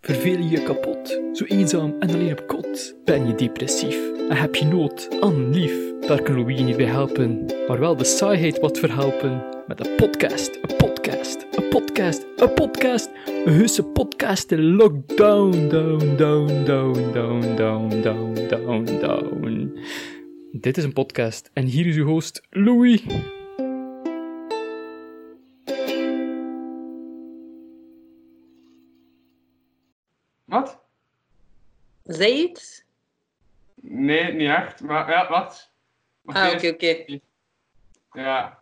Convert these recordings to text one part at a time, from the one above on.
Verveel je je kapot, zo eenzaam en alleen op kot? Ben je depressief en heb je nood aan lief? Daar kan Louis niet bij helpen, maar wel de saaiheid wat verhelpen. Met een podcast, een podcast, een podcast, een podcast, een husse podcast in lockdown, down, down, down, down, down, down, down, down. Dit is een podcast en hier is uw host Louis. Wat? Zij iets? Nee, niet echt. Maar ja, wacht. Wacht Ah, eens. oké, oké. Ja.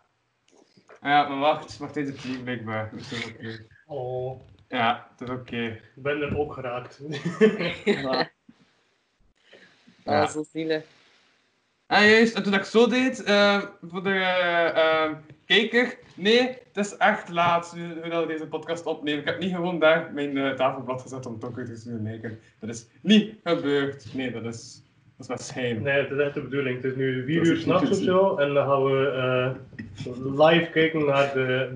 Ja, maar wacht. Wacht even opnieuw, blijkbaar. Dat is oké. Hallo, Ja, dat is oké. Oh, ik ben er ook geraakt. Voilà. Ah, Ja. zo zielig. En juist, en toen ik zo deed, eh, voor de eh, eh, kijker, nee, het is echt laat nu nu dat we deze podcast opnemen. Ik heb niet gewoon daar mijn eh, tafelblad gezet om toch iets te maken. Dat is niet gebeurd. Nee, dat is, dat is mijn schijn. Nee, dat is echt de bedoeling. Het is nu Dat 4 is uur niet s'nachts te of zo en dan gaan we eh, live kijken naar de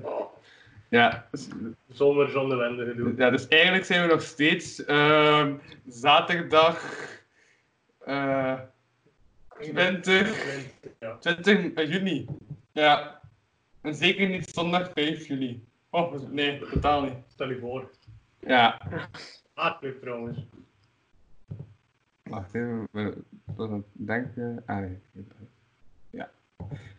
Ja, dus- dat is- zomer zonder wende gedoe. Ja, dus eigenlijk zijn we nog steeds ehm, zaterdag eh, 20, Ja. 20 juni. Ja. En zeker niet zondag 5 juli. Oh, nee, totaal niet. Stel je voor. Ja. Aardbeer trouwens. Wacht even, wat ik denk. Ah nee. Ja.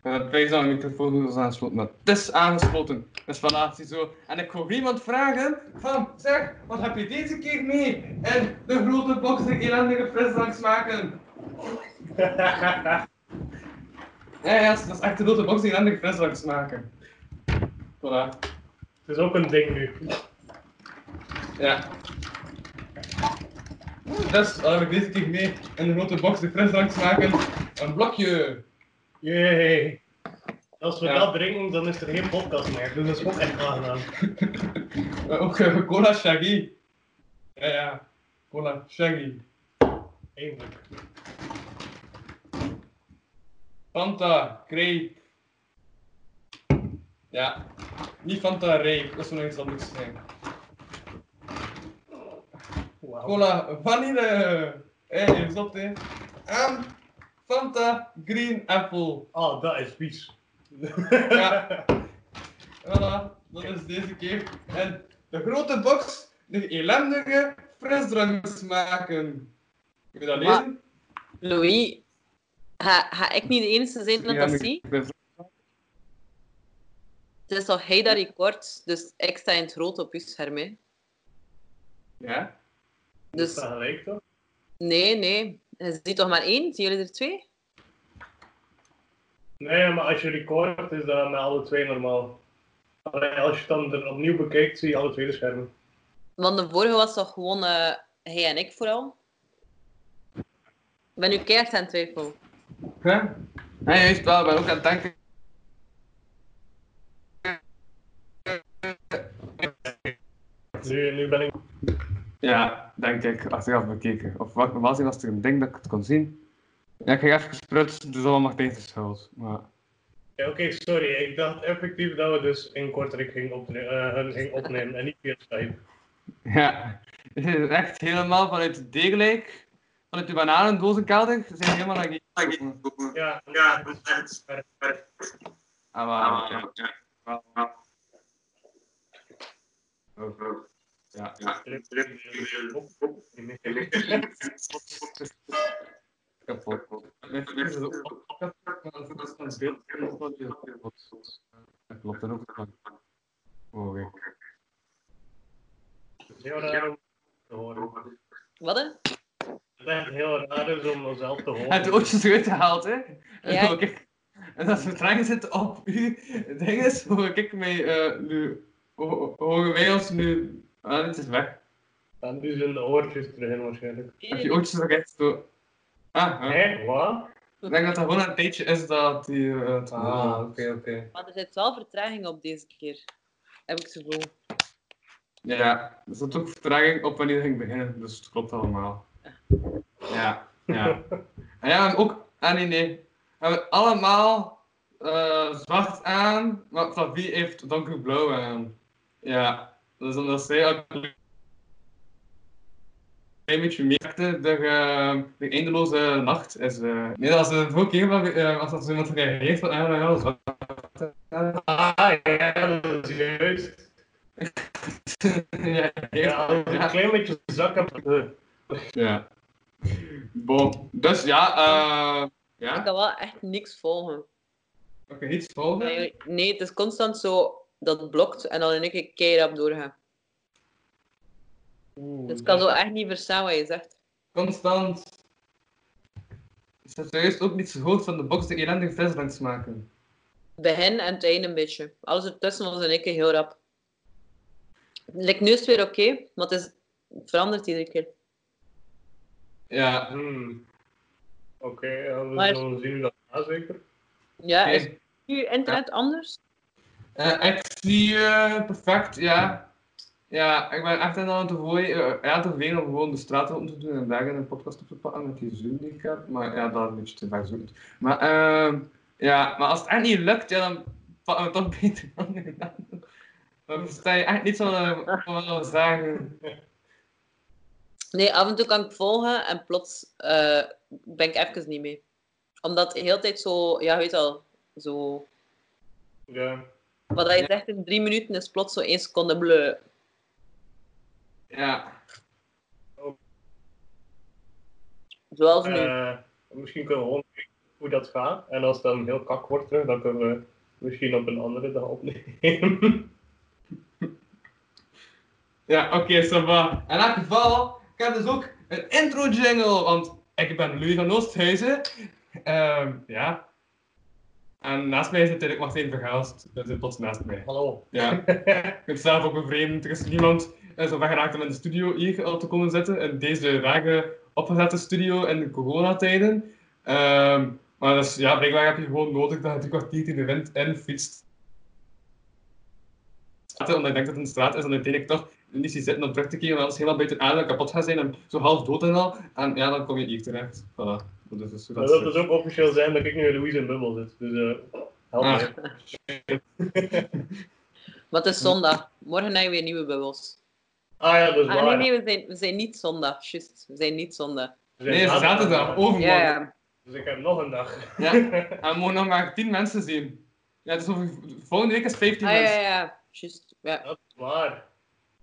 Maar dat is dus aan de microfoon is aangesloten, maar het is aangesloten. Dat is relatie zo. En ik hoor iemand vragen van, zeg, wat heb je deze keer mee? En de grote boxen elendige frisdranks maken. Ja, ja, dat is echt de grote box die elendige frisdranks maken. Voilà. Het is ook een ding nu. Ja. Dus, dan heb ik deze keer mee in de grote box de frisdranks maken. Een blokje. Jee. Als we Ja. dat drinken, dan is er geen podcast meer. Dus dat is ook echt aangenaam. Eh, Ook eh, cola Shaggy. Ja, ja. Cola Shaggy. Eindelijk. Fanta, grape. Ja. Niet Fanta, rape. Dat zou nog iets anders zijn. Wauw. Cola, vanille. Hé, hey, stop hè. En Fanta, green apple. Ah, dat is vies. Ja. Voilà, dat is deze keer. En de grote box, de elendige frisdranks maken. Kun je dat Maar- lezen? Louis, ga, ga ik niet de enige zijn dat dat ziet? Het is al hij dat record, dus ik sta in het rood op uw scherm. hè. Ja? Dus... Dus Gelijk toch? nee, nee. Je ziet toch maar één? Zien jullie er twee? Nee, maar als je record is dat met alle twee normaal. Alleen als je het dan er opnieuw bekijkt, zie je alle twee de schermen. Want de vorige was toch gewoon eh, hij en ik vooral? Ik ben nu keihard aan het twijfel. Ja? Nee, juist wel, ik ben ook aan het denken. Nu, nu ben ik. Ja, denk ik, achteraf bekeken. Of wat normaal gezien was er een ding dat ik het kon zien. Ja, ik kreeg even gesprutst, dus allemaal tegen de schuld. Maar... Ja, Oké, sorry. Ik dacht effectief dat we dus in Kortrijk gingen opne- eh, hun gingen opnemen en niet via Skype. Ja, het is echt helemaal vanuit de degelijk, vanuit de bananendozenkelder, zijn we helemaal naar hier. Ja, ja, dat is echt scherp. Ah, maar, ja. Wel, wel. Oh, oh. Ja, ja. Kapot. Dit is ook kapot, maar dat is een beeld. Dat is kapot. Dat Klopt, en ook. Oh, oké. Het is heel raar om te horen. Wat? hè? Het is echt heel raar is om onszelf te horen. Hij heeft oortjes eruit gehaald, hè? En, Ja. hoor ik- en als we trainen zitten op u, ding is, hoor ik mij eh, nu. ho- Horen wij ons nu. Ah, dit is weg. En nu zijn de dus oortjes terug in waarschijnlijk. Heb je oortjes eruit? Zo. Ah, ja. Hé, wat? Ik denk dat dat gewoon een tijdje is dat die. eh, het- Ah, oké, oké. Maar er zit wel vertraging op deze keer. Heb ik het gevoel. Ja, Ja, er zat ook vertraging op wanneer ging beginnen, dus het klopt allemaal. Ja, ja. En ja, we hebben ook. Ah nee, nee. We hebben allemaal eh, zwart aan, maar Flavie heeft donkerblauw aan. Ja, dus omdat zij ook klein beetje merkte, de, eh, de eindeloze nacht is... eh, nee, als het ook een van... eh, als dat zo iemand reageert van... Ah, ja, dat is wel- Ah, ja, dat is juist. ja, Ja, als ik een ja. klein beetje zak heb. eh, ja. Bon. Dus ja, eh Ik ja. kan wel echt niks volgen. Oké, iets volgen. Nee, nee, het is constant zo dat het blokt en dan in één keer keihard doorgaan. oeh, Dus ik kan zo echt niet verstaan wat je zegt. Constant. Is dat juist ook niet zo hoog van de box de elendige frisdrank smaken? Begin en het einde een beetje. Alles ertussen was in één keer heel rap. Like, nu is het weer oké, maar het, is, het verandert iedere keer. Ja. hmm. Oké, ja, we Maar- zullen zien hoe dat gaat, zeker. Ja, Oké. is nu internet anders? Eh, ik zie eh, perfect, ja. Ja, ik ben echt aan het gooien, eh, ja, te veel om gewoon de straat op te doen en daar een podcast op te pakken met die Zoom die ik heb. Maar ja, dat is een beetje te ver zoekend. Maar, ehm, ja, maar als het echt niet lukt, ja, dan pakken we toch beter andere namen. Dan versta je echt niet van eh, van wat we zeggen. Nee, af en toe kan ik volgen en plots eh, ben ik even niet mee. Omdat de hele tijd zo, ja, weet al, zo. Ja. Wat hij zegt in drie minuten is plots zo één seconde bleu. Ja. Zoals nu. Eh, misschien kunnen we gewoon kijken hoe dat gaat. En als het dan heel kak wordt terug, dan kunnen we misschien op een andere dag opnemen. Ja, oké, ça va. In elk geval, ik heb dus ook een intro jingle, want ik ben Louis van Oosthuizen. Ehm, ja. En naast mij zit natuurlijk Martijn Vergaast, dat zit plots naast mij. Hallo. Ja. ik vind het zelf ook bevreemd, er is niemand eh, zo ver geraakt om in de studio hier al te komen zitten, in deze rare opgezette studio in de coronatijden. Ehm, maar dus, ja, blijkbaar heb je gewoon nodig dat je drie kwartier tegen de wind in fietst. Omdat ik denk dat het een straat is en uiteindelijk toch niet ziet zitten om terug te keren, want anders helemaal buiten adem kapot gaat zijn en zo half dood en al. En ja, dan kom je hier terecht. Voilà. Dat is, Dat wil dus ook officieel zijn dat ik nu in Louise in bubbel zit. Dus eh, help Ah. me. Maar het is zondag. Morgen hebben we weer nieuwe bubbels. Ah ja, dat is Ah, waar. nee, nee, we zijn, we zijn niet zondag. Juist, we zijn niet zondag. We zijn Nee, het is zaterdag, overmorgen. Ja, ja. Dus ik heb nog een dag. Ja, en we mogen nog maar 10 mensen zien. Ja, dus over, volgende week is 15 Ah, ja, mensen. ja. Juist, ja. Dat is waar.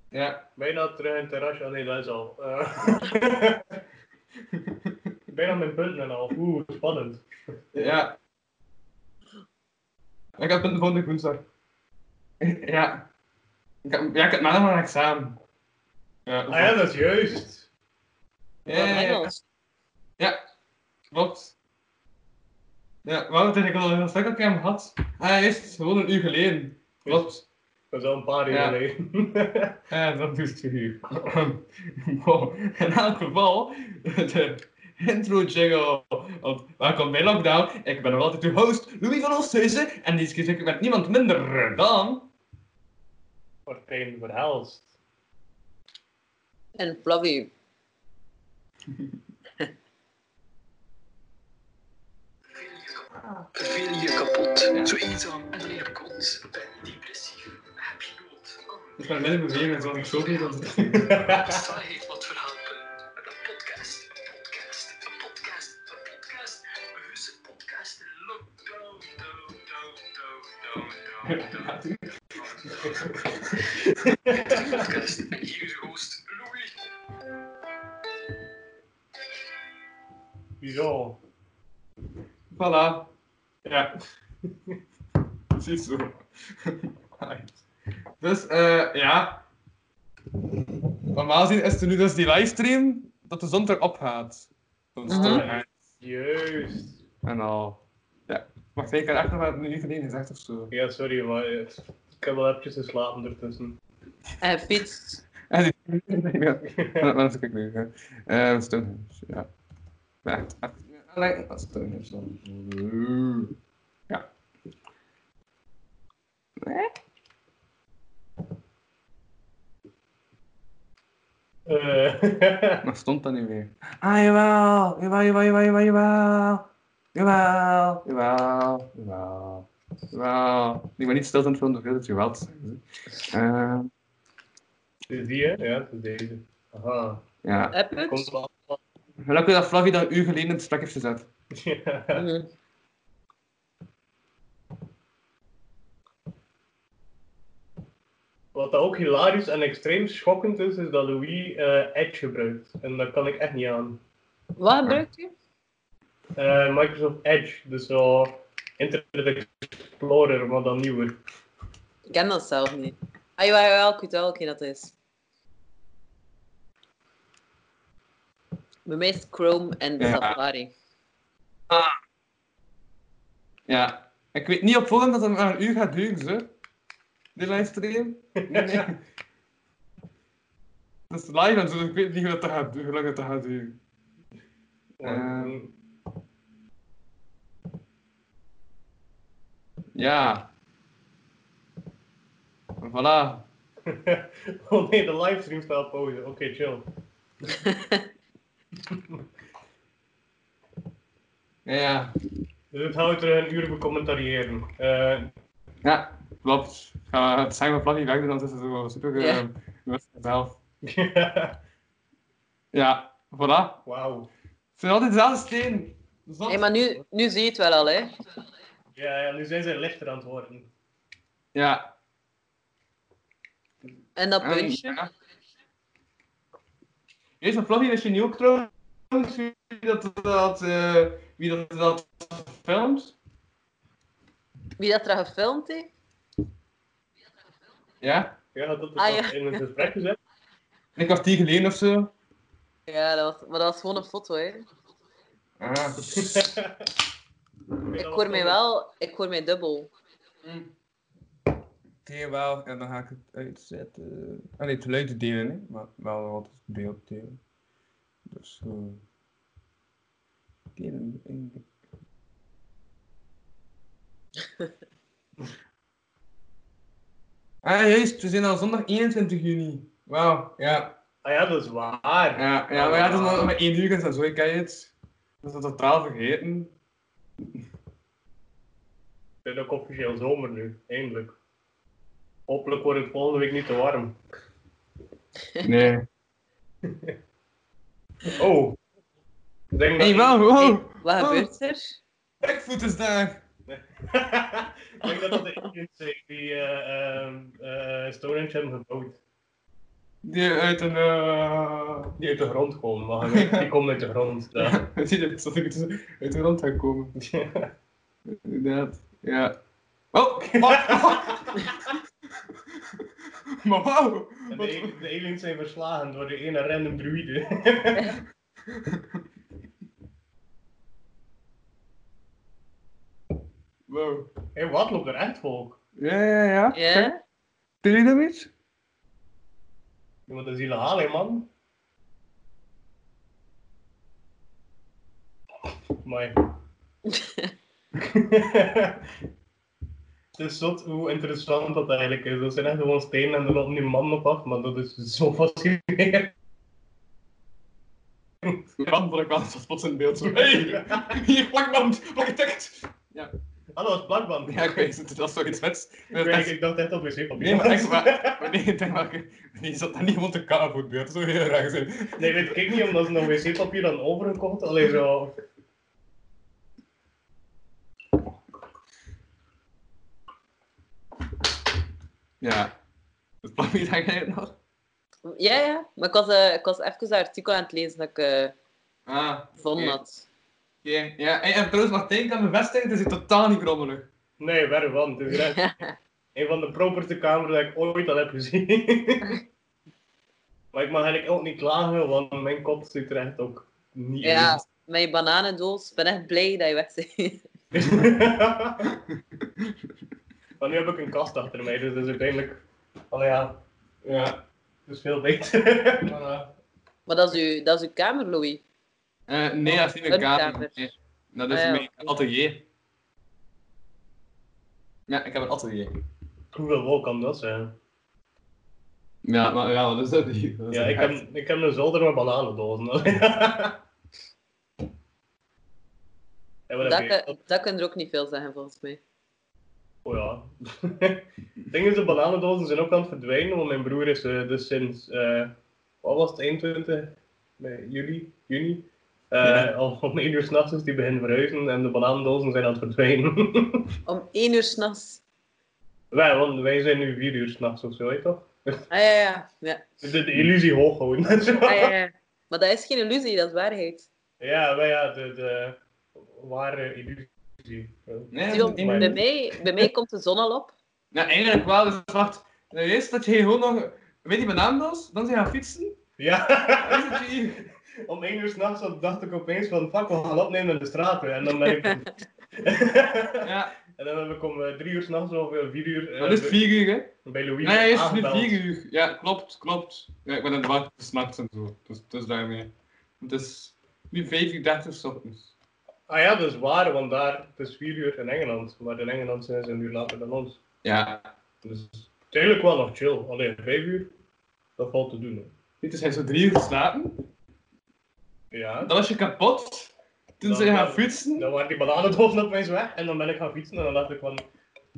Ja. Bijna terug in het terrasje. Ah, Nee, dat is al. Eh, Bijna mijn punten en al. Oeh, spannend. ja. Ik heb punten volgende woensdag. ja. Ik heb, ja, ik heb maandag mijn examen. Ja, Ah ja, dat is juist. ja, ja, ja, Engels. ja, klopt. Ja, wauw, dat ik al een stuk dat ik hem had. Ah, ja, juist, gewoon een uur geleden. Klopt. Dat is al een paar uur Ja. geleden. Ja, dat Eh, doet je nu. Wow. In elk geval, de intro jingle. Want welkom bij Lockdown. Ik ben nog altijd uw host, Louis van Oosthuizen. En deze keer zit ik met niemand minder dan... Martijn Verhelst. En Flavie. Veel je kapot. Zo eenzaam en alleen op kots. Ben depressief. Heb je nood? Ik ben minder bewegend, want ik zo veel dat het... Kan saaiheid wat verhelpen? Met een podcast. Een podcast. Een podcast. Een podcast. Een heuse podcast. Lockdown. Down, down, down, down, down, down. podcast. En hier is uw host, Louis. Bizar. Voilà. Ja. Precies zo. dus, eh, ja. Normaal gezien is er nu dus die livestream dat de zon erop gaat. Dat is Mhm. toch raar. Juist. En al. Ja. Wacht, ik had echt nog maar een uur geleden gezegd of zo. Ja, sorry, maar eh, ik heb wel eventjes geslapen ertussen. En fiets. En die... ja. Dat was ik nu. hè. Eh, Stonehenge, ja. Ja, echt- echt- ja, nee, dat is Stonehenge dan. Ja. Nee? Eh, Wat stond dat nu weer? Ah, jawel! Jawel, jawel, jawel, jawel, jawel! Jawel, jawel, jawel. Jawel. Ik ben niet stil aan het filmen, dat je wel te zeggen. Eh, Het is die, hè? Ja, het is deze. Aha. Ja. Heb je Komt het? wel. Gelukkig dat Flavie dat een uur geleden in het gesprek heeft gezet. Ja. Mhm. Wat dat ook hilarisch en extreem schokkend is, is dat Louis eh, Edge gebruikt. En dat kan ik echt niet aan. Wat gebruikt u? Eh, Microsoft Edge, dus zo Internet Explorer, maar dan nieuwer. Ik ken dat zelf niet. Ah, jawel, jawel, ik weet wel welke dat is. Bij mij is het Chrome en Ja. Safari. Ja. Ik weet niet op voorhand dat het maar een uur gaat duren, zo. Die livestream. Nee, nee. Dat is live en zo, dus ik weet niet hoe, dat dat gaat, du- hoe lang dat, dat gaat duren. Ehm. Ja. En Voilà. oh nee, de livestream staat pauze. Oké, chill. Ja, ja. Dus het houdt er een uur becommentariëren. Eh, Ja, klopt. Gaan we het zijn we Flavie weg doen, dan is het wel super. Ja. Ja. zelf. Ja, voilà. Wauw. Het zijn altijd dezelfde steen. Zot. Hey, maar nu, nu zie je het wel al, hè? Ja, ja, nu zijn ze lichter aan het worden. Ja. En dat En, puntje. Ah, ja. Jezus, maar Flavie, wist je nu ook trouwens wie dat, dat, eh, wie dat, dat filmt? Wie dat er gefilmd heeft? Ja? Ja, dat is Ah, ja. wat in het gesprek gezet. Een kwartier geleden of zo. Ja, dat was, maar dat was gewoon een foto, hè? Ah. Ik hoor mij wel, ik hoor mij dubbel. Deel wel, en dan ga ik het uitzetten. Ah nee, het geluid te delen, hè? maar wel altijd het beeld delen. Dus zo. Delen. in- ah juist, we zijn al zondag 21 juni. Wauw, ja. Ah ja, dat is waar. Ja, ja maar ja, dat is nog maar 1 uur en zo, ik ken je het. Dat is dat totaal vergeten. Het is ook officieel zomer nu, eindelijk. Hopelijk wordt het volgende week niet te warm. Nee. Oh. Ik Denk Hey, dat... wow, wow! Hey, wat Oh. gebeurt er? Backfoot is daar! Ik denk dat dat de Indians zijn die eh, ehm, eh, Stonehenge hebben gebouwd. Die uit een. eh, Die uit de grond komen, maar die komen uit de grond. Ja. Ja, zie je, dat ik dus uit de rand gaan komen. Inderdaad, ja. Oh! maar wauw! En Wat- De, de aliens zijn verslagen door de ene random druïde. Wow. Hé, wat loopt er echt volk? Ja, ja, ja. Kijk, Ja? Doe je dat iets? Iemand dat is illegaal, hè, man. Mooi. Het is zot hoe interessant dat eigenlijk is. Dat zijn echt gewoon stenen en er loopt nu een man op af, maar dat is zo fascinerend. Ja, dat ik wel dat plots in beeld zo. Hey! Hier, plakband! Pak het tekst! Ah, dat was plakband. Ja, ik weet het, dat is toch iets vets. Ik weet- ik dacht echt op wc papier. Nee, maar echt waar. Maar nee, ik denk maar, die zat daar niet rond de kamer voor het beeld. Dat zou heel raar zijn. Nee, dat kijk niet omdat ze nog wc-papier dan overgekocht. Alleen zo. Ja. Dat plan je eigenlijk nog? Ja, ja. Maar ik was, eh, ik was even dat artikel aan het lezen dat ik eh Ah. gevonden oké. had. Oké, ja. En, en trouwens, Martijn kan bevestigen, het is hier totaal niet rommelig. Nee, verre van. Het is echt een van de properste kamers dat ik ooit al heb gezien. maar ik mag eigenlijk ook niet klagen, want mijn kop zit er echt ook niet Ja, met je bananendoos. Ik ben echt blij dat je weg bent. in. maar nu heb ik een kast achter mij, dus dat is uiteindelijk... Oh ja, Ja. het is veel beter. eh, Maar dat is, uw, dat is uw kamer, Louis. Eh, nee, dat is niet mijn Een kamer. kamer. Nee, Dat is Ah, ja. mijn atelier. Ja, ik heb een atelier. Hoeveel wol kan dat zijn? Ja, maar ja, wat is dat hier? Dat is Ja, een ik hek. heb, ik heb een zolder met bananendozen. En wat heb Dat, je? kun- dat kun je er ook niet veel zeggen, volgens mij. Oh ja. Het ding is, de bananendozen zijn ook aan het verdwijnen, want mijn broer is eh, dus sinds eh, wat was het, 21 bij juli, juni? Eh, Ja. Al om 1 uur s'nachts is die beginnen verhuizen en de bananendozen zijn aan het verdwijnen. Om één uur s'nachts. wij, want wij zijn nu 4 uur s'nachts of zo, weet je toch? Ah ja, ja. ja. De, de illusie hoog houden. Ah, ja, ja. Maar dat is geen illusie, dat is waarheid. ja, maar ja, de, de ware illusie. Nee, Zie, want nee, bij, mij, bij mij komt de zon al op. Nou, eigenlijk wel. Dus wacht. Nou, Eerst dat je gewoon nog... Weet je mijn naamdoos? Dan zijn je gaan fietsen? Dan Ja. zit je hier. Om 1 uur s'nachts dacht ik opeens van fuck, we gaan opnemen in de straat. hè. En dan ben ik. Ja, en dan heb ik om 3 uur s'nachts of 4 uur. eh, dat is het vier uur, hè? Bij Louis. Nee, hij is nu aangebeld. vier uur. Ja, klopt, klopt. Ja, ik ben aan het wachten s'nachts en zo. Dus, dus daarmee. Het is nu vijf uur dertig 's ochtends. Ah ja, dat is waar, want daar het is 4 uur in Engeland. Maar in Engeland zijn ze een uur later dan ons. Ja. Dus natuurlijk wel nog chill. Alleen 5 uur, dat valt te doen. hè. Dit is hij zo drie uur geslapen. Ja. Dan was je kapot. Toen Dan- zijn je gaan dan- fietsen. Dan waren die bananendozen opeens weg en dan ben ik gaan fietsen en dan dacht ik van,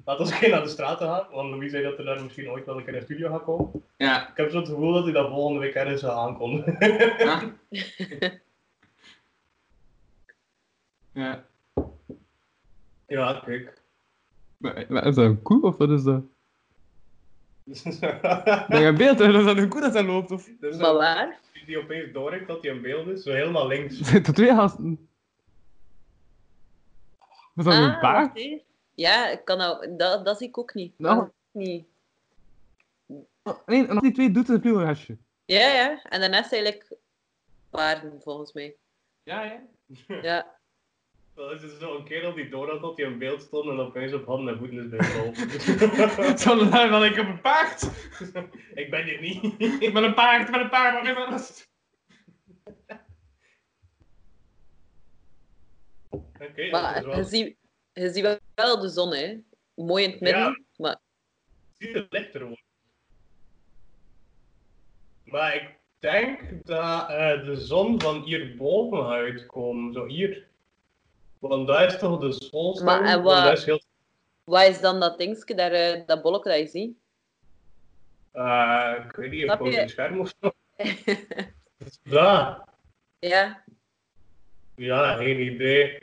laat ons geen naar de straat gaan, want Louis zei dat er daar misschien ooit wel een keer in de studio gaat komen. Ja. Ik heb zo het gevoel dat hij dat volgende week ergens eh, aankomt. Ja. ja. ja, kijk. Maar, is dat een koe of wat is dat? Ben je een beeld? Is dat een koe dat daar loopt? Of? dus Maar dan, waar? die opeens door heeft dat hij in beeld is, zo helemaal links. Zijn er twee gasten? Is dat een Ah, paard? wacht even. Ja, ik kan nou, dat, dat zie ik ook niet. Nou. Dat zie ik niet. Oh, nee, en als die twee doet, dan vliegt een hasje. Ja, ja. En daarnaast eigenlijk paarden, volgens mij. Ja, ja. Ja. Dat is dus zo'n kerel die door had dat hij in beeld stond en opeens op handen en voeten is bijgelopen. Het zal zijn van, ik heb een paard. ik ben hier niet. Ik ben een paard, ik ben een paard, maar ik rust. Oké, dat is Maar je wel... ziet, je ziet wel de zon, hè. Mooi in het midden. Ja. Maar ziet het lichter worden. Maar ik denk dat eh, de zon van hier bovenuit komt, zo hier. Want daar is toch de zon. Maar, en wat- Dat is heel, wat is dan dat dingetje, daar, eh, dat bolletje dat je ziet? Eh, ik weet niet, ik Snap kom op je? het scherm of zo. Ja, ja. ja, geen idee.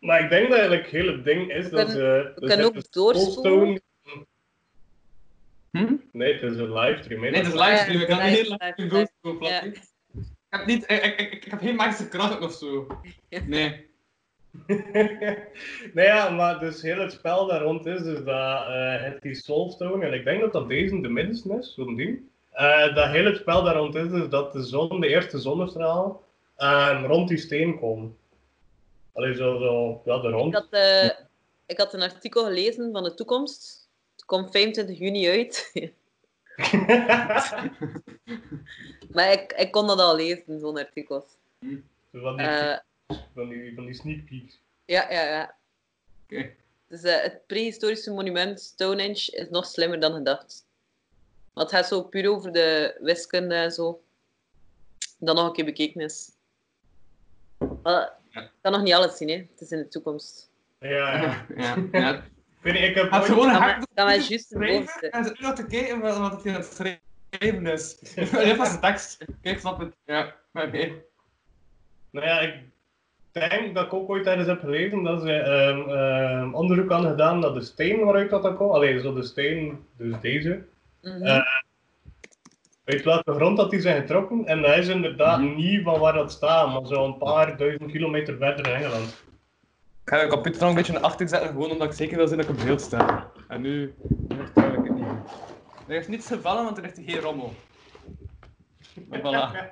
Maar ik denk dat eigenlijk het hele ding is Dus dat kunnen- ze... we kunnen ook doorspoelen. Hm? Nee, het is een livestream. hè. Nee, het is livestream, ik kan Ja, niet live, heel lang live, doen. Ja. Ik heb niet, ik, ik, ik, ik heb geen magische kracht of zo. Nee. nou ja, maar dus heel het spel daar rond is dus dat eh, het die Soulstone, en ik denk dat dat deze de middenste is, zo'n ding. Eh, dat heel het spel daar rond is dus dat de zon, de eerste zonnestraal, eh, rond die steen komt. Allee, zo, zo, ja, de Ik, rond. had, eh, ik had een artikel gelezen van de toekomst. Het komt 25 juni uit. maar ik, ik kon dat al lezen, zo'n artikel. Zo van, die, Eh, van, die, van die sneak peeks. ja, ja, ja. Oké. Dus eh, het prehistorische monument Stonehenge is nog slimmer dan gedacht. Want het gaat zo puur over de wiskunde en zo. Dan nog een keer bekeken is. Maar Ja. Ik kan nog niet alles zien, hè. Het is in de toekomst. Ja, ja. Ja, ja. Ik weet niet, ik heb Hij heeft ooit- gewoon een Dan hak maar, dan maar juist de geschreven bovenste. en ze nu dat te kijken wat wat hij aan het schrijven is. Dit was de tekst. Kijk, snap het. Ja, maar nee. Nou ja, ik denk dat ik ook ooit ergens heb gelezen dat ze ehm, ehm, onderzoek hadden gedaan dat de steen waaruit dat dan komt, alleen zo de steen, dus deze, Mhm. Eh, uit welke grond dat die zijn getrokken. En dat is inderdaad Mhm. niet van waar dat staat, maar zo'n paar duizend kilometer verder in Engeland. Ik ga de computer nog een beetje naar achter zetten, gewoon omdat ik zeker wil zijn dat ik op beeld sta. En nu vertel ik het niet. Er is niets gevallen, want er ligt geen rommel. Maar voilà.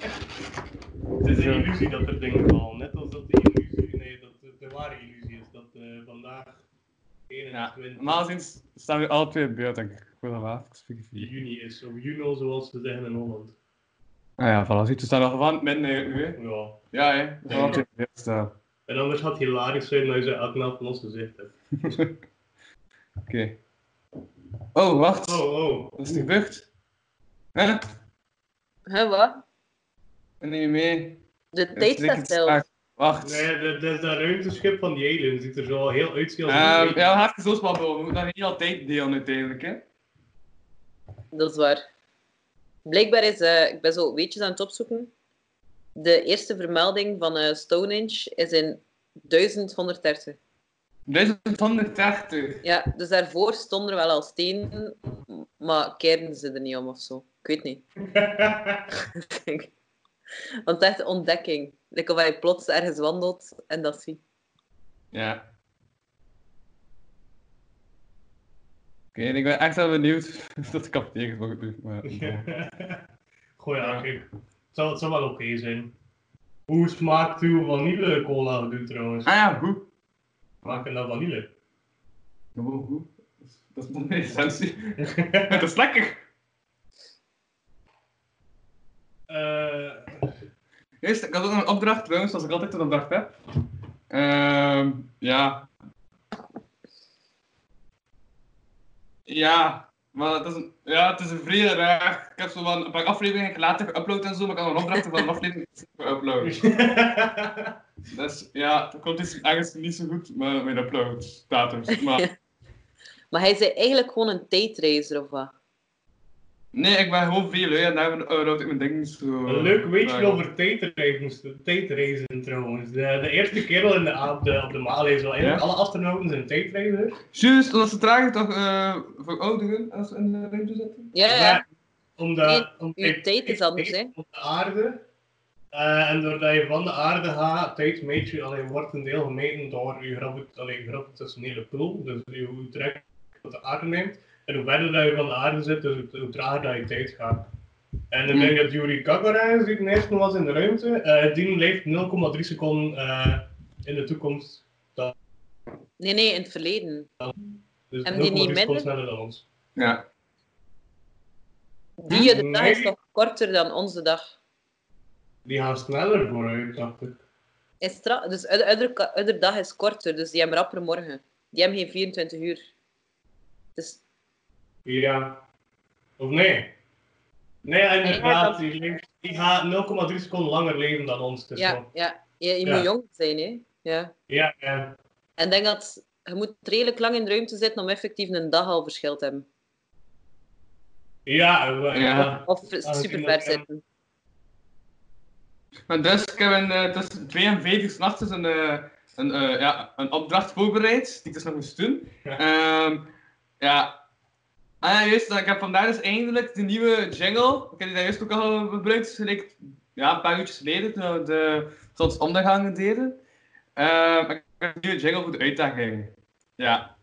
Het is een illusie dat er dingen vallen, net als dat de illusie, nee, dat de, de ware illusie is dat eh, vandaag Ja, 21 normaal gezien staan we alle twee in beeld, denk ik. Voor de laatste vier. juni is, of juno zoals ze zeggen in Holland. Ah ja, voilà, ziet, we staan nog van met nu. hè. Ja. Ja, hè. We staan alle twee in beeld staan. En anders had het hilarisch zijn als je ze knap van ons gezegd hebt. Oké. Oh, wacht. Oh, oh. Wat is er gebeurd? Huh? Hè, wat? Ik Neem je mee. De Er is tijd staat niks stil. aan. Wacht. Nee, dat, dat is dat ruimteschip van die alien. Ziet er zo al heel uitzien als Ehm, een ja, we alien. gaan even zo spannen. We moeten daar niet altijd delen uiteindelijk, hè. Dat is waar. Blijkbaar is, eh, ik ben zo weetjes aan het opzoeken. De eerste vermelding van eh, Stonehenge is in 1130. 1130. Ja, dus daarvoor stonden er wel al stenen, maar keerden ze er niet om of zo. Ik weet niet. Want het is echt een ontdekking. Like of je plots ergens wandelt en dat ziet. Ja. Oké, ik ben echt wel benieuwd of dat ik tegen wat ik doe. Maar, Goh ja, kijk. Het zou, het zou wel oké zijn. Hoe smaakt uw vanille cola gedoe trouwens? Ah ja, hoe? Smaakt het naar vanille? Gewoon hoe? Dat is mijn essentie. Het is lekker. Eh, Eerst, ik had ook nog een opdracht trouwens, zoals ik altijd een opdracht heb. Ehm, ja. Ja, maar het is een, ja, het is een vrij raar. Ik heb zo van een paar afleveringen later geüpload en zo, maar ik had nog een opdracht van een aflevering geüpload. Dus ja, dat klopt is ergens niet zo goed, maar mijn upload datums. Maar Maar hij zei eigenlijk gewoon een tijdreizer of wat? nee, ik ben gewoon veel hè, en daarom upload ik mijn dingen zo. eh, een leuk weetje Ja. over tijdreizen, tijdreizen trouwens. De, de eerste kerel in de, op de, op de maal is wel eigenlijk alle astronauten zijn tijdreizers. Juist, omdat ze trager toch eh voor ouderen als ze in de ruimte zitten? Ja, ja. Maar omdat, Eh, Nee, omdat uw je tijd is anders, hè? Op de aarde. eh, en doordat je van de aarde gaat, tijd meet je, allee, wordt een deel gemeten door je gravit- allee, gravitationele pool. Dus je- hoe trek wat de aarde neemt. En hoe verder dat je van de aarde zit, dus hoe- hoe trager dat je tijd gaat. En Mm. dan Hmm. denk ik dat Yuri Gagarin, die het eerste was in de ruimte, eh, die leeft 0,3 seconden eh, in de toekomst. Nee, nee, in het verleden. Dus Hebben die niet 0,3 seconden minder? sneller dan ons. Ja. Die eh, de dag is Hm? Nee. nog korter dan onze dag. Die gaan sneller vooruit, dacht ik. Is tra- dus ieder- ieder ka- ieder dag is korter, dus die hebben rapper morgen. Die hebben geen 24 uur. Dus Ja. Of nee? Nee, inderdaad. Die, leeft- die gaat 0,3 seconden langer leven dan ons. Dus ja, ja. ja. je, je Ja. moet jong zijn, hè? Ja. Ja, ja. En ik denk dat je moet redelijk lang in de ruimte zitten om effectief een dag al verschil te hebben. Ja, eh, we- Ja. Of dat super kan. ver zitten. Maar dus, ik heb een, eh, tussen 2 en 5 uur s'nachts dus een, eh, een, eh, ja, een opdracht voorbereid, die ik dus nog moest doen. Ja. Ehm, ja. Ah ja, juist, ik heb vandaag dus eindelijk de nieuwe jingle. Ik heb die daar juist ook al gebruikt, dus gelijk, ja, een paar uurtjes geleden, toen we de tot ondergangen deden. Ehm, ik heb een nieuwe jingle voor de uitdaging. Ja.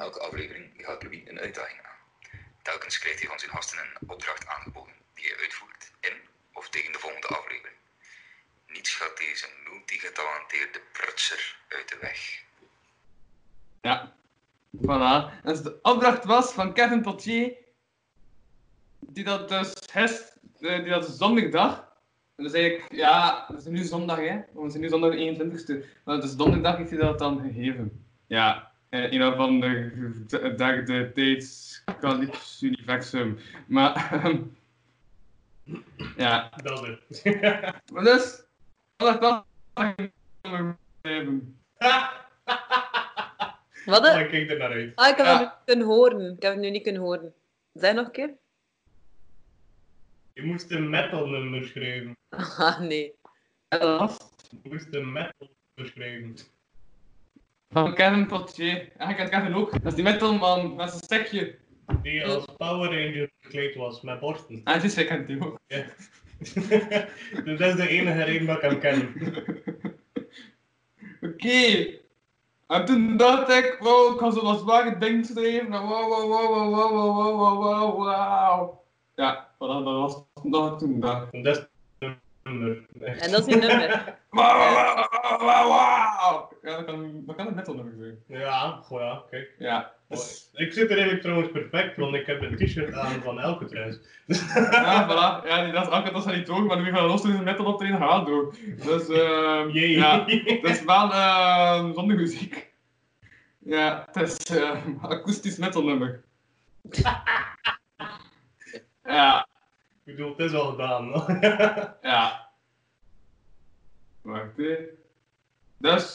Elke aflevering gaat Louis een uitdaging aan. Telkens krijgt hij van zijn gasten een opdracht aangeboden die hij uitvoert in of tegen de volgende aflevering. Niets gaat deze multigetalenteerde prutser uit de weg. Ja. Voilà. Dus de opdracht was van Kevin Potier, die dat dus gest, eh, die dat zondag. En dat is eigenlijk, ja, dat is nu zondag hè, want het is nu zondag de 21ste. Maar het is donderdag heeft hij dat dan gegeven. Ja, eh, een of andere dag de tijds Calypso Universum. Maar, ehm, ja. dat is. Maar dus, dat was gegeven. Wat? een- Dan kijk er naar uit. Ah, ik heb Ja. het nu niet kunnen horen. Ik heb het nu niet kunnen horen. Zeg nog een keer? Je moest een metal nummer schrijven. Ah, nee. En dat was Je moest een metal nummer schrijven. Van Kevin Potier. Ja, ik had Kevin ook. Dat is die metalman met zijn stekje. Die als Power Ranger gekleed was met borsten. Ah, het is ik had die ook. Ja. dus dat is de enige reden dat ik hem ken. Oké. En toen dacht ik, wow, ik ga zo wat zware dingen schrijven. En Wow, wow, wow, wow, wow, wow, wow, wow, wow, wow. Ja, voilà, dat was dat toen dacht. En dat is een nummer. En dat is een nummer. Wow, wow, wow, wow, wow, wow. Ja, dat kan, dat kan het metal nummer zijn. Ja, goh ja, kijk. Ja. Mooi. Dus, Ik zit er eigenlijk trouwens perfect, want ik heb een t-shirt aan van elke thuis. ja, voilà. Ja, die, dat is Anke, dat is niet door, maar nu gaan we los toen is een metal op erin gaan door. Dus, ehm Jee. ja. Dat is wel ehm zonder muziek. Ja, het is ehm akoestisch metalnummer. ja, Ik bedoel, het is al gedaan. ja. Wacht hè. Dus,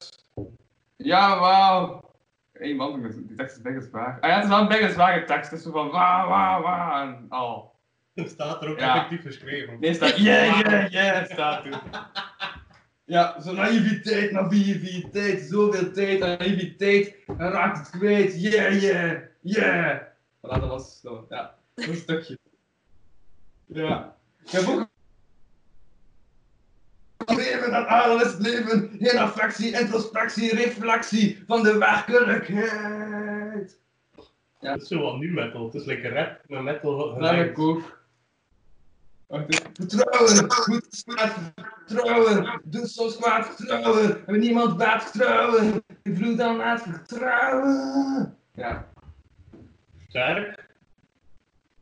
ja, wauw. één man, dus die tekst is best zwaar. Ah ja, het is wel een best zware tekst, het is zo van wa wa wa en al. Het staat er ook Ja. effectief geschreven. Nee, staat yeah, yeah, yeah, staat er. Ja, zo'n naïviteit, naïviteit, zoveel tijd, naïviteit, en raakt het kwijt, yeah, yeah, yeah. Voilà, dat was, dat was- ja, zo'n stukje. Ja. Ik heb ook... Leven en adel is het leven, geen affectie, introspectie, reflectie van de werkelijkheid. Het is zo wat nu metal. Het is lekker rap met metal. Lange koek. Wacht even. Vertrouwen, goed kwaad vertrouwen, doet soms kwaad vertrouwen, en niemand baat vertrouwen, ik vloed dan laat vertrouwen. Ja, Sterk.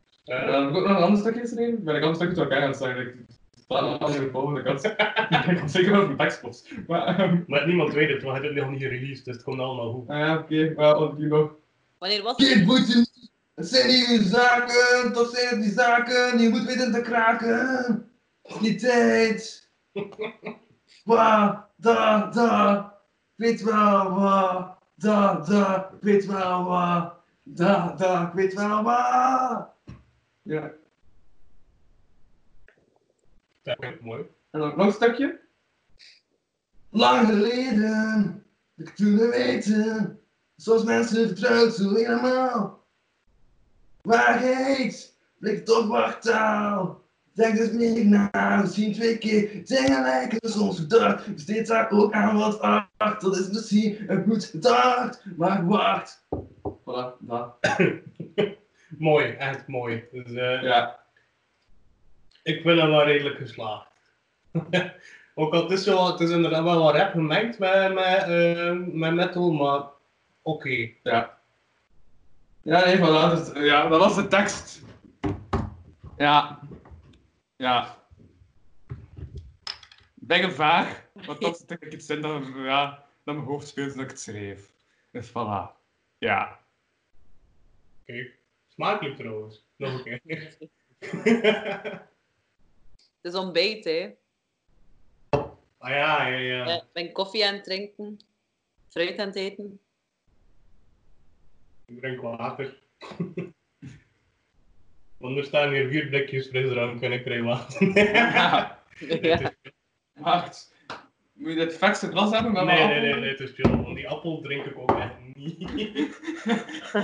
Sterk. Eh, dan heb ik ook nog een ander stukje geschreven, ben ik ander stukje door elkaar aan het zeggen, ik sta nog altijd in de volgende kant. Ik kom zeker wel van tekstpost. Maar, ehm, Maar niemand weet het, want hij heeft het nog niet gereleased, dus het komt allemaal goed. nou ja, oké, wel, want die nog. Wanneer was het? Dit boeten, het zijn uw zaken, tot zijn het die zaken, je moet weten te kraken. Het is niet tijd. Wa, da, da, weet wel, wa, da, da, weet wel, wa, da, da, weet wel, wa. Ja, Sterk, mooi. en dan nog een stukje. Lang geleden, dat ik toen het weten, zoals mensen vertrouwd zo helemaal. Waarheid, blik toch wachttaal. Denk dus meer na, we zien twee keer dingen lijken soms gedacht. Besteed daar ook aan wat acht, dat is misschien een goed gedacht, maar wacht. Voilà, dat. Mooi, echt mooi. Dus, eh, Ja, Ik vind hem wel redelijk geslaagd. Ook al het is wel, het is inderdaad wel wat rap gemengd met, met, eh, met metal, maar oké. ja. Ja, nee, voilà, dus, ja, dat was de tekst. Ja. Ja. Ik een vaag, maar toch stak ik iets in dat, ja, dat mijn hoofd speelde dat ik het schreef. Dus voilà. Ja. Oké. Smakelijk trouwens. Nog een keer. Het is ontbijt, hè. ah ja, ja, ja. Ik ben koffie aan het drinken. Fruit aan het eten. Ik drink water. Want er staan hier vier blikjes frisdrank en ik krijg water. Ja. Wacht. Moet je dit vetste glas hebben? Ah, Met nee, nee, nee, nee, het is chill. Want die appel drink ik ook echt niet.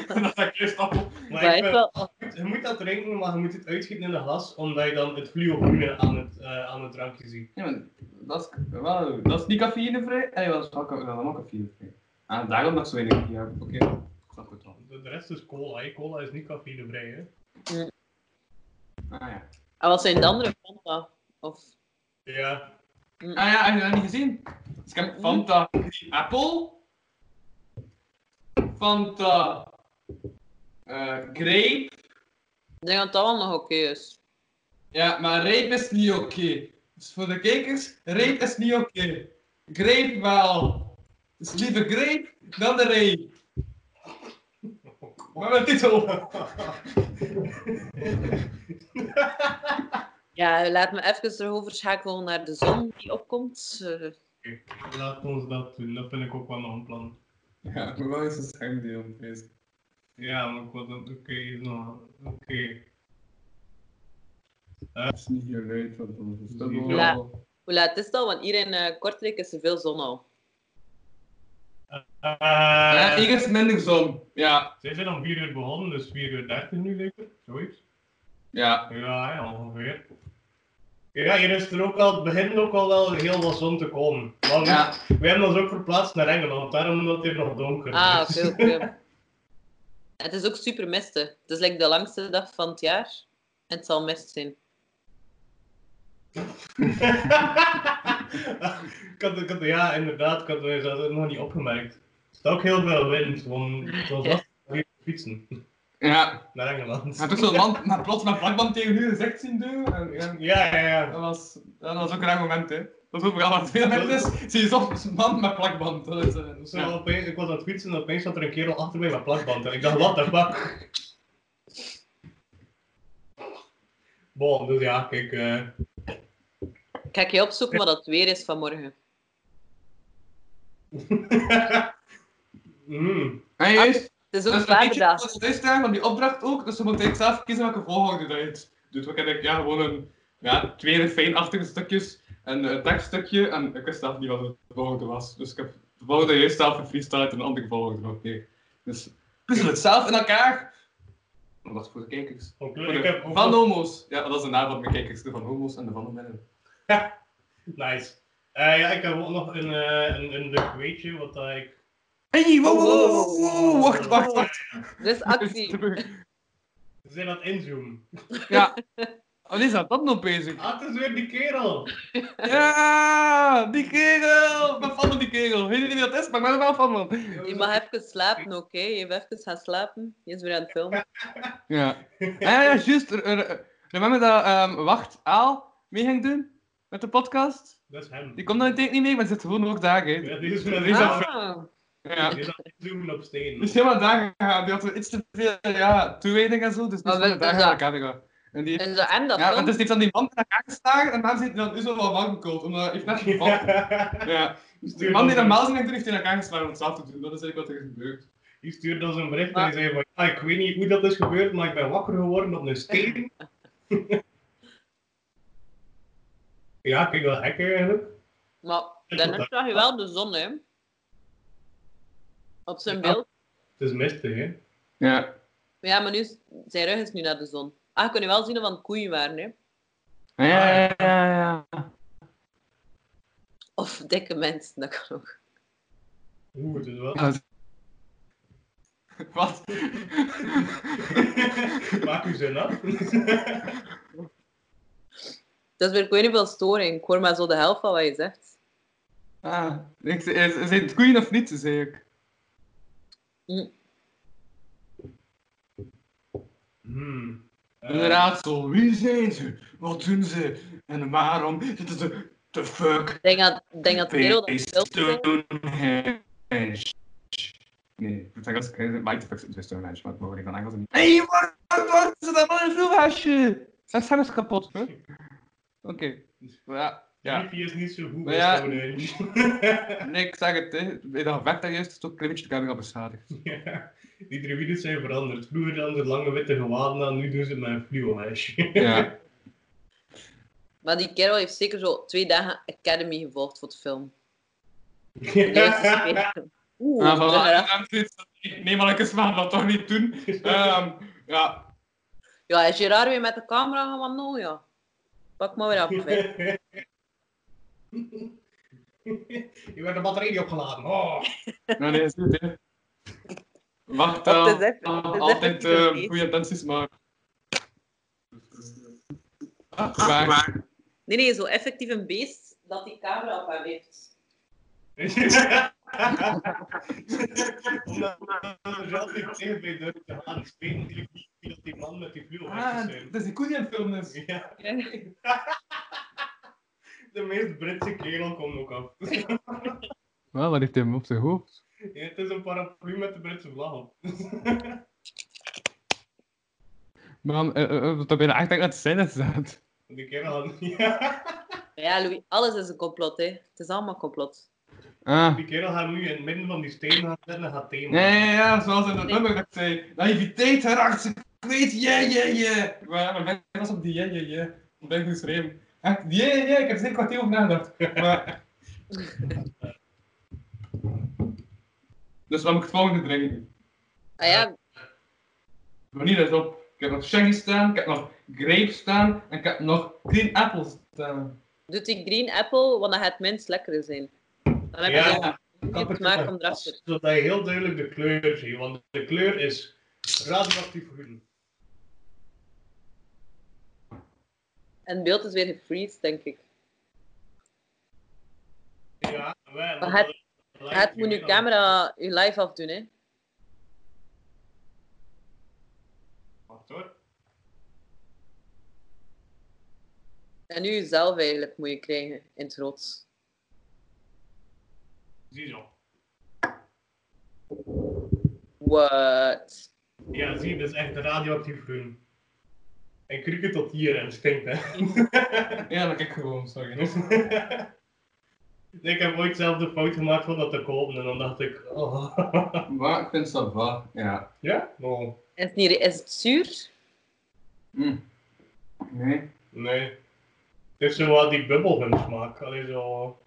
dat is een kruistappel. Maar Maar ik echt vind- wel... je moet dat drinken, maar je moet het uitschieten in een glas, omdat je dan het fluoroene aan, het, eh, aan het drankje ziet. Ja, maar dat is, wel, dat is niet cafeïnevrij. Nee, dat is wel, dat is allemaal cafeïnevrij. En daarom dat ik zo weinig hier heb. Oké, ik snap het wel. De de rest is cola. hè. Cola is niet cafeïnevrij, hè? Ah ja. En wat zijn de andere Fanta? Of... Ja. Ah ja, heb je dat niet gezien? Dus ik heb Fanta Green Apple. Fanta eh, Grape. Ik denk dat dat wel nog oké is. Ja, maar rape is niet oké. Dus voor de kijkers, rape is niet oké. Grape wel. Dus liever grape dan de rape. Maar met titel. Ja, laat me even erover schakelen naar de zon die opkomt. Eh, Laat ons dat doen. Dat vind ik ook wel nog een plan. Ja, maar wel is het hangdeel bezig. Ja, maar ik wil dat... Oké, is nog... Oké. Het is niet heel leuk, want dan is dat wel- Ja. hoe laat is dat? Want hier in eh, Kortrijk is er veel zon al. Eh, Ja, hier is minder zon. Ja, Zij zijn om 4 uur begonnen, dus 4 uur 30 nu, denk ik. Zoiets. ja. Ja, ja, ongeveer. Ja, hier is er ook al, begint ook al wel heel wat zon te komen. Maar we, Ja. we hebben ons ook verplaatst naar Engeland, daarom omdat het hier nog donker is. Ah, oké, oké. Het is ook super mistig. Het is like de langste dag van het jaar. En het zal mist zijn. ik had, ik had, ja, inderdaad, ik had ik had het nog niet opgemerkt. Er staat ook heel veel wind, want het was Ja. lastig om hier te fietsen Ja, naar Engeland. hij had ook zo'n man met plots met vlakband tegen u gezegd zien doen. En, ja, Ja, ja, ja. dat, was, dat was ook een raar moment, hè. Dat is overal wat veel mensen is, zie je soms een man met plakband. Dat is, eh, Zo, ja. opeens- ik was aan het fietsen en opeens zat er een kerel achter mij met plakband. En ik dacht, what the fuck? Bon, dus ja, kijk. eh, Ik ga je opzoeken wat dat weer is vanmorgen. Mm. En juist, Het is ook dat is een een zware beetje dag. dat is daar van die opdracht ook, dus ze moeten echt zelf kiezen welke volgorde dat je het doet. Want ik denk, ja, gewoon een, ja, twee fijnachtige stukjes, een eh, tekststukje, en ik wist zelf niet wat de volgorde was. Dus ik heb de volgorde juist zelf gefreestyled en een andere volgorde ook nee. Dus puzzel het zelf in elkaar. Maar dat is voor de kijkers. Conclu- Voor Ik de heb Van homo's. Ja, dat is de naam van mijn kijkers, de van homo's en de van hominnen. Nice. Eh, ja, ik heb ook nog een, eh een, een leuk weetje, wat dat ik... Hey, wow, wow, wow, wow, wacht, wacht, wacht. Er is actie. Ze zijn aan het inzoomen. Ja. Wat is dat, dat nog bezig? Ah, het is weer die kerel! Ja, die kerel! Ik ben fan van die kerel. Weet je niet wie dat is, maar ik ben er wel fan van. Je mag even slapen, oké? Je hebt even gaan slapen. Je is weer aan het filmen. Ja. Ah, ja, ja, juist. Er- er- er- Remember dat ehm, Wacht Aal mee ging doen? Met de podcast? Dat is hem. Die komt dan denk niet mee, maar zit gewoon ook daar, hè. Ja, die is met Die is aan- Ah. Ja. Dus- Die is aan het inzoomen op Die steen. is helemaal daar gegaan. Die had iets te veel ja, toewijding en zo, dus die is Maar helemaal daar welke gegaan. is aan elkaar gegaan. En die En zo, en dat Ja, want filmt. dus die heeft dan die man naar elkaar geslagen en daarom zit hij dan nu zo wel warm koud, omdat hij heeft net gevallen. Ja. Dus die man die normaal zijn doet, heeft hij naar elkaar geslagen om het zelf te doen. Dat is eigenlijk wat er gebeurt. Die stuurde ons een bericht en hij zei van, ja, ik weet niet hoe dat is gebeurd, maar ik ben wakker geworden op een steen. ja, kijk, wel gek eigenlijk. Maar daarnet zag je wel de zon, hè? Op zijn Ja. beeld. Het is mistig, hè. Ja. Ja, maar nu is, zijn rug is nu naar de zon. Ah, kon je wel zien of het koeien waren, hè? Ja, ja, ja, ja. Of dikke mensen, dat kan ook. Oeh, het is wel... Wat? Maak u zin af. Dat is weer, ik weet niet veel storing. Ik hoor maar zo de helft van wat je zegt. ah, ik, zijn het koeien of niet, zei ik. Hmm. Eh, Een raadsel. Wie zijn ze? Wat doen ze? En waarom zitten ze te fuck Ik denk dat, ik denk dat Merel dat bij filmpje... Stonehenge? Nee, ik denk dat ze... Maar ik fuck ze bij Stonehenge, maar ik mogen niet van Engels en niet... Hé, hey, wat wat is dat allemaal een vloerhuisje? Zijn stem is kapot, hè? Oké. Ja, ja. Liefie is niet zo goed Maar bij ja. Stonehenge. Nee, ik zeg het, hè. Bij dat gevecht daar juist is het ook een klein beetje de camera beschadigd. Ja, die druïden zijn veranderd. Vroeger hadden ze lange witte gewaden aan, nu doen ze het met een fluo-lijstje. Ja. Maar die kerel heeft zeker zo twee dagen Academy gevolgd voor de film. Om juist te Ja. spelen. Oeh, Ah, dat is raar. voilà. Nee, maar ik smaak dat toch niet doen. Ehm, ja. Ja, is Gerard weer met de camera gaan van nou, ja. Pak maar weer af. hè. Je werd de batterij niet opgeladen. Oh. Nee, nee, is goed, hè. Wacht Dat wel. is echt- dat is echt Altijd niet oké. ehm, goede intenties, maar... Ach, maar. Nee, nee, zo effectief een beest dat die camera op hem heeft. Ah, Omdat er zelf niet tegen bij durven te gaan. Ik weet natuurlijk niet wie dat die man met die dus. Ah, fluo-lijstjes zijn. dat is die koe die aan het filmen is. Ja, Ja. de meest Britse kerel komt ook af. Wel, wat heeft hij hem op zijn hoofd? Ja, het is een paraplu met de Britse vlag op. Man, eh, dat ben bijna echt uit de scène staat. Die kerel had... Ja. Maar Ja, Louis, alles is een complot, hè. Het is allemaal complot. Ah. Die kerel gaat nu in het midden van die stenen gaan zitten en gaat thema. Ja, ja, ja, zoals in dat nummer dat ik zei. Naïviteit heracht, ze kwijt, ja, ja, ja. Maar mijn bek was op die ja, ja, ja. Ik ben geschreven. Echt, ja, ja, ja, ik heb er een kwartier over nagedacht. Maar... dus wat moet ik het volgende drinken doen? Ah ja, Vanille is op. Ik heb nog shaggy staan, ik heb nog grape staan en ik heb nog green apples staan. doet die green apple, want dat gaat het minst lekkere zijn. Dan heb je Ja. ja. niet smaak om erachter. Zodat je heel duidelijk de kleur ziet, want de kleur is radioactief groen. En het beeld is weer gefreezed, denk ik. Ja, wij... Maar het- Het moet je camera je live afdoen, hè. Wacht hoor. En nu jezelf eigenlijk moet je krijgen in het rood. Zie zo. What? Ja, zie, dat is echt radioactief groen. En krieken tot hier en stinkt, hè. Ja, dat kijk ik gewoon, sorry. Ik heb ooit zelf de fout gemaakt van dat te kopen en dan dacht ik, oh. Maar ik vind het wel, ja. ja? Nou, Is het, niet, is het zuur? Hm. Nee. nee. Het is zo wat die bubbelgum smaak. Alleen zo.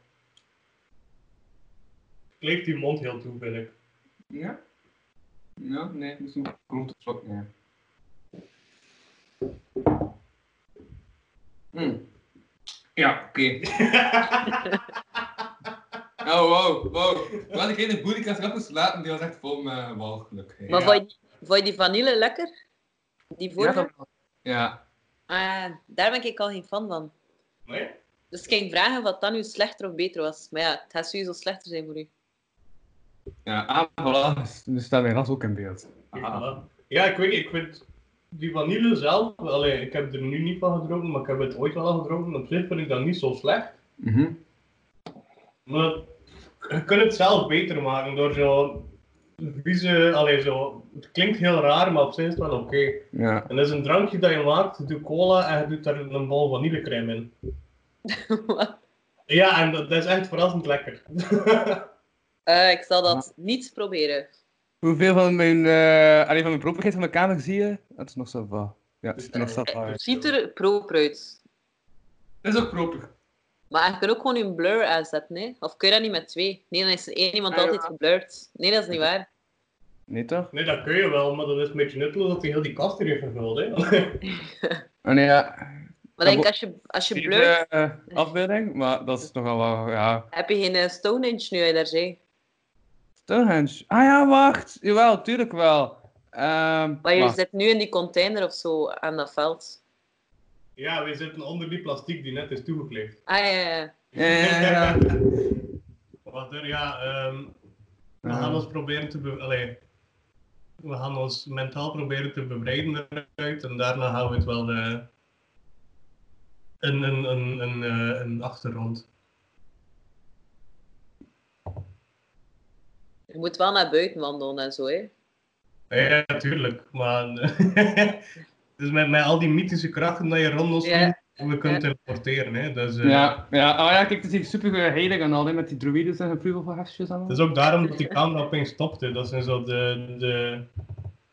Kleeft die mond heel toe, vind ik. Ja? Ja, nee, dat is een grote slok, nee. Hm. Ja, oké. Oh, wow, wow. We hadden geen boerenkast erop moest laten, die was echt vol met eh, walgelijkheid. Maar Ja. vond, je, die- vond je die vanille lekker? Die Ja, vorige? dat wel. Ja. Ah, daar ben ik al geen fan van. Nee? Dus ik ging vragen wat dan nu slechter of beter was. Maar ja, het gaat sowieso slechter zijn voor u. Ja, ah, voilà. Nu staat mijn ras ook in beeld. Ah. Ja. Ja, ik weet niet, ik vind die vanille zelf, allee, ik heb er nu niet van gedronken, maar ik heb het ooit wel al gedronken. Op zich vind ik dat niet zo slecht. Mhm. Maar je kunt het zelf beter maken door zo vieze, allee, zo, het klinkt heel raar, maar op zich is het wel oké. Ja. En dat is een drankje dat je maakt, je doet cola en je doet daar een bol vanillecrème in. Ja, en dat, dat is echt verrassend lekker. Eh, ik zal dat niet proberen. Hoeveel van mijn, eh allee, van mijn properheid van mijn kamer zie je? Dat is nog zo va. Ah, Ja, het ziet er nog zo va Het uit. ziet er proper uit. Dat is ook proper. Maar je kunt ook gewoon een blur aanzetten, hè? Of kun je dat niet met twee? Nee, dan is er één iemand Ah, ja. altijd geblurred. Nee, dat is niet waar. Nee toch? Nee, dat kun je wel, maar dat is een beetje nutteloos dat hij heel die kast hier heeft gevuld. Hè? Oh nee, ja. Maar Ja, denk, bo- als je, als je Geen, blurt, eh, afbeelding, maar dat is nogal wel, ja. heb je geen eh, Stonehenge nu uit daar zee. Stonehenge. Ah ja, wacht. Jawel, tuurlijk wel. Ehm Maar je wacht. zit nu in die container of zo aan dat veld. Ja, we zitten onder die plastic die net is toegekleefd. Ah ja, ja, ja. Ja, ja, ja. ja. Wat er, ja, ehm, we gaan ons proberen te be- allee, we gaan ons mentaal proberen te bevrijden eruit en daarna gaan we het wel eh, een, een, een, een, eh, een achtergrond. Je moet wel naar buiten wandelen en zo, hè? Ja, natuurlijk, maar eh, dus met, met al die mythische krachten dat je rond ons Ja. doet, we kunnen teleporteren, hè? Dus, eh, Ja, ja. Oh ja, kijk, het is hier super heilig en al, hè, met die druides en geprügelhefjes en al. Het is ook daarom dat die camera opeens stopte. Dat zijn zo de. de...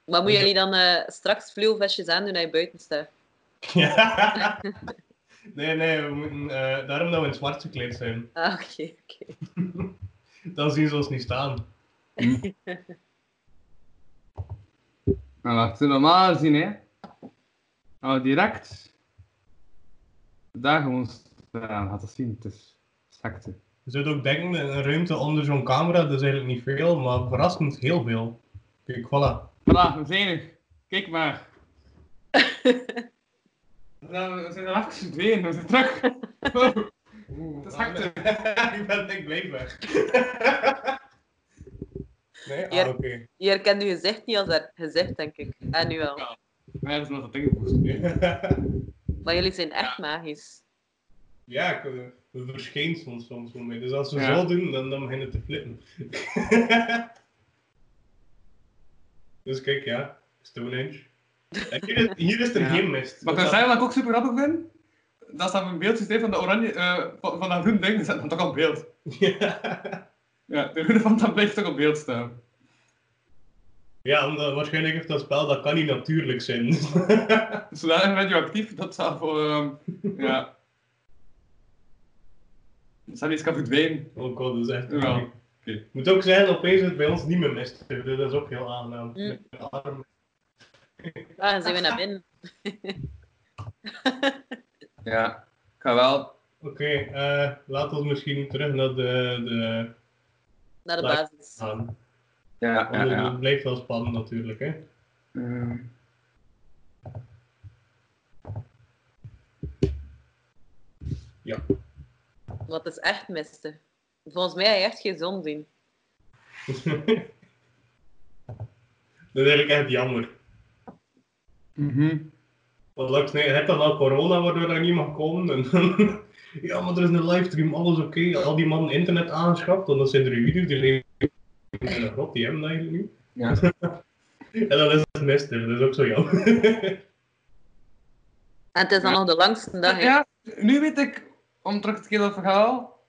Maar moeten jullie dan eh, straks vleelvestjes aandoen als je buiten staat? Ja. Nee, nee, we moeten, eh, daarom dat we in het zwart gekleed zijn. Ah, oké, oké. Dan zien ze ons niet staan. Nou, wacht, zullen we maar zien, hè. Nou, direct. Daar gewoon staan, gaat dat zien. Het is zakte. Je zou ook denken, een ruimte onder zo'n camera, dat is eigenlijk niet veel, maar verrassend heel veel. Kijk, voilà. Voilà, we zijn er. Kijk maar. Nou, we zijn er even verdwenen, we zijn terug. Wow. Het is zakte. ik ben denk bleef weg. nee, Ja. ah, oké. Je herkent je gezicht niet als haar gezicht, denk ik. En nu wel. Maar ja, dat is nog dat ding gevoest. Maar jullie zijn echt magisch. ja, ik, eh, we verschijnen soms soms voor mij. Dus als we Ja. zo doen, dan, dan beginnen te flippen. dus kijk, ja, Stonehenge. En hier, is- hier is er Ja. geen mist. Maar Dus kan dat- zijn wat ik ook super grappig vind? Dat staat een beeldje steeds van de oranje, eh, van, van dat groen ding, dat staat dan toch op beeld. Ja. Ja, de groene van dat blijft toch op beeld staan. ja, omdat waarschijnlijk heeft dat spel, dat kan niet natuurlijk zijn. Zodanig radioactief, dat zou voor, ehm, ja. Dat zou niet eens kan verdwijnen. oh god, dat is echt... Ja. Ik moet ook zeggen, opeens is het bij ons niet meer mist. Dus dat is ook heel aangenaam. Mm. Met de arm. Ah, dan zijn we naar binnen. Ja, ik ga wel. Oké, eh laten we misschien terug naar de... de... Naar de Ja. basis. gaan. Ja, ja, Want het- ja. het blijft wel spannend natuurlijk, hè. Ehm. Want het is echt miste. Volgens mij heb je echt geen zon zien. Dat is eigenlijk echt jammer. mhm. Want langs nee, je hebt dan al corona waardoor er niet mag komen. En ja, maar er is een livestream, alles oké. Al die mannen internet aangeschaft, want dat zijn er jullie die leven in de grot, die hebben dat eigenlijk niet. Ja. En dan is het mist, hè. dat is ook zo jammer. En het is dan Ja. nog de langste dag. hè. Ja, nu weet ik, om terug te keren op het verhaal,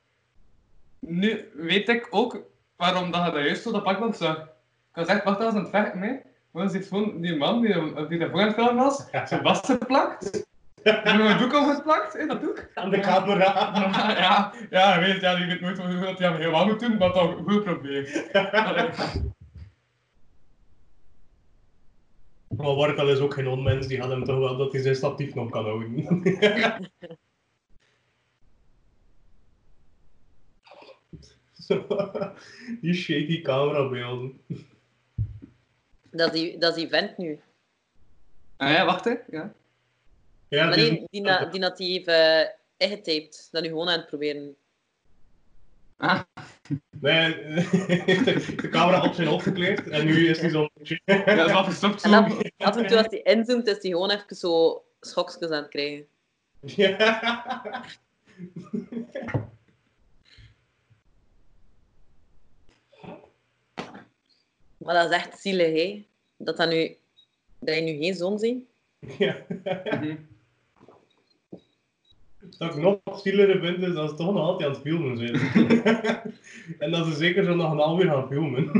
nu weet ik ook waarom dat je dat juist zo dat pakband zag. Ik was echt, wacht, dat was aan het vechten mee. Maar dan zit gewoon die man die, die daarvoor aan het filmen was, zijn vastgeplakt. En mijn doek overgeplakt, in dat doek. Aan de camera. ja, ja, je weet, ja, je weet nooit hoe dat je hem helemaal moet doen, maar toch goed proberen. Allee. Maar Wartel is ook geen onmens, die had hem toch wel dat hij zijn statief nog kan houden. Zo, die shaky camerabeelden. Dat is die, dat is die vent nu. Ah ja, wacht hè. Ja. Ja, Maar die- nee, die, na, die had die even eh, ingetaped. Dat nu gewoon aan het proberen. Ah, Nee, de camera op zijn hoofd gekleed en nu is hij zo'n... ja, dat is wel verstopt zo. En dan, af en toe als die inzoomt, is die gewoon even zo schokjes aan het krijgen. Ja. Maar dat is echt zielig, hè. Dat, dat, nu, dat je nu geen zon ziet. Ja. Mhm. Dat ik nog zieliger vind is dat ze toch nog altijd aan het filmen zijn. en dat ze zeker zo nog een half uur gaan filmen.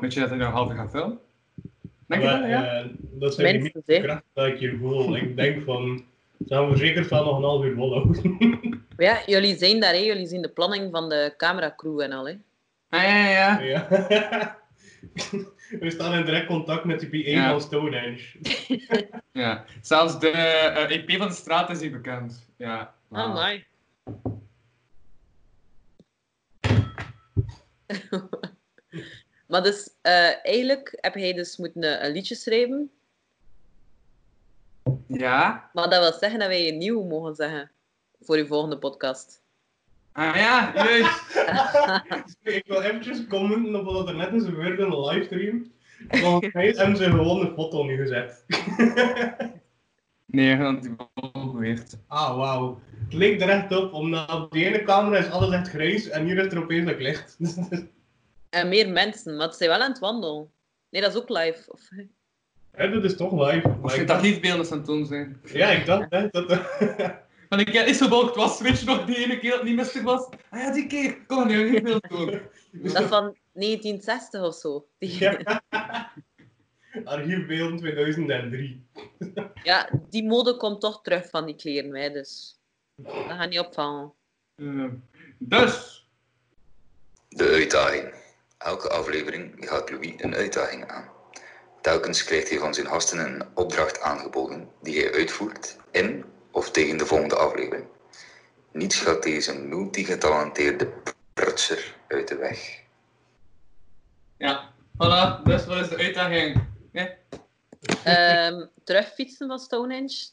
Weet je dat hij nog half uur gaat filmen? Denk je Maar, dat, ja? eh, dat zijn die Minstens, mythische hè. krachten dat ik hier voel. Ik denk van, ze gaan we zeker van nog een half uur volhouden. Maar ja, jullie zijn daar, hè. Jullie zien de planning van de cameracrew en al, hè. Ah, ja, ja, ja. ja. We staan in direct contact met de P1 Ja. van Stonehenge. Ja, zelfs de eh, EP van de straat is hier bekend. Ja. Ah, mooi. maar dus, eh, eigenlijk heb hij dus moeten eh, een liedje schrijven. Ja? Maar dat wil zeggen dat wij een nieuw mogen zeggen. Voor uw volgende podcast. Ah ja, juist. Ik wil eventjes commenten op wat er net is gebeurd in de livestream. Want mij hebben ze gewoon een foto nu gezet. Nee, want die bol geweest. Ah, wauw. Het leek er echt op, omdat op die ene camera is alles echt grijs en hier is er opeens dat licht. Dus, En meer mensen, maar ze zijn wel aan het wandelen. Nee, dat is ook live. Of... Hè, dat is toch live. Als Maar je ik dat dacht, niet beelden aan het doen zijn. ja, ik dacht echt dat... Want ik eh, is zo behoogd was, weet je nog, die ene keer dat het niet mistig was? Ah ja, die keer. Kom, nu heb ik veel doen. Dat is van 1960 of zo. Die- ja. Ja. Archiefbeelden 2003. die mode komt toch terug van die kleren, hè, dus. Dat gaat niet opvallen. Eh, dus, De uitdaging. Elke aflevering gaat Louis een uitdaging aan. Telkens krijgt hij van zijn gasten een opdracht aangeboden die hij uitvoert in of tegen de volgende aflevering. Niets gaat deze multigetalenteerde prutser uit de weg. ja. Voilà, dus wat is de uitdaging? Nee? Ehm, terugfietsen van Stonehenge?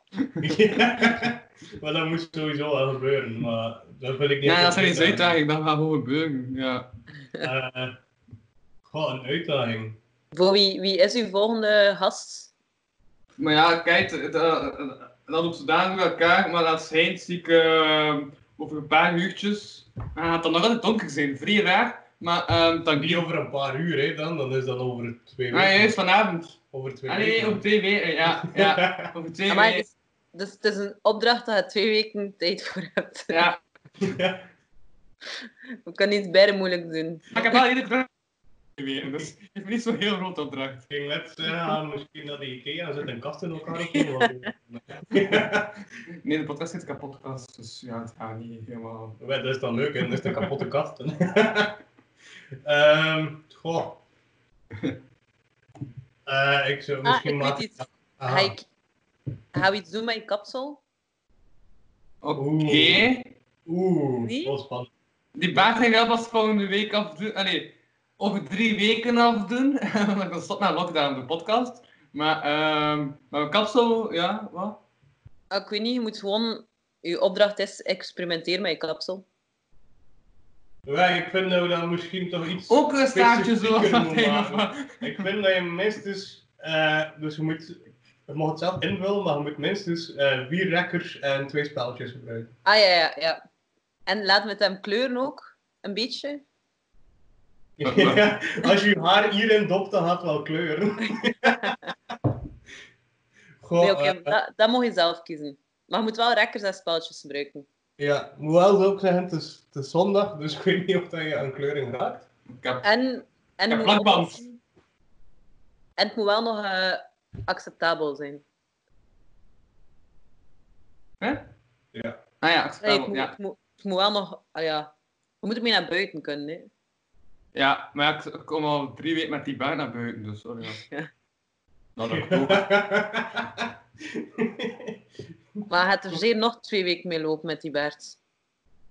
Ja. Maar dat moest sowieso wel gebeuren, maar dat wil ik niet... Ja, dat is een uitdaging, dat gaat gewoon gebeuren. Ja. Eh, Goh, een uitdaging. Voor wie, wie is uw volgende gast? Maar ja, kijk, het, eh, dat loopt zodanig bij elkaar, maar dat schijnt zie ik eh, over een paar uurtjes. Dan gaat het nog altijd donker zijn, vrij raar. Maar ehm dan Niet die over een paar uur, hè, dan. Dan is dat over twee Ah, weken. juist vanavond. Over twee Ah, nee, weken. nee, over twee weken. Ja, ja. Over twee Amai, weken. dus, dus het is een opdracht dat je twee weken tijd voor hebt. Ja. Ja. We kunnen iets bijna moeilijk doen. Maar ik heb wel iedere dag twee weken, dus ik heb niet zo'n heel grote opdracht. Ik ging net zeggen, ah, misschien dat die Ikea zet een kast in elkaar of zo. maar- Nee, de podcast is kapot, gast, dus ja, het gaat niet helemaal. Ja, dat is dan leuk, hè. Dat is de kapotte kast. Ehm, goh. Eh, ik zou Ah, misschien ik maar... weet iets. Ah, Ga ik ga we iets doen met je kapsel? Oké. Oeh. Oeh, Nee? wel spannend. Die baard ging wel pas volgende week afdoen. Allee, over drie weken afdoen. Want ik was stop na lockdown de podcast. Maar, ehm maar mijn kapsel, ja, wat? Ah, Ik weet niet, je moet gewoon... Je opdracht is experimenteer met je kapsel. Ja, ik vind nou dat misschien toch iets... Ook een staartje zo specifieker van moet Tijn of maken. wat. Ik vind dat je minstens, eh, dus je moet, je mag het zelf invullen, maar je moet minstens eh, vier rekkers en twee spelletjes gebruiken. Ah ja, ja, ja. En laat met hem kleuren ook. Een beetje. Ja, Als je je haar hierin dopt, dan gaat het wel kleuren. Goh, Nee, oké, eh, Eh, dat, dat mag je zelf kiezen. Maar je moet wel rekkers en spelletjes gebruiken. Ja, moet wel ook zeggen, het is, het is zondag, dus ik weet niet of dat je aan kleuring raakt. Ik heb En, en, Ja, moet plakband. nog- en het moet wel nog eh, acceptabel zijn. Ja. Ah ja, het Nee, het, spel, moet, ja. het, moet, het moet wel nog... ah ja. We moeten mee naar buiten kunnen, hè. Ja, maar ja, ik kom al drie weken met die baan naar buiten, dus sorry. Ja. Ja. Nou, dat ook. Maar hij gaat er zeer nog twee weken mee lopen met die baard.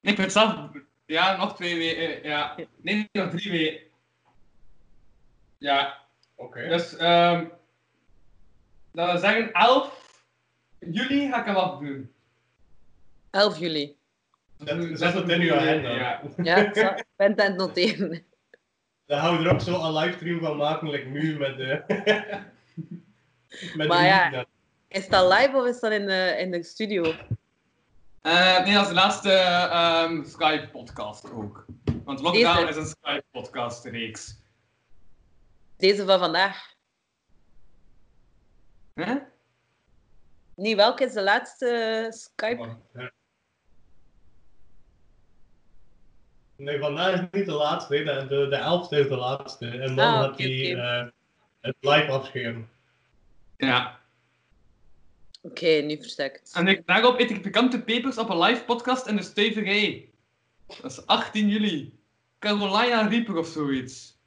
Ik ben zelf... Ja, nog twee weken. eh, Ja. Nee, nog drie weken. Ja, Oké. dus... ehm dat wil zeggen, 11 juli ga ik hem afdoen. 11 juli. Zet zet het in uw agenda. Ja. Ja, ik zal- ik ben het aan het noteren. Daar gaan we er ook zo een livestream van maken, like nu met de... met Maar de ja. media. Is dat live of is dat in de, in de studio? Eh, nee, als laatste ehm, Skype-podcast ook. Want Lockdown Deze. is een Skype-podcast-reeks. Deze van vandaag. Huh? Nee, welke is de laatste Skype? Oh, Ja. Nee, vandaag is niet de laatste. hè. De, de, de elfde is de laatste. En dan Ah, had oké, hij oké. eh, het live afscherm. Ja. Oké, nu verstrekt. En ik, daarop eet ik pikante pepers op een live podcast in de Stuiverij. Dat is 18 juli. Carolina Reaper of zoiets.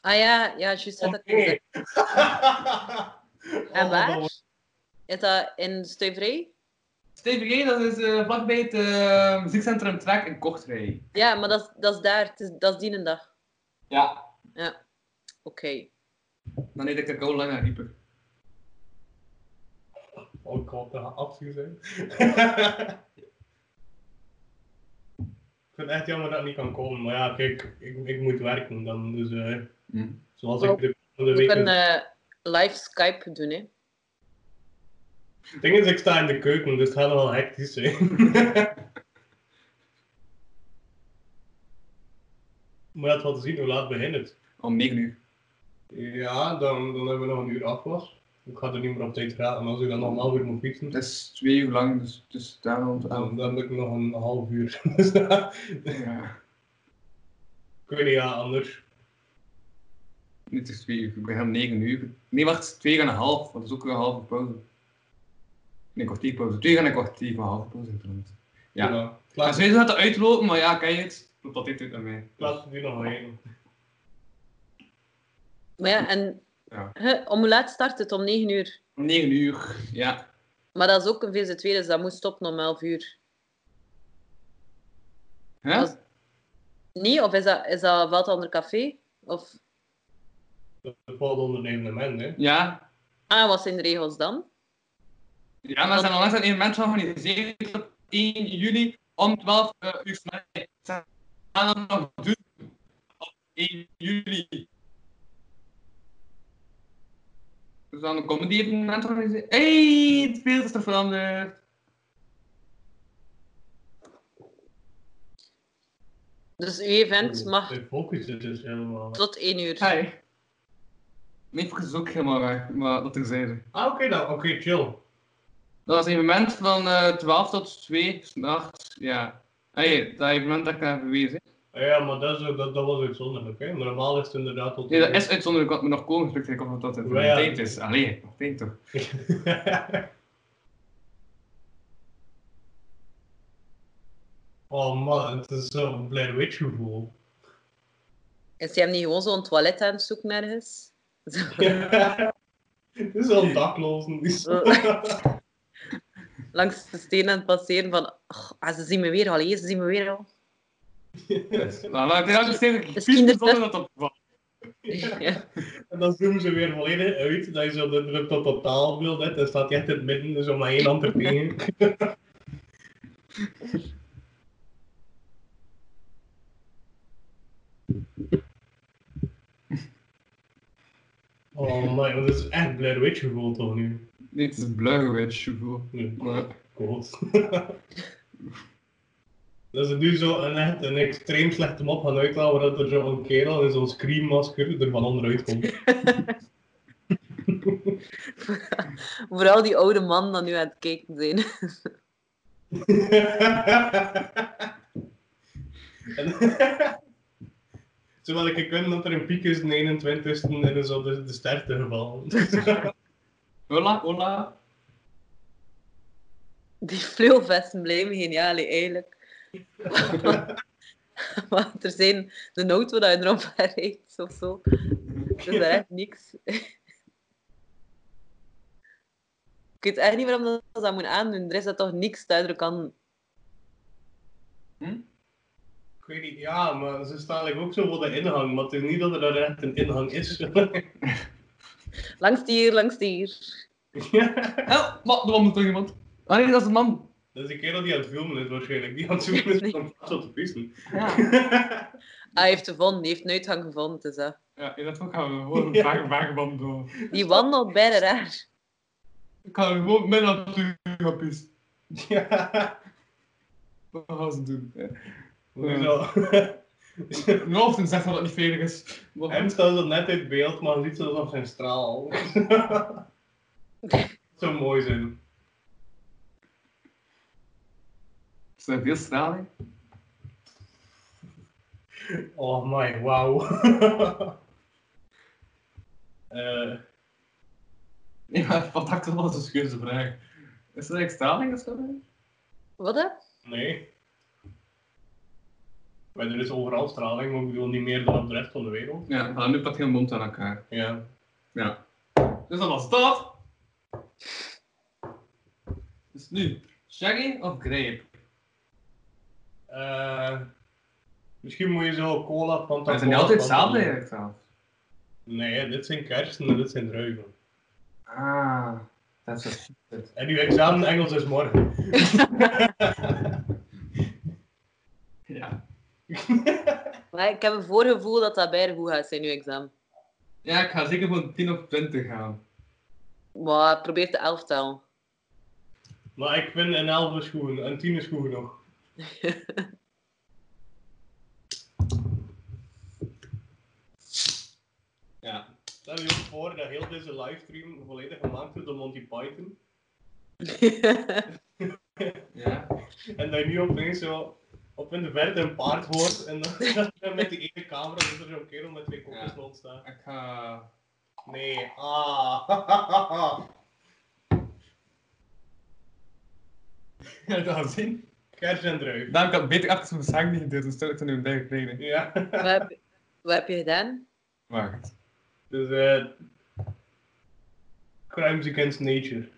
Ah ja, ja, juist had ik Oké. gezegd. En Oh, Ah, waar? dat wordt- Is dat in Stuivrij? Stuiverij, dat is eh, vlakbij het eh, muziekcentrum Trek in Kochtrij. Ja, maar dat, is- dat is daar. Het is, dat is die een dag. Ja. Oké. Dan eet ik de Carolina Reaper. Oh god, dat gaat actie zijn. ik vind het echt jammer dat ik niet kan komen. Maar ja, kijk, ik, ik moet werken dan. Dus eh, zoals ik Oh. de komende We week... kunnen eh, live Skype doen, hè. Het ding is, ik sta in de keuken, dus het gaat wel hectisch zijn. maar dat wel te zien, hoe laat begint het? Om 9 uur. Ja, dan, dan hebben we nog een uur afwas. Ik ga er niet meer op tijd raken, als ik dan nog een half uur moet fietsen. Dat is twee uur lang, dus, dus daarom... Dan, dan heb ik nog een half uur. Dus dat- Ja. ik weet niet, ja, anders. Niet is twee uur. Ik ben om 9 uur. Nee, wacht. Twee uur en een half. Want dat is ook weer een halve pauze. Nee, een kwartier pauze. Twee uur en een kwartier, maar een halve pauze. inderdaad. Ja. Ik Maar sowieso gaat het uitlopen, maar ja, kan je het? Loopt altijd uit naar mij. laat het nu nog heen. Maar ja, en Ja. hè, om hoe laat start het? Om 9 uur. Om 9 uur, ja. Maar dat is ook een VZ2, dus dat moet stoppen om 11 uur. Hè? Als- Nee, of is dat, is dat valt dat onder café? Of... Dat valt onder een evenement, hè. Ja. Ah, wat zijn de regels dan? Ja, maar ze hebben onlangs een evenement georganiseerd op 1 juli om 12 uur. 's middags. Ze gaan dat nog doen op 1 juli. Dus dan een comedy evenement organiseren. hey, het beeld is er veranderd. Dus uw event mag De focus is dus helemaal... tot 1 uur. Hi. Nee, focus is ook helemaal raar, maar dat terzijde. Ah, oké dan. Oké, chill. Dat was een evenement van eh 12 tot 2 s'nachts, ja. Hey, dat evenement dat ik naar verwees. hè. Ja, maar dat, is, ook- dat, dat was uitzonderlijk, hè. Normaal is het inderdaad tot... Nee, dat is uitzonderlijk wat me nog komen gelukt ik of dat dat in de Ja, ja. tijd is. Allee, nog tijd toch. oh man, het is zo'n Blair Witch gevoel. Is jij hem niet gewoon zo'n toilet aan het zoeken ergens? Zo. Het is wel een daklozen. die zo- Langs de stenen aan het passeren van... "Och, ah, ze zien me weer al, hè, ze zien me weer al. Nou, laat ik het steeds Misschien vies de zonder dat op Ja. en dan zoomen ze weer volledig uit. Dat je zo de druk tot totaalbeeld hebt. Dan staat hij echt in het midden, dus om maar één hand er tegen. Oh man, dat is echt Blair Witch gevoel toch nu. Dit is Blurwitch gevoel. Nee. Maar God. Dat ze nu zo een, echt een extreem slechte mop gaan uithalen, waar dat er zo'n kerel in zo'n screammasker er van onderuit komt. Vooral die oude man dat nu aan het kijken zijn. En- Zowel ik kan dat er een piek is, de 21ste, en is al de, de ster te gevallen. Hola, hola. Die fluovesten blijven geniaal, hè, eigenlijk. maar er zijn de auto dat je erop rijdt of zo. Dus daar echt niks. Ik weet echt niet waarom dat ze dat moet aandoen. Er is dat toch niks duidelijk aan. ik weet niet, ja, maar ze staan like, ook zo voor de inhang, maar het is niet dat er daar echt een inhang is. Langs hier, langs hier. Hel, maar er wandelt toch iemand? Ah nee, dat is een man. dat is die kerel die aan het filmen is waarschijnlijk, die aan het zoeken is om tot te pissen. Ja. Ah, Hij heeft gevonden, hij heeft een uitgang gevonden. Dus, hè. Ja, in dat geval gaan we gewoon een Ja. vage vageband door. Die wandelt bijna raar. Ik ga gewoon met natuur gaan pissen. ja, Wat gaan ze doen? Ja. hoezo? Norton zegt dat dat niet veilig is. Maar- Hem staat dat net uit beeld, maar ziet ze nog zijn straal. zo mooi zijn. Is er veel straling? Oh my, wauw. Eh, Ja, wat dacht dat was een scheuze vraag. Is er echt straling of zo? Wat hè? nee. Maar er is overal straling, maar ik bedoel niet meer dan op de rest van de wereld. Ja, dan nu pat heel mond aan elkaar. Ja. Ja. Dus dat was dat. Dus nu, Shaggy of Grape? Eh, misschien moet je zo cola van Maar zijn die altijd hetzelfde eigenlijk trouwens? Nee, dit zijn kersen en dit zijn druiven. Ah, dat is het. En uw examen Engels is morgen. Ja. Maar ik heb een voorgevoel dat dat bijna goed gaat zijn, uw examen. ja, ik ga zeker van 10 op 20 gaan. Maar probeer de elftal. Maar ik vind een 11 is goed, een 10 is goed genoeg. Ja. Stel je ook voor dat heel deze livestream volledig gemaakt wordt door Monty Python. Ja. En dat je nu opeens zo op in de verte een paard hoort. En dan, dat je dan met die ene camera zit er zo'n kerel met twee kopjes Ja. rond staat. Ik ga... Nee, ah. Ja, dat gaan zien. Kers en druif. Daarom kan ik beter achter zo'n zang niet gedeeld, dus stel ik dan nu een derde kleding. Ja. wat, heb, wat heb je gedaan? Wacht. Dus eh... Crimes Against Nature.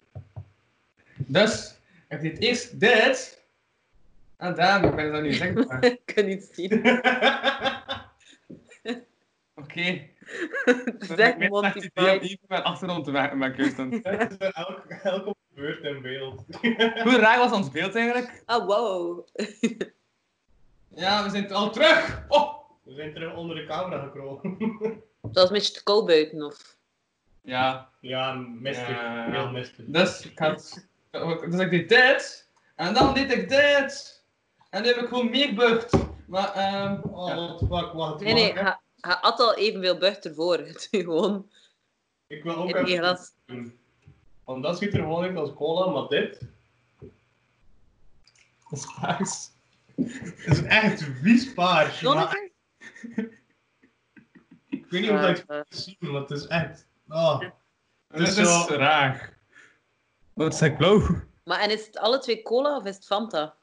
Dus, ik deed eerst dit. En daarom, ik ben dat nu zeggen. maar- ik kan niet zien. Oké. Zeg Monty Python. Ik ben achterom te maken, mijn keus dan. Dat is elk, elk op de beurt en beeld. Hoe raar was ons beeld eigenlijk? Ah, wow. Ja, we zijn al terug! Oh! We zijn terug onder de camera gekropen. Dat was een beetje te koud buiten, of? Ja, ja, mistig. Ja. Heel mistig. dus ik had... Dus ik deed dit. En dan deed ik dit. En nu heb ik gewoon meer bucht. Maar, ehm... Oh, ja. wat, wat, wat. Nee, nee, wat. hij hij at al evenveel bucht ervoor. Het is Gewoon Ik wil ook in één even glas. doen. Want dat ziet er gewoon uit als cola, maar dit Dat is paars. is echt vies paars. Maar Zonnetje? ik weet niet of dat je het Ja, kan zien, maar het is echt... Oh. Dat Dus is zo- raar. Wat is dat blauw? Maar en is het alle twee cola of is het Fanta?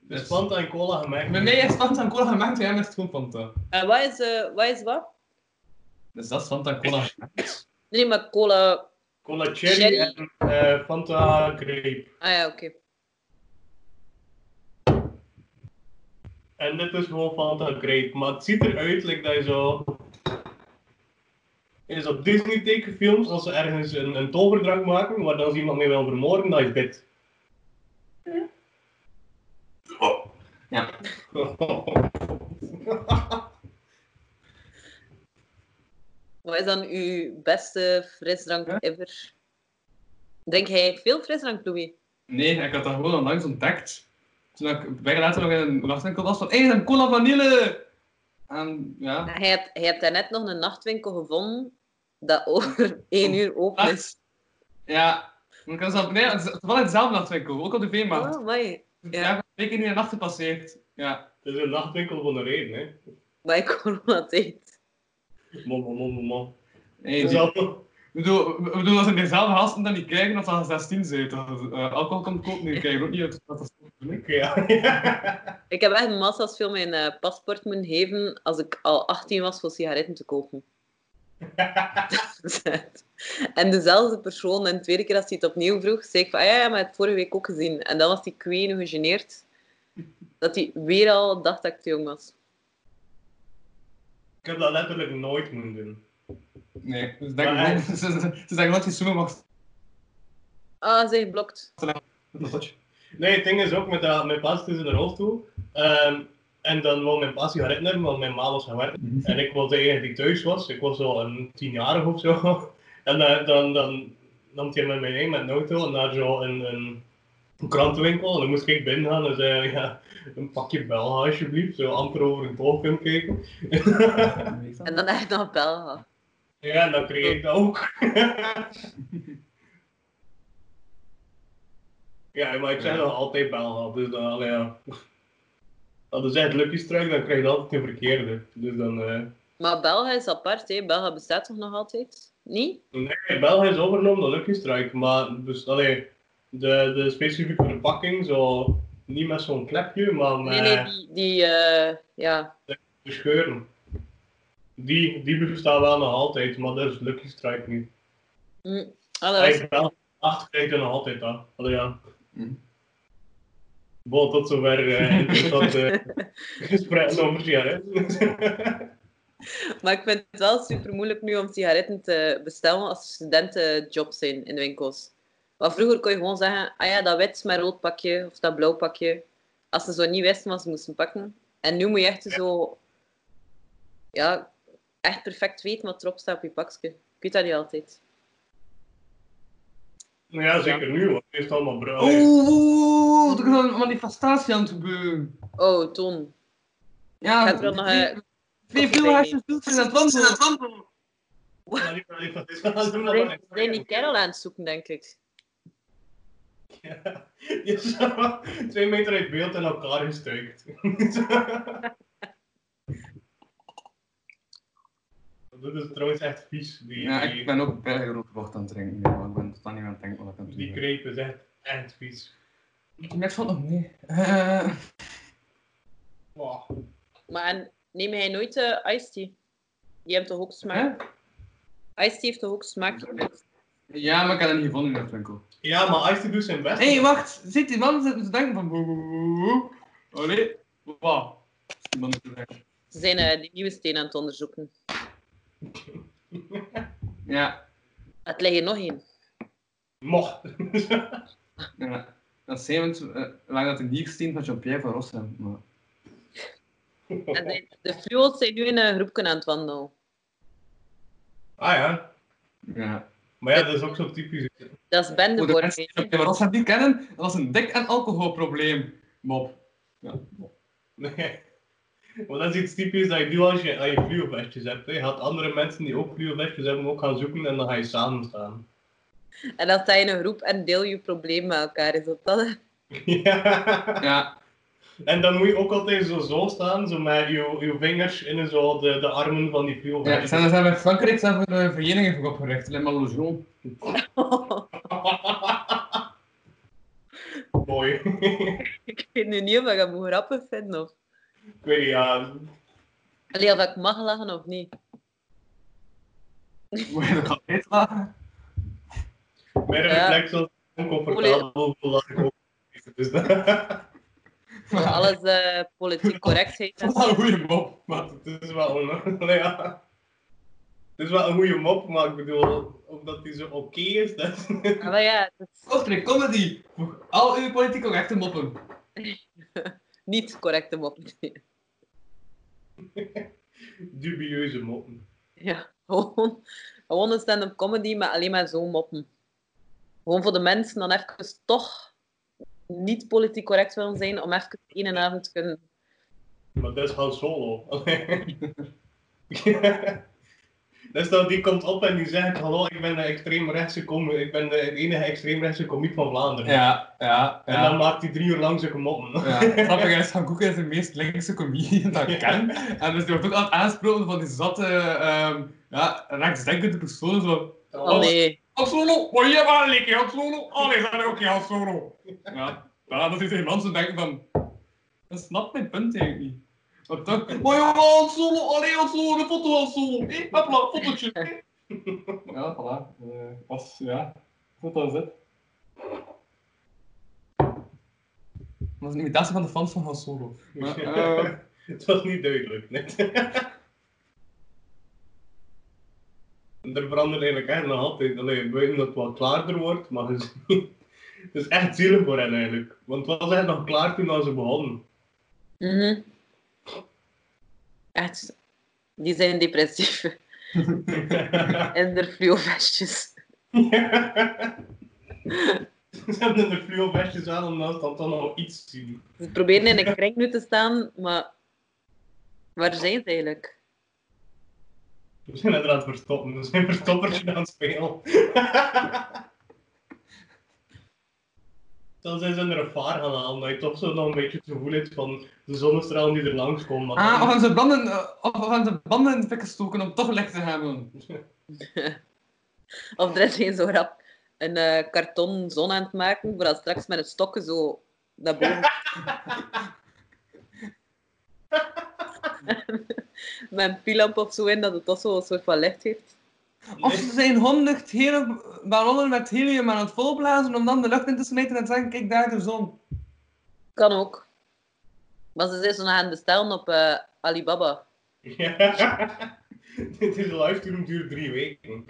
Dus Fanta en cola gemaakt. Bij mij is Fanta en cola gemaakt, bij hem is het gewoon Fanta. En wat is, eh, wat is wat? Dus dat is Fanta en cola. Nee, maar cola... Cola cherry, Cherry. en eh, Fanta grape. Ah ja, oké. En dit is gewoon Fanta grape. Maar het ziet eruit like dat je zo... Is op Disney tekenfilms, als ze ergens een, een toverdrank maken, waar dan ze iemand mee wil vermoorden, dat is dit. Ja. Wat is dan uw beste frisdrank Ja? ever? Drink jij veel frisdrank, Louis? Nee, ik had dat gewoon onlangs ontdekt. Toen ik bij later nog in een nachtwinkel was van, hé, hey, een cola vanille! En ja, Hij hebt, hij hebt daarnet nog een nachtwinkel gevonden dat over één uur open Ah, is. dat... Ja, want ik was dat, nee, het is wel in dezelfde nachtwinkel, ook op de veemarkt. Oh, mooi. Ja. Ja, ik in de nacht gepasseerd. Ja. Het is een nachtwinkel van de reden, hè. Maar ik corona tijd. Mom, mom, mom, mom, mom. Hey, Het is die- al- Ik bedoel, we- we bedoel, als ze dezelfde gasten dan niet kijken of ze 16 zijn. Dat, eh, alcohol komt koop nu, kijk ook niet uit. Dat is Oké, Ja. Ik heb echt massa's veel mijn eh, paspoort moeten geven als ik al 18 was voor sigaretten te kopen. en dezelfde persoon, en de tweede keer als hij het opnieuw vroeg, zei ik van, "Ah ja, ja, maar het vorige week ook gezien. En dan was hij kwee gegeneerd dat hij weer al dacht dat ik te jong was. Ik heb dat letterlijk nooit moeten doen. Nee, dus denk Maar ik, ze, ze, ze zeggen dat je zoen mag. Ah, zij geblokt. Nee, het ding is ook, met dat, mijn pas tussen de hoofd toe. Ehm, en dan wou mijn pas sigaretten hebben, want mijn ma was gaan werken. En ik was de enige die thuis was. Ik was al een tienjarig of zo. En dan, dan, dan nam hij met mij mee met een auto naar zo'n een, een, een krantenwinkel. En dan moest ik binnen gaan en zei hij, ja, een pakje Belga alsjeblieft. Zo amper over een toog kunnen kijken. En dan echt naar Belga. ja, en dan kreeg ik dat ook. ja, maar ik zeg nog altijd Belga. Dus dan, allee, ja. Als je zegt Lucky Strike, dan krijg je altijd een verkeerde. Dus dan... eh, Maar Belga is apart, hè. Belga bestaat toch nog altijd? Niet? Nee, België is overgenomen door Lucky Strike, maar dus, allee, de, de specifieke verpakking, zo, niet met zo'n klepje, maar Nee, met nee, die... die eh, ja. de scheuren. Die, die bestaan wel nog altijd, maar dat is Lucky Strike niet. Hm. Ah, dat was- Eigenlijk wel, acht krijgt er nog altijd aan. Allee, ja. Mhm. Bon, tot zover eh interessant eh, gesprek over sigaretten. Maar ik vind het wel super moeilijk nu om sigaretten te bestellen als er studentenjobs zijn in de winkels. Maar vroeger kon je gewoon zeggen, ah ja, dat wit met rood pakje of dat blauw pakje. Als ze zo niet wisten wat ze moesten pakken. En nu moet je echt zo... Ja, echt perfect weten wat erop staat op je pakje. Ik weet dat niet altijd. nou ja, zeker nu, want het is allemaal bruin. Oeh, er is een manifestatie aan het gebeuren. Oh, Toon. Ja, Ik heb er nog, eh, twee- twee koffie veel bij hasjes doet in het wandelen. Ja, die- die- die- die- die- die- Ik ben die kerel aan het zoeken, denk ik. Ja, je zou twee meter uit beeld in elkaar gestuikt. Dat is trouwens echt vies. Die, Ja, die, ik ben ook bij grote bocht aan het drinken. Nee, maar ik ben totaal niet aan het denken wat ik aan het die doen greep is echt, echt vies. ben. Niks valt nog mee. Eh, Wow. Maar en, neem jij nooit eh iced tea? Die heeft toch ook smaak? Iced tea heeft toch ook smaak? Ja, maar ik had hem niet gevonden in de winkel. Ja, maar Ice doet zijn best. Hé, hey, wacht. Zit die man zit te denken van... woe, woe, woe, woe. Allee. Oh, Wauw. Is die man te denken. Ze zijn eh, die nieuwe steen aan het onderzoeken. Ja, Het ligt er nog één. Mocht. ja. Dat zijn we het, eh, lang dat de niersteen van Jean-Pierre van Rossem. Maar... En de, de fluo's zijn nu in een groepje aan het wandelen. ah ja. Ja. Maar ja, dat is ook zo typisch. Dat is Voor de bendeborg. mensen die Jean-Pierre van Rossem niet kennen, dat was een dik- en alcoholprobleem. Bob. Ja, Bob. Nee. Maar dat is iets typisch dat je doet als je, als je fluovestjes hebt. hè. Je gaat andere mensen die ook fluovestjes hebben ook gaan zoeken en dan ga je samen staan. En dan sta je in een groep en deel je probleem met elkaar. Is dat dat? Ja. Ja. En dan moet je ook altijd zo zo staan, zo met je, je vingers in zo de, de armen van die viool. ja ze zijn, ze zijn in Frankrijk zijn voor de vereniging voor opgericht. Le Malogron. Mooi. ik weet nu niet of ik dat moet grappig vinden. Of... ik weet niet, ja. Allee, of ik mag lachen of niet. Moet je dat gaan uitlachen? Mijn Ja. reflex was oncomfortabel, dat ik ook. Dus dat... Voor alles eh, politiek correct heet. Dat is wel een goede mop. maar het is wel een... Ja. Het is wel een goede mop, maar ik bedoel, omdat die zo oké is, dat... Maar ja, het is Kortrijk Comedy. Voeg al uw politiek ook echt moppen. niet correcte mop. dubieuze moppen. Ja, gewoon, gewoon een stand-up comedy, maar alleen maar zo moppen. Gewoon voor de mensen dan even toch niet politiek correct willen zijn, om even één en avond te kunnen... Maar dat is Han Solo. Dus dan die komt op en die zegt, hallo, ik ben de extreemrechtse comiek, ik ben de enige extreemrechtse komiek van Vlaanderen. Ja, ja, En dan ja. maakt hij drie uur lang zijn moppen. Ja, het grappige is, Van Koeken is de meest linkse comedian dat ik ken. En dus die wordt ook altijd aangesproken van die zatte, ehm ja, rechtsdenkende personen. Zo, Oh nee. Han Solo, moet je maar likken, Han Solo. Oh nee, dat is ook geen Han Solo. Ja, ja dat is tegen mensen denken van... Dat snapt mijn punt eigenlijk niet. Want toch, oh ja, Han Solo, allee Han Solo, een foto Han Solo. Hé, hopla, fotootje. hé. Ja, voilà. Eh was, ja, goed als het. Dat is een imitatie van de fans van Han Solo. Maar, eh, Het was niet duidelijk, net. er verandert eigenlijk echt nog altijd. Allee, buiten dat het wat klaarder wordt, maar het is, niet- het is echt zielig voor hen eigenlijk. Want het was echt nog klaar toen dat ze begonnen. Mhm. Echt. Die zijn depressief. En de fluovestjes. ze hebben de fluo-vestjes aan omdat ze dan toch nog iets zien. Ze proberen in een kring nu te staan, maar... Waar zijn ze eigenlijk? We zijn er aan het verstoppen. We zijn verstoppertje aan het spelen. Dan zijn ze er een vaar gaan halen, dat je toch zo nog een beetje het gevoel hebt van de zonnestralen die er langs komen. maar ah, dan- of hebben ze banden, eh, of hebben ze banden in de fik gestoken om toch licht te hebben. Of er is geen zo rap een eh, karton zon aan het maken, voor dat straks met een stokken zo naar boven. met een pilamp of zo in, dat het toch zo een soort van licht heeft. Of ze zijn honderd hele ballonnen met helium aan het volblazen om dan de lucht in te smeten en te zeggen, kijk daar de zon. Kan ook. Maar ze zijn zo nog aan het bestellen op eh, Alibaba. Ja. Dit is live toen duurt drie weken.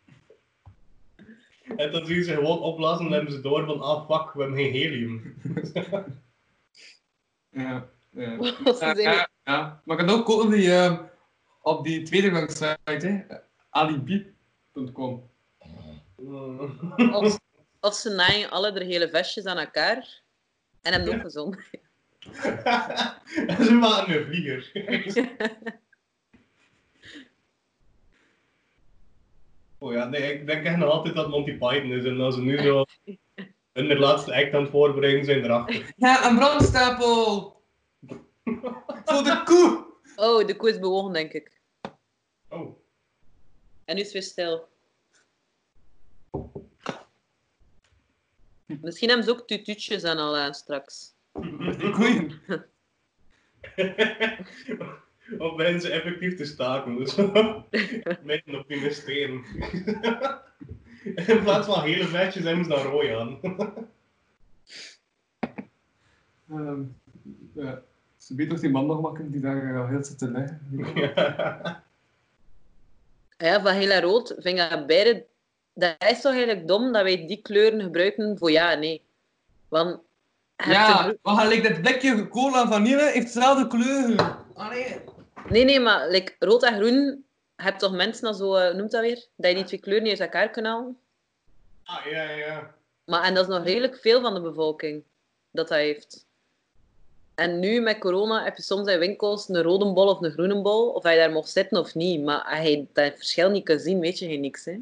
en dan zien ze gewoon opblazen en hebben ze door van ah fuck, we hebben geen helium. Ja, ja. Ze zijn- ja, ja. Maar ik kan ook kopen die, eh, op die tweede website, hè. alibi.com. Of, of ze naaien alle de hele vestjes aan elkaar. En hebben ook gezond. en ze maken een vlieger. oh ja, nee, ik denk echt nog altijd dat Monty Python is en dat ze nu zo hun laatste act aan het voorbereiden zijn erachter. Ja, een brandstapel! Voor de koe! Oh, de koe is bewogen, denk ik. Oh. En nu is het weer stil. Misschien hebben ze ook tututjes en al aan straks. Die koeien. Of ben ze effectief te staken. Dus mensen op investeren. In plaats van hele vetjes hebben ze dan rooi aan. Ehm, ja. Ze weet toch die man nog maken die daar eh, al heel zit te liggen. Ah Ja, van heel en rood vind ik dat beide... Dat is toch eigenlijk dom dat wij die kleuren gebruiken voor ja en nee. Want... je hebt de Ja, broek- maar gelijk dat blikje cola en vanille heeft dezelfde kleur. Allee. Nee, nee, maar like, rood en groen... Je hebt toch mensen dat zo... eh, noemt dat weer? Dat je die twee kleuren niet uit elkaar kan halen. ah, ja, ja. Maar, en dat is nog redelijk veel van de bevolking dat dat heeft. En nu met corona heb je soms in winkels een rode bol of een groene bol. Of hij daar mocht zitten of niet. Maar als je dat verschil niet kan zien, weet je geen niks. Hè?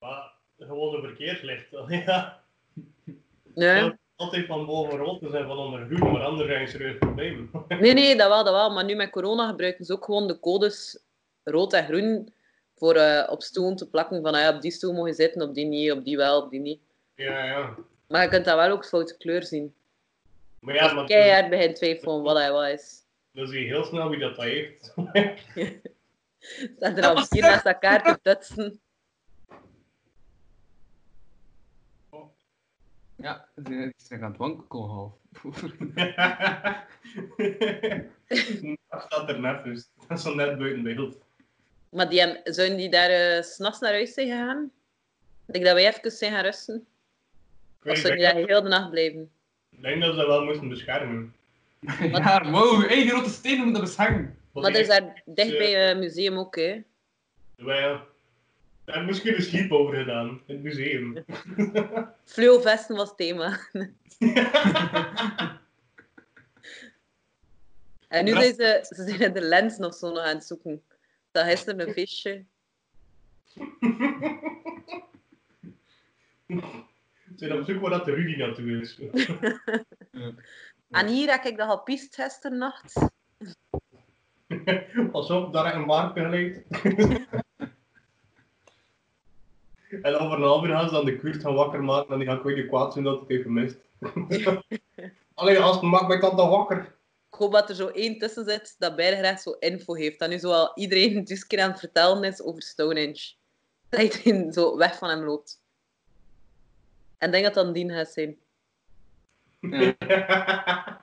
Maar gewoon een verkeerslicht. Ja. Nee. Altijd van boven rood te zijn, van onder groen, maar anders zijn serieus problemen. nee, nee, dat wel, dat wel. Maar nu met corona gebruiken ze ook gewoon de codes rood en groen voor eh, op stoelen te plakken. Van ah ja, op die stoel mag je zitten, op die niet, op die wel, op die niet. ja, ja. Maar je kunt dat wel ook foute kleur zien. Maar ja, maar dan, Keihard begint twijfelen wat hij wel is. dan zie je heel snel wie dat, dat heeft. Staat er al vier naast elkaar te tutsen. Ja, ze zijn aan het wankelen half. dat staat er net dus. Dat is dan net buiten beeld. Maar die hebben- zouden die daar eh, 's s'nachts naar huis zijn gegaan? Ik denk dat wij even zijn gaan rusten. Ik Of weet- zouden die daar heel de nacht blijven? Ik denk dat ze dat wel moesten beschermen. Ja, wow, hey, die grote stenen moeten beschermen. Want Maar dat is die- eh, daar dicht bij het museum ook, hè. Maar ja, daar heb misschien een sleep over gedaan, in het museum. Fluovesten was thema. en nu zijn ze, ze zijn in de lens nog zo nog aan het zoeken. Dat gisteren een feestje. Ik ben op zoek waar dat de Rudy naartoe is. En hier heb ik dat gepiest gisternacht. Pas op, daar heb ik een markt geleid. en over een half uur gaan ze dan de Kurt gaan wakker maken en die gaan weer kwaad zijn dat ik het even mist. Allee, als het maakt mij dan toch wakker. Ik hoop dat er zo één tussen zit dat Bergrecht zo info heeft. Dat nu zoal iedereen dus keer aan het vertellen is over Stonehenge. Dat iedereen zo weg van hem loopt. En ik denk dat dat Dien gaat zijn. Ja.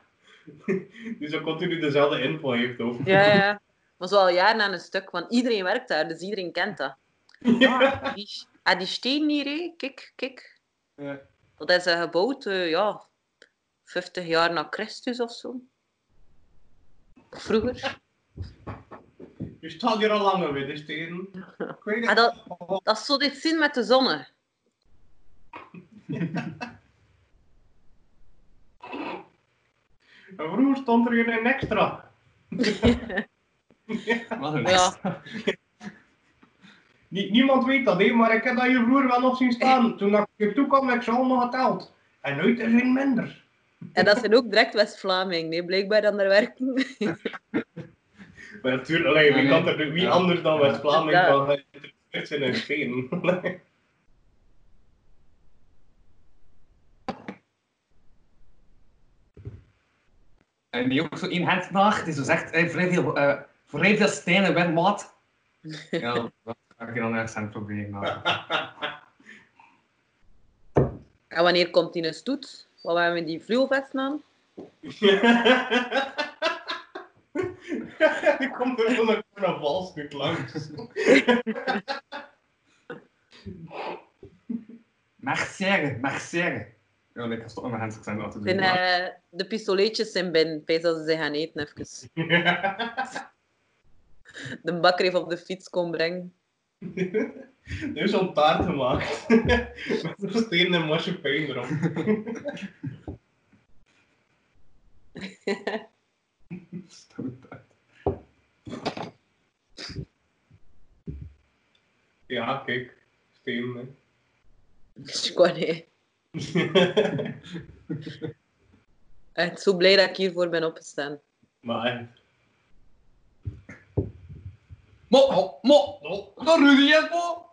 die zo continu dezelfde info heeft over. Ja, ja. Maar zo al jaren aan een stuk, want iedereen werkt daar, dus iedereen kent dat. Ah, die, ah, die steen hier, hè. kijk, kijk. Ja. Dat is eh, gebouwd, eh, ja, 50 jaar na Christus of zo. Of Vroeger. Je staat hier al langer weer, dus tegen. Ik weet Ah, het. dat, dat is zo dit zin met de zonne. En vroeger stond er hier een extra. Wat een Ja. Nie- niemand weet dat, hè, maar ik heb dat hier vroeger wel nog zien staan. Toen ik hier toe kwam, heb ik ze allemaal geteld. En nooit is geen minder. En dat zijn ook direct West-Vlaming, nee, blijkbaar aan daar werken. Maar natuurlijk, allee, wie, Nee, kan nee. er, wie Ja. anders dan West-Vlaming Ja. kan geïnteresseerd zijn in steen? En die ook zo in het nacht, die zo zegt, eh, vrij veel, eh, vrij veel stenen weg, maat. Ja, dat ga ik dan ergens aan het proberen. maar- En wanneer komt die een stoet? Wat hebben we die vloelvest aan? Die komt er van een carnavalstuk langs. Marseille, Marseille. Ja, nee, ik ga stoppen met hands, ik zijn altijd Zijn, eh, de pistoletjes zijn binnen, pijs dat ze ze gaan eten even. De bakker heeft op de fiets komen brengen. Er is zo'n taart gemaakt. Met een steen en marsepein erop. Ja, kijk. Steen, hè. Dus ik wou niet. Echt zo blij dat ik hiervoor ben opgestaan. maar... eh, Mo, mo, mo, Oh, dat Rudy is mo.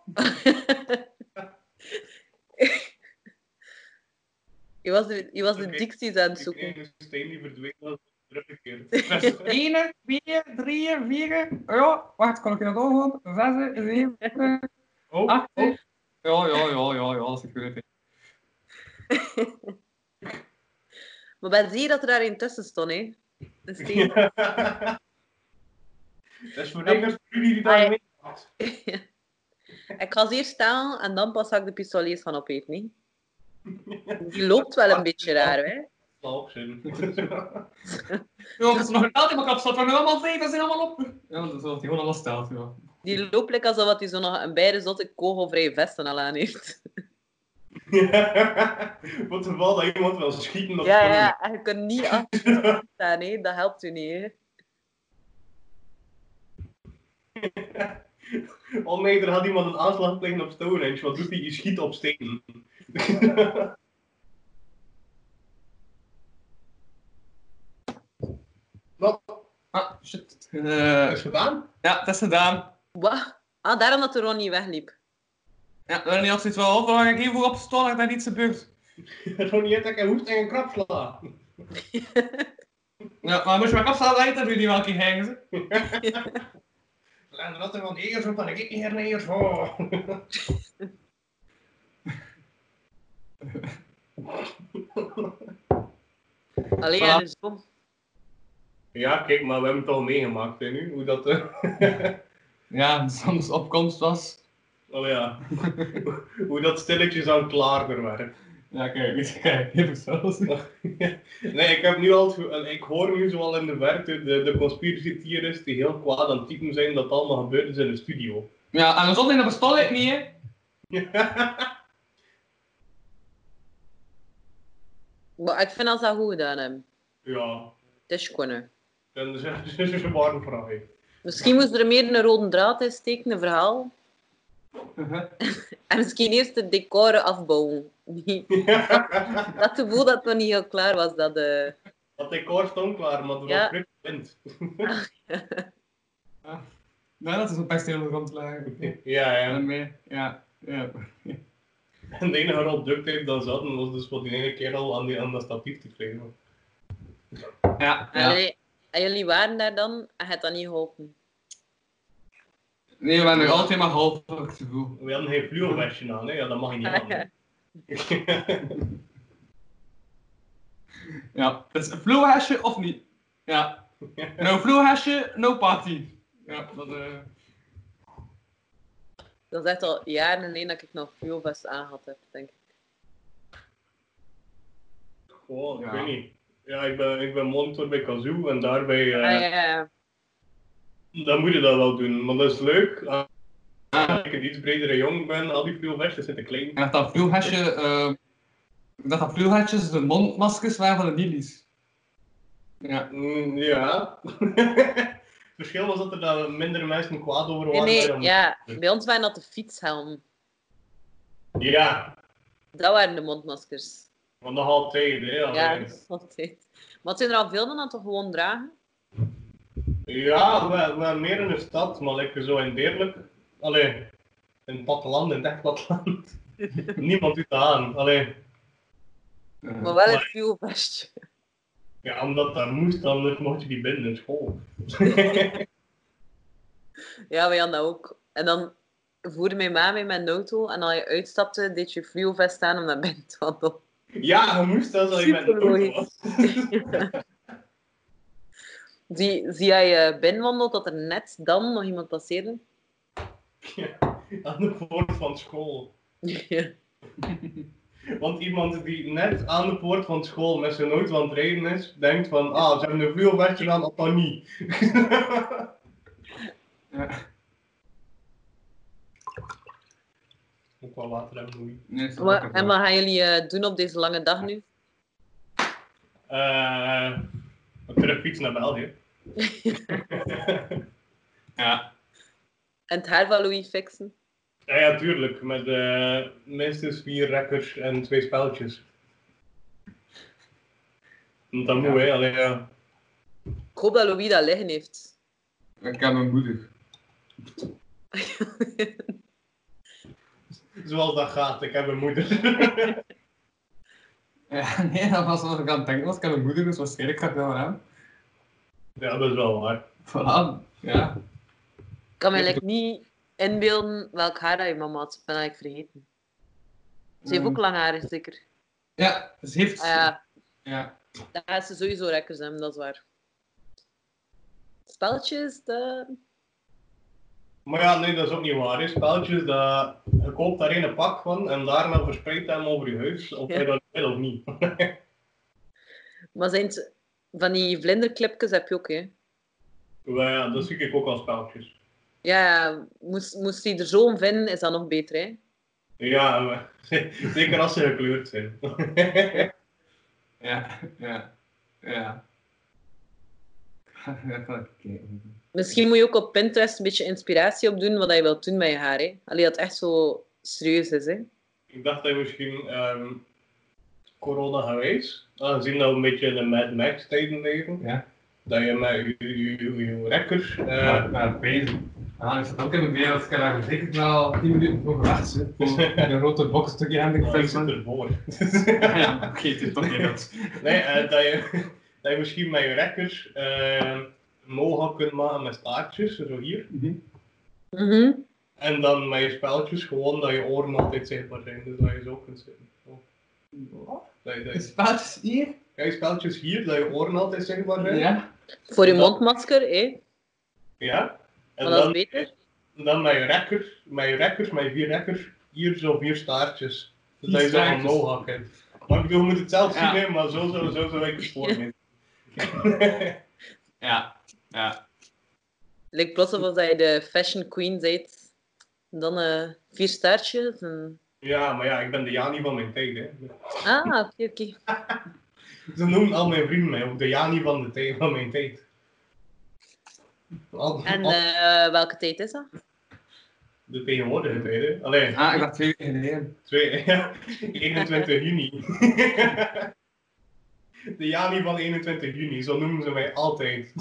Je was de, je was de Oké. dicties aan het ik kreeg zoeken. een steen die verdween was teruggekeerd. 1, 2, 3, 4, ja, wacht, kan ik dat overhand? 6, 7, Oh, Ah, oh. Ja, ja, ja, ja, ja, security. Maar ben zie je dat er daar intussen stond, hè? De steen. Dat is voor Engels jullie die daar Ah, ja. mee had. Ik ga ze eerst staan en dan pas ga ik de pistolets gaan opeten, hè. Die loopt wel een beetje raar, hè? Valkzin. Ja, dat is nog een altijd maar kapsel, we allemaal zeven, dat zijn allemaal op. Ja, dat is wat hij gewoon allemaal stelt, ja. Die loopt lekker alsof dat hij zo nog een beide zotte kogelvrije vesten al aan heeft. Wat een val dat iemand wil schieten of Ja, zo. ja, en je kunt niet achter staan, hè? Dat helpt u niet, hè? Oh nee, er had iemand een aanslag plegen op Stonehenge. Wat doet hij? Je schiet op stenen. Wat? Ah, shit. Eh, Is gedaan? ja, dat is gedaan. Wat? Ah, daarom dat de Ron niet wegliep. Ja, we hebben altijd wel over, ik even op stonden dat iets gebeurt. Ronnie Hettek en hoeft en een krap slaan. Ja, maar moest je maar kapsel dat dat Rudy wel een keer hangen, ze. En dat er van eers op en ik hier neer. Oh. Allee, Voilà. en dus kom. Ja, kijk, maar we hebben het al meegemaakt, hè, nu. Hoe dat... eh, Ja, de soms opkomst was. Oh ja. Hoe dat stilletjes aan klaarder werd. Ja, kijk, kijk, even zelfs. nee, ik heb nu al... het ge- en Ik hoor nu zoal in de verte de, de conspiracy-theoristen die heel kwaad aan het typen zijn dat het allemaal gebeurd is in de studio. Ja, en zonder in de bestolle ik niet, hè. Maar ik vind dat ze dat goed gedaan hebben. ja, Het is kunnen. dan is het een zware dus vraag. hè. Misschien moest er meer een rode draad in steken, een verhaal. Mhm. En misschien eerst de decor afbouwen. dat gevoel dat nog niet heel klaar was. Dat, eh, Dat decor stond klaar, maar er was Ja. druk wind. Nee, dat is een best heel grondlaag. Ja, Ja, ja. daarmee. Ja. ja. En de enige rol duct tape dat ze hadden, was dus voor die ene kerel aan, die, aan dat statief te krijgen. Ja, ja. Allee, en jullie waren daar dan en je hebt dat niet geholpen. Nee, we waren nog altijd maar half voor het gevoel. We hadden geen fluorwestje aan, hè? Ja, dat mag je niet aan. hè. Ja, dat is een vloerhasje of niet. Ja. No vloerhasje, no party. Ja, dat eh. Dat is echt al jaren geleden dat ik nog Fuelvest aan had, heb, denk ik. Goh, ik Ja. weet niet. Ja, ik ben, ik ben monitor bij Kazoo en daarbij... eh, Ah, ja, ja. Dan moet je dat wel doen, want dat is leuk. Ah, Als ik een iets bredere jong ben, al die fluorwestjes zitten klein. En dat dat vloerhasje, eh, dat dat vloerhasjes de mondmaskers waren van de lilies. Ja. Mm, ja. Het verschil was dat er daar minder mensen kwaad over Nee, waren. nee, dan- ja. Bij ons waren dat de fietshelm. Ja, Dat waren de mondmaskers. want nog altijd, hè. Ja, Ja, dat is altijd. Maar het zijn er al veel dan dat toch gewoon dragen? ja we, we hebben meer in de stad, maar lekker zo in Deerlijk. Allee, in het platteland, in het echt platteland. Niemand doet dat aan. Allee, Eh, Maar wel Nee. het Fuelvestje. ja, omdat dat moest, anders mocht je die binnen in school. Ja, wij hadden dat ook. En dan voerde mijn ma mee met een auto en als je uitstapte, deed je Fuelvest aan om naar binnen te wandelen. ja, je moest dat als je met een Supermooi. auto was. Zie, zie jij eh, binnenwandelt dat er net dan nog iemand passeerde? aan de poort van school. Ja. Want iemand die net aan de poort van school met zijn auto aan het rijden is, denkt van, ah, ze hebben een vloerwestje aan, of dan niet. ja. Ook wel later hebben we Nee, dat is ook Wat- een en wat gaan jullie eh, doen op deze lange dag nu? Eh, we kunnen fietsen naar België. Ja. En het haar van Louis fixen? Ja, ja, tuurlijk. Met eh, minstens vier rekkers en twee spelletjes. Want dat moet, hè. Allee, ja. Ik hoop dat Louis dat liggen heeft. Ik heb mijn moeder. Zoals dat gaat. Ik heb een moeder. Ja, nee, dat was wat ik aan het denken was. Ik heb mijn moeder, dus waarschijnlijk gaat dat wel aan. ja, dat is wel waar. Voilà. Ja. Ik kan me eigenlijk niet inbeelden welk haar dat je mama had. Ik ben eigenlijk vergeten. Ze heeft Ehm, ook lang haar, zeker. Ja, ze heeft... Ah, ja. ja. Daar gaat ze sowieso rekkers hebben, dat is waar. Spelletjes, de... Maar ja, nee, dat is ook niet waar. Hè. Spelletjes, dat... je koopt daar een pak van en daarna verspreidt hij hem over je huis. Of Ja. je dat wil of niet. Maar zijn het van die vlinderklipjes heb je ook, hè? Maar ja, dat zie ik ook als spelletjes. Ja, moest, moest hij er zo om vinden, is dat nog beter, hè? Ja, maar- zeker als ze gekleurd zijn. Ja, ja, ja. Ja, ga ik kijken. Misschien moet je ook op Pinterest een beetje inspiratie opdoen wat je wilt doen met je haar, hè? Allee, dat echt zo serieus is, hè? Ik dacht dat misschien ehm, corona geweest, aangezien dat we een beetje in de Mad Max tijden leven, Ja. dat je met je, je, je, je rekkers, eh, Ja, maar bezig. Ah, is dat ook in mijn wereld? Ik heb daar zeker wel 10 minuten voor gewacht. hè, Voor een grote bokstukje aan de oh, ik zit kant. ervoor. Ja, oké, het is toch niet dat. nee, eh, dat, je, dat je misschien met je rekkers eh mohawk kunt maken met staartjes, zo hier. Mhm. Mhm. En dan met je speltjes gewoon dat je oren altijd zichtbaar zijn, dus dat je zo kunt zitten. Zo. Dat je, dat De je, spaatjes hier? ja, je speltjes hier, dat je oren altijd zichtbaar zijn. Ja. Voor je Ja. mondmasker, hè? Ja. En Maar dat dan, is beter. dan mijn rekkers, mijn rekkers, mijn vier rekkers, hier zo vier staartjes. Dus Vier dat je zo'n staartjes. mohawk hebt. Maar ik bedoel, je moet het zelf Ja. zien, hè, maar zo zou zo, zo ik het voor me. Ja, ja. Lijkt plots of als je de fashion queen bent. En Dan eh, vier staartjes en... Ja, maar ja, ik ben de Jani van mijn tijd, hè. Ah, oké, oké. Ze noemen al mijn vrienden mij ook de Jani van, de tijd, van mijn tijd. Al- En al- eh, welke tijd is dat? de tegenwoordige tijden. Alleen, Ah, ik dacht twee weken geleden. twee, 21 juni. de Jani van 21 juni, zo noemen ze mij altijd.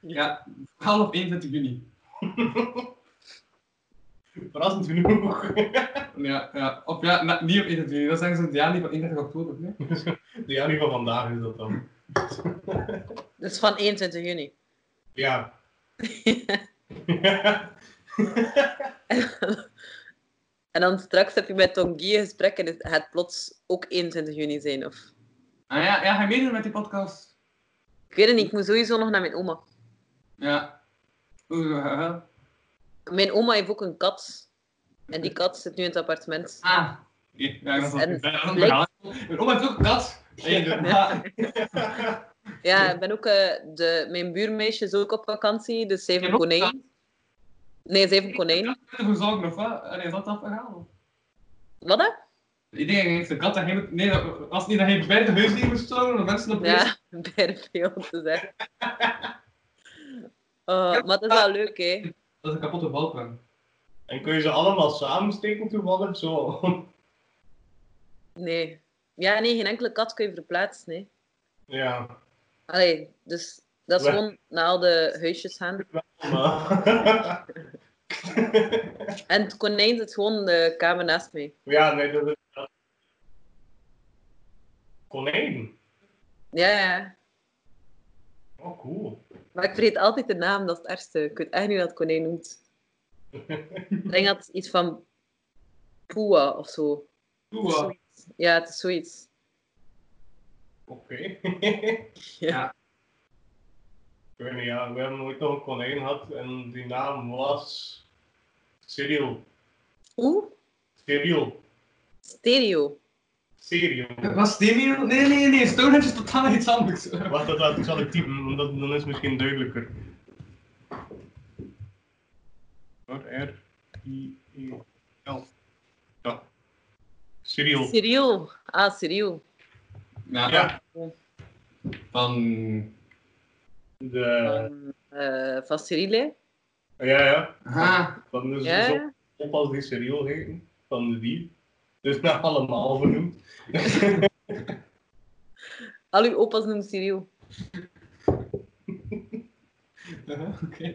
Ja, half op 21 juni. Verrassend genoeg. Ja, ja. Of ja, na- niet op 21 juni. Dat zeggen ze het jaar niet van 31 oktober. Nee? De Jani van vandaag is dat dan. Dat is van 21 juni. Ja. En dan straks heb je met Tongi een gesprek en het gaat plots ook 21 juni zijn. Of... Ah ja, ja, ga je meedoen met die podcast? Ik weet het niet, ik moet sowieso nog naar mijn oma. Ja. Oeh, eh, Mijn oma heeft ook een kat. En die kat zit nu in het appartement. Ah. Ja, ik dacht dat En- ik ben aan het verhaal. Mijn oma heeft ook een kat. En je- Ja. Ja, ik ben ook, eh, de, mijn buurmeisje is ook op vakantie, dus ze heeft Je een hebt ook konijn. Nee, ze heeft een konijn. Met de verzorging of wat? Nee, is dat dat verhaal? Wat hè? Ik denk eigenlijk de kat dat hij moet- Nee, dat- als niet dat hij bij de huisdier moest storen, dan mensen op Ja, bijna veel te zeggen. Eh, maar dat is wel leuk, hè? Dat is een kapotte balkon. En kun je ze allemaal samensteken toevallig? Zo. Nee. Ja, nee, geen enkele kat kun je verplaatsen, nee. ja. Allee, dus dat is Waar- gewoon naar al de huisjes gaan. Maar- En het konijn zit gewoon in de kamer naast mij. ja, nee, dat is. dat- Konijn. Ja, ja. Oh, cool. Maar ik vergeet altijd de naam, dat is het ergste. Ik weet echt niet hoe dat konijn noemt. Ik denk dat het iets van Poewa of zo. Doe wat. Ja, het is zoiets. Oké. Ja. Ik weet niet, ja, we hebben ooit nog een konijn gehad en die naam was. Cyril. Oeh, Cyril. stereo. Cyril. Was Demian? Nee, nee, nee, Stonehenge is totaal iets anders. Wacht, dat laat ik zal ik typen, want dat, dan is het misschien duidelijker. R, I, E, L. Ja. Cyril. Cyril. Ah, Cyril. Ja, Ja, van... de, oh, Van, eh, van Cyrille. ja, ja. Aha. Van dus Ja, zo ja. op als die Cyril heten, van de dier. Dus naar allemaal vernoemd. Al uw opa's noemen Cyril. Aha, Oké.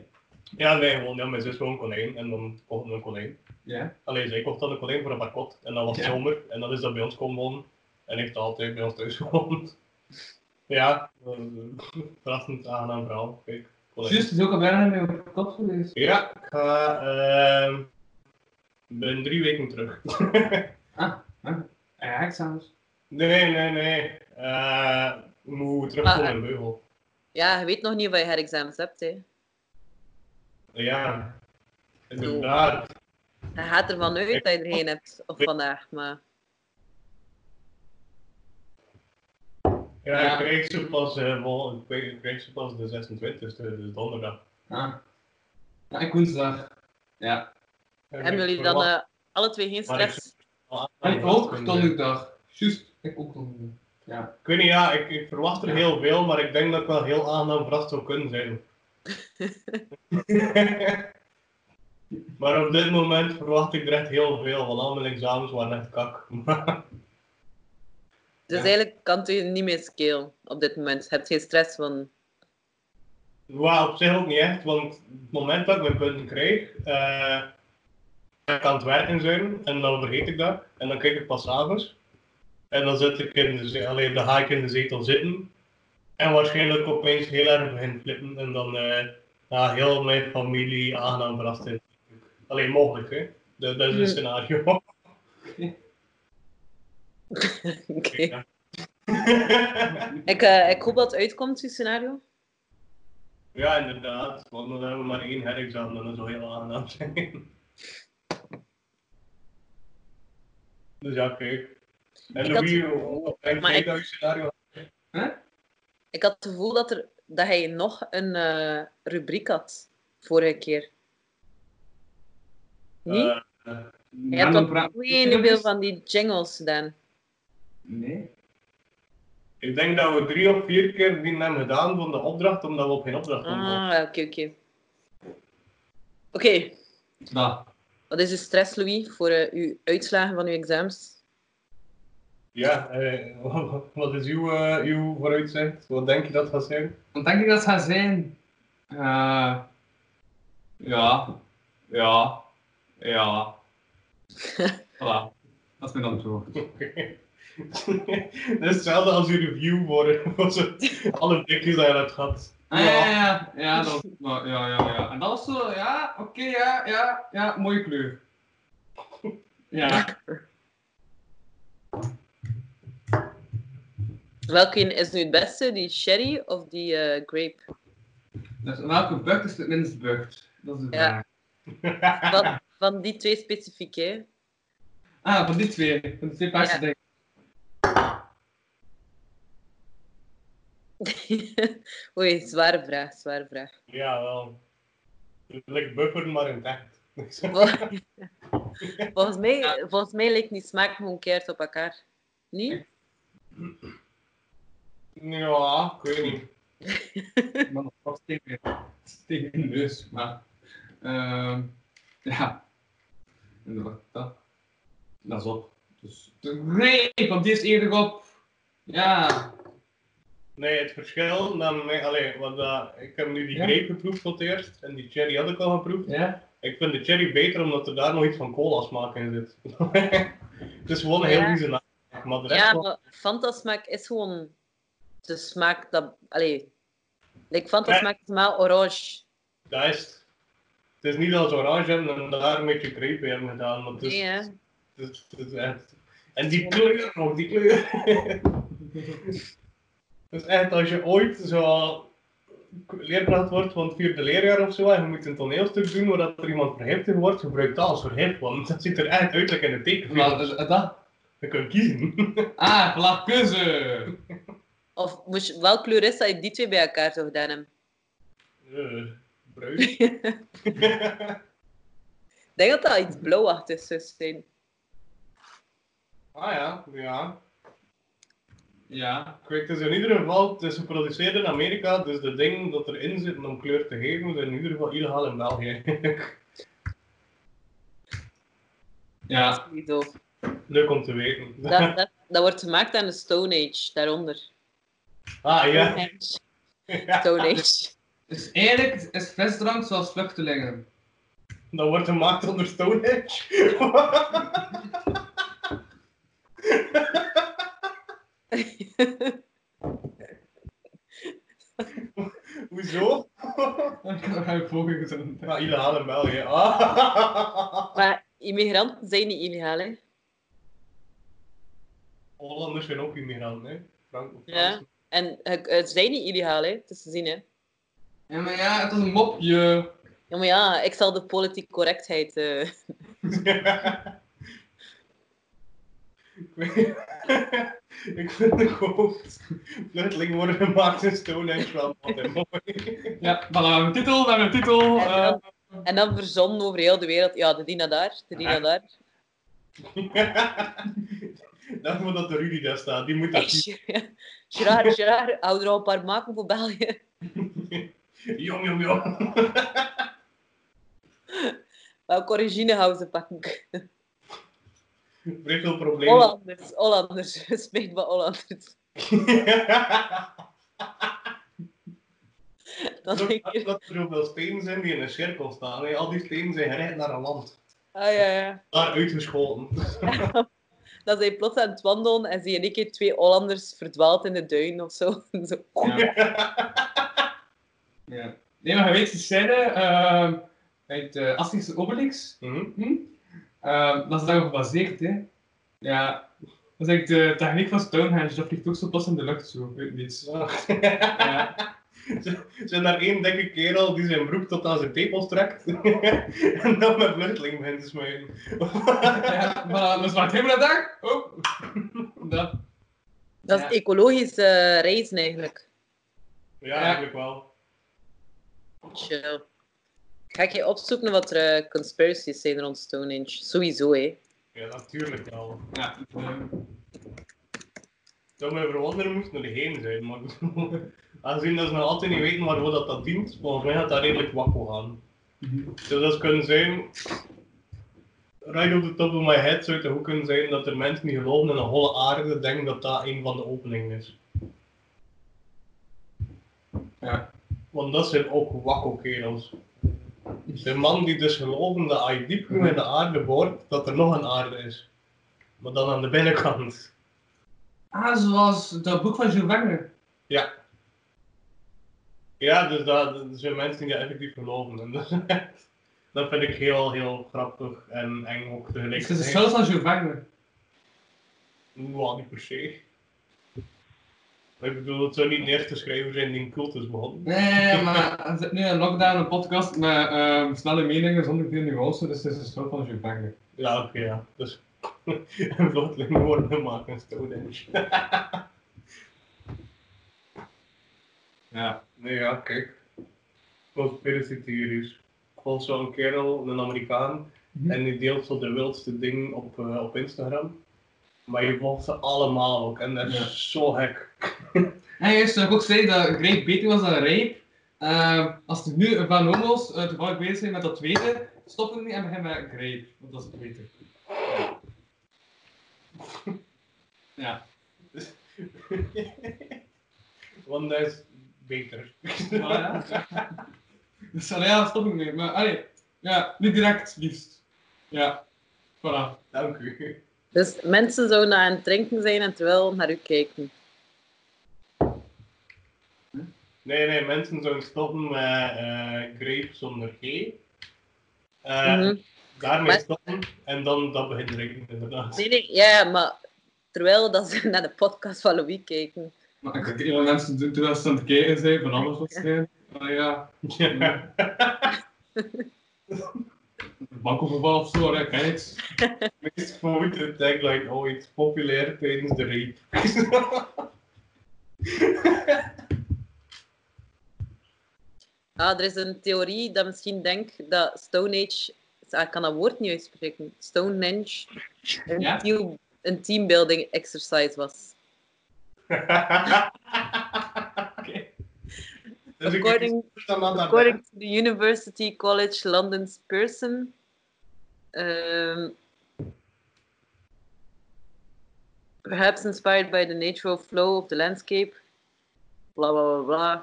Ja, nee, gewoon, ja, mijn zus wil een konijn en dan kocht een konijn. Ja. Alleen zij kocht dan een konijn voor een pakot en dan was het Ja. zomer en dan is dat bij ons komen wonen en heeft altijd bij ons thuis gewoond. Ja, eh, dat is een verrassend aangenaam verhaal. Kijk, konijn. Juist, het is ook al bijna mee op de kop geweest. Ja, ik ga, ehm, ben drie weken terug. Ah, ah. Ja, examens. nee, nee, nee. Eh, ik moet Ah, terugkomen in Beugel. Ja, je weet nog niet of je herexamens hebt, hè. Ja, inderdaad. Je gaat ervan uit dat je er geen hebt op vandaag, maar... Ja, Ja. ik krijg ze pas, eh, vol- ik krijg- ik krijg ze pas de 26e, dus donderdag. Ah. Ja, ik woensdag. Ja. Hebben jullie dan eh, alle twee geen Maar ik- stress? Ah, En ik ook donderdag. Juist, ik ook donderdag. Ja. Ik weet niet, ja, ik, ik verwacht er heel veel, maar ik denk dat ik wel heel aangenaam verrast zou kunnen zijn. maar op dit moment verwacht ik er echt heel veel, want al mijn examens waren echt kak. Dus ja. eigenlijk kan het je niet meer scalen op dit moment. Je hebt geen stress van... Waar op zich ook niet echt, want het moment dat ik mijn punten krijg, eh kan ik aan het werken zijn en dan vergeet ik dat. En dan kijk ik pas avonds. En dan zit ik in de ze- alleen dan ga ik in de zetel zitten. En waarschijnlijk opeens heel erg begin flippen en dan eh ja, heel mijn familie aangenaam verrast is. Alleen mogelijk, hè? Dat, dat is Mm. een scenario. Oké. Ik, eh, ik hoop dat het uitkomt, die scenario. ja, inderdaad, want dan hebben we maar één herexamen en dat zou heel aangenaam zijn. dus ja, kijk. En Ik had- Louis, hoe oh, denk Maar jij ik- dat je scenario Ik had het gevoel dat, er, dat hij nog een eh, rubriek had, vorige keer. Niet? Eh, Je hebt Mannen nog praten- heel veel van die jingles gedaan. Nee. Ik denk dat we drie of vier keer die hebben gedaan van de opdracht, omdat we op geen opdracht konden. Ah, oké, oké. Oké, Da. wat is de stress, Louis, voor eh, uw uitslagen van uw examens? Ja, eh, wat is uw, eh, uw vooruitzicht? Wat denk je dat gaat zijn? Wat denk ik dat het gaat zijn? Eh, ja. Ja. Ja. voilà. Dat is mijn antwoord. Dat is hetzelfde als uw review worden voor zo- alle dikjes dat je hebt gehad. Ah, ja, ja, ja. Ja, dat was- maar ja, ja, ja. En dat was zo, ja, oké, ja, ja, ja, mooie kleur. Ja. Welke is nu het beste, die sherry of die eh, grape? Dus welke bucht is het minst bucht? Dat is de Ja. vraag. Van, van die twee specifiek, hè? Ah, van die twee. Van die twee paarse Ja. dingen. Oei, zware vraag, zware vraag. Ja, wel. Like bufferen, maar in het echt. Vol- volgens, mij, volgens mij lijkt die smaak gewoon keert op elkaar. Niet? Ja, ah, ik weet niet. Maar nog wat tegen, tegen de neus. Maar, ehm, ja. Inderdaad, dat. Dat is op. Dus de greep, want die is eerder op. Ja. Nee, het verschil, dan, nee, allee, want, eh, ik heb nu die Ja? grape geproefd voor het eerst en die cherry had ik al geproefd. Ja? Ik vind de cherry beter omdat er daar nog iets van cola smaak in zit. het is gewoon een heel Ja. vieze naam. Maar de rest Ja, wel- maar Fanta-smaak is gewoon de smaak dat... Allee, like, Fanta-smaak is maar orange. dat is het. Het is niet dat ze oranje hebben en daar een beetje grape bij hebben gedaan. Maar het is, Nee, hè? het is- het is echt... En die kleur nog, die kleur. dus echt, als je ooit zo leerkracht wordt van het vierde leerjaar of zo, en je moet een toneelstuk doen waar dat er iemand verhipt in wordt, gebruik dat als verhip, want dat ziet er echt uit like in het Maar, tekenfilm. dus, eh, dat. Je kunt kiezen. Ah, voilà, keuze. Of moest je, welk kleur is dat je die twee bij elkaar zou gedaan hebben? Eh, bruin. Ik denk dat dat iets blauwachtigs zou zijn. ah ja, ja. Ja. Ik weet het is in ieder geval, het is geproduceerd in Amerika, dus de dingen dat erin zitten om kleur te geven, zijn in ieder geval illegaal in België. Ja. Zo. Leuk om te weten. Dat, dat, dat wordt gemaakt aan de Stone Age, daaronder. Ah ja. Stone Age. Stone Age. Dus eigenlijk is frisdrank zoals vluchtelingen. Dat wordt gemaakt onder Stonehenge. Hoezo? Ik heb een poging gezien. Ja, illegaal in België. Ah. Maar immigranten zijn niet illegaal, hè? Hollanders zijn ook immigranten, hè? Frank of Ja. Frans. En eh, het zijn niet illegaal, hè? Het is te zien, hè? Ja, maar ja, het is een mopje. Ja, maar ja, ik zal de politieke correctheid... eh, Ik weet- Ik vind de hoofd. Vluchtelingen worden gemaakt in Stonehenge wel altijd mooi. Ja, voilà, we hebben een titel, we hebben een titel. En eh, dan, en dan verzonnen over heel de wereld. Ja, de Dina daar, de Dina daar. Dat moet dat de Rudy daar staat. Die moet dat zien. Gerard, Gerard, Gerard, hou er al een paar maken voor België. Jong, jong, jong. Welke origine houden ze pakken? Vrij veel problemen. Hollanders, Hollanders. Spijt me, Hollanders. Dan Zo denk knap ik, dat er zoveel stenen zijn die in een cirkel staan. hè. Al die stenen zijn gerecht naar een land. ah ja, ja. Daar uitgeschoten. Dan zijn plots aan het wandelen en zie je in één keer twee Hollanders verdwaald in de duin of zo. Zo. ja. Nee, maar je weet die scène eh, uit de Astische Obelix. Hm? Hm? Eh, dat is daarop gebaseerd, hè. Ja. Dat is eigenlijk de techniek van Stonehenge. dus Dat vliegt ook zo pas in de lucht, zo. Ik weet niet. Ja. zijn daar één dikke kerel die zijn broek tot aan zijn tepels trekt. en dan met vluchteling begint te smijten. ja. Maar dat is wat helemaal dag. Oh. Dat. Dat is Ja. ecologisch eh, reizen eigenlijk. ja, eigenlijk wel. Chill. Ga ik je opzoeken wat er eh, conspiracies zijn rond Stonehenge? Sowieso, hè. Ja, natuurlijk wel. Ja. eh, Het zou mijn verwondering moest er heen zijn, maar aangezien dat ze nog altijd niet weten waarvoor dat, dat dient, volgens mij gaat dat redelijk wakkel gaan. Zou dat kunnen zijn, right op the top of my head, zou het ook kunnen zijn dat er mensen die geloven in een holle aarde denken dat dat een van de openingen is. Ja. Want dat zijn ook wakkelkerels. De man die dus geloven dat als je diep genoeg in de aarde boort, dat er nog een aarde is. Maar dan aan de binnenkant. Ah, zoals dat boek van Jules Verne. Ja. Ja, dus dat, dat zijn mensen die dat effectief geloven. En dat, dat vind ik heel, heel grappig en eng ook Het is de tegelijkertijd. zelfs van Jules Verne. Nou, niet per se. Maar Ik bedoel, het zou niet de eerste schrijver zijn die een cult is begonnen. Nee, maar er zit nu een lockdown, een podcast met ehm, snelle meningen zonder veel nuance, dus het is de zelfs van Jules Verne. Ja, oké, ja. Dus een vluchteling worden maken, Stonehenge. Ja. Nee, ja, kijk. Conspiracy theories. Volgens zo'n kerel, een Amerikaan, Mhm. en die deelt zo de wildste dingen op, eh, op Instagram. Maar je volgt ze allemaal ook, en dat is Ja. zo hek. En eerst zou ik ook zeggen dat grape beter was dan rijp. Ehm, als er nu Van Homo's eh, toevallig bezig zijn met dat tweede, stoppen die en beginnen met grape, want dat is het beter. Ja. Want dat is beter. Maar Ah, ja. Dus allee, ja, stoppen mee. Maar allee, ja, niet direct, liefst. Ja, voilà. Dank u. Dus mensen zouden aan het drinken zijn en terwijl naar u kijken. Nee, nee, mensen zouden stoppen met eh, grape zonder G. Eh, Mhm. Daarmee Maar- stoppen, en dan dat begint te regenen, inderdaad. Nee, nee, ja, maar terwijl dat ze naar de podcast van Louis kijken. Maar ik denk dat mensen doen terwijl ze aan het kijken zijn, van alles wat zijn. Maar ja, Ja. een bankoverval of zo, allee, kijk eens. meest vermoeiende tagline ooit. Populair tijdens de rape. Ah, er is een theorie dat misschien denkt dat Stone Age... Ah, Ik kan dat woord niet uitspreken. Stonehenge een, Ja? team- een teambuilding exercise was. Dus ik According- ik- dan aan dat According to the University College London's person, um, perhaps inspired by the natural flow of the landscape, blah blah blah blah.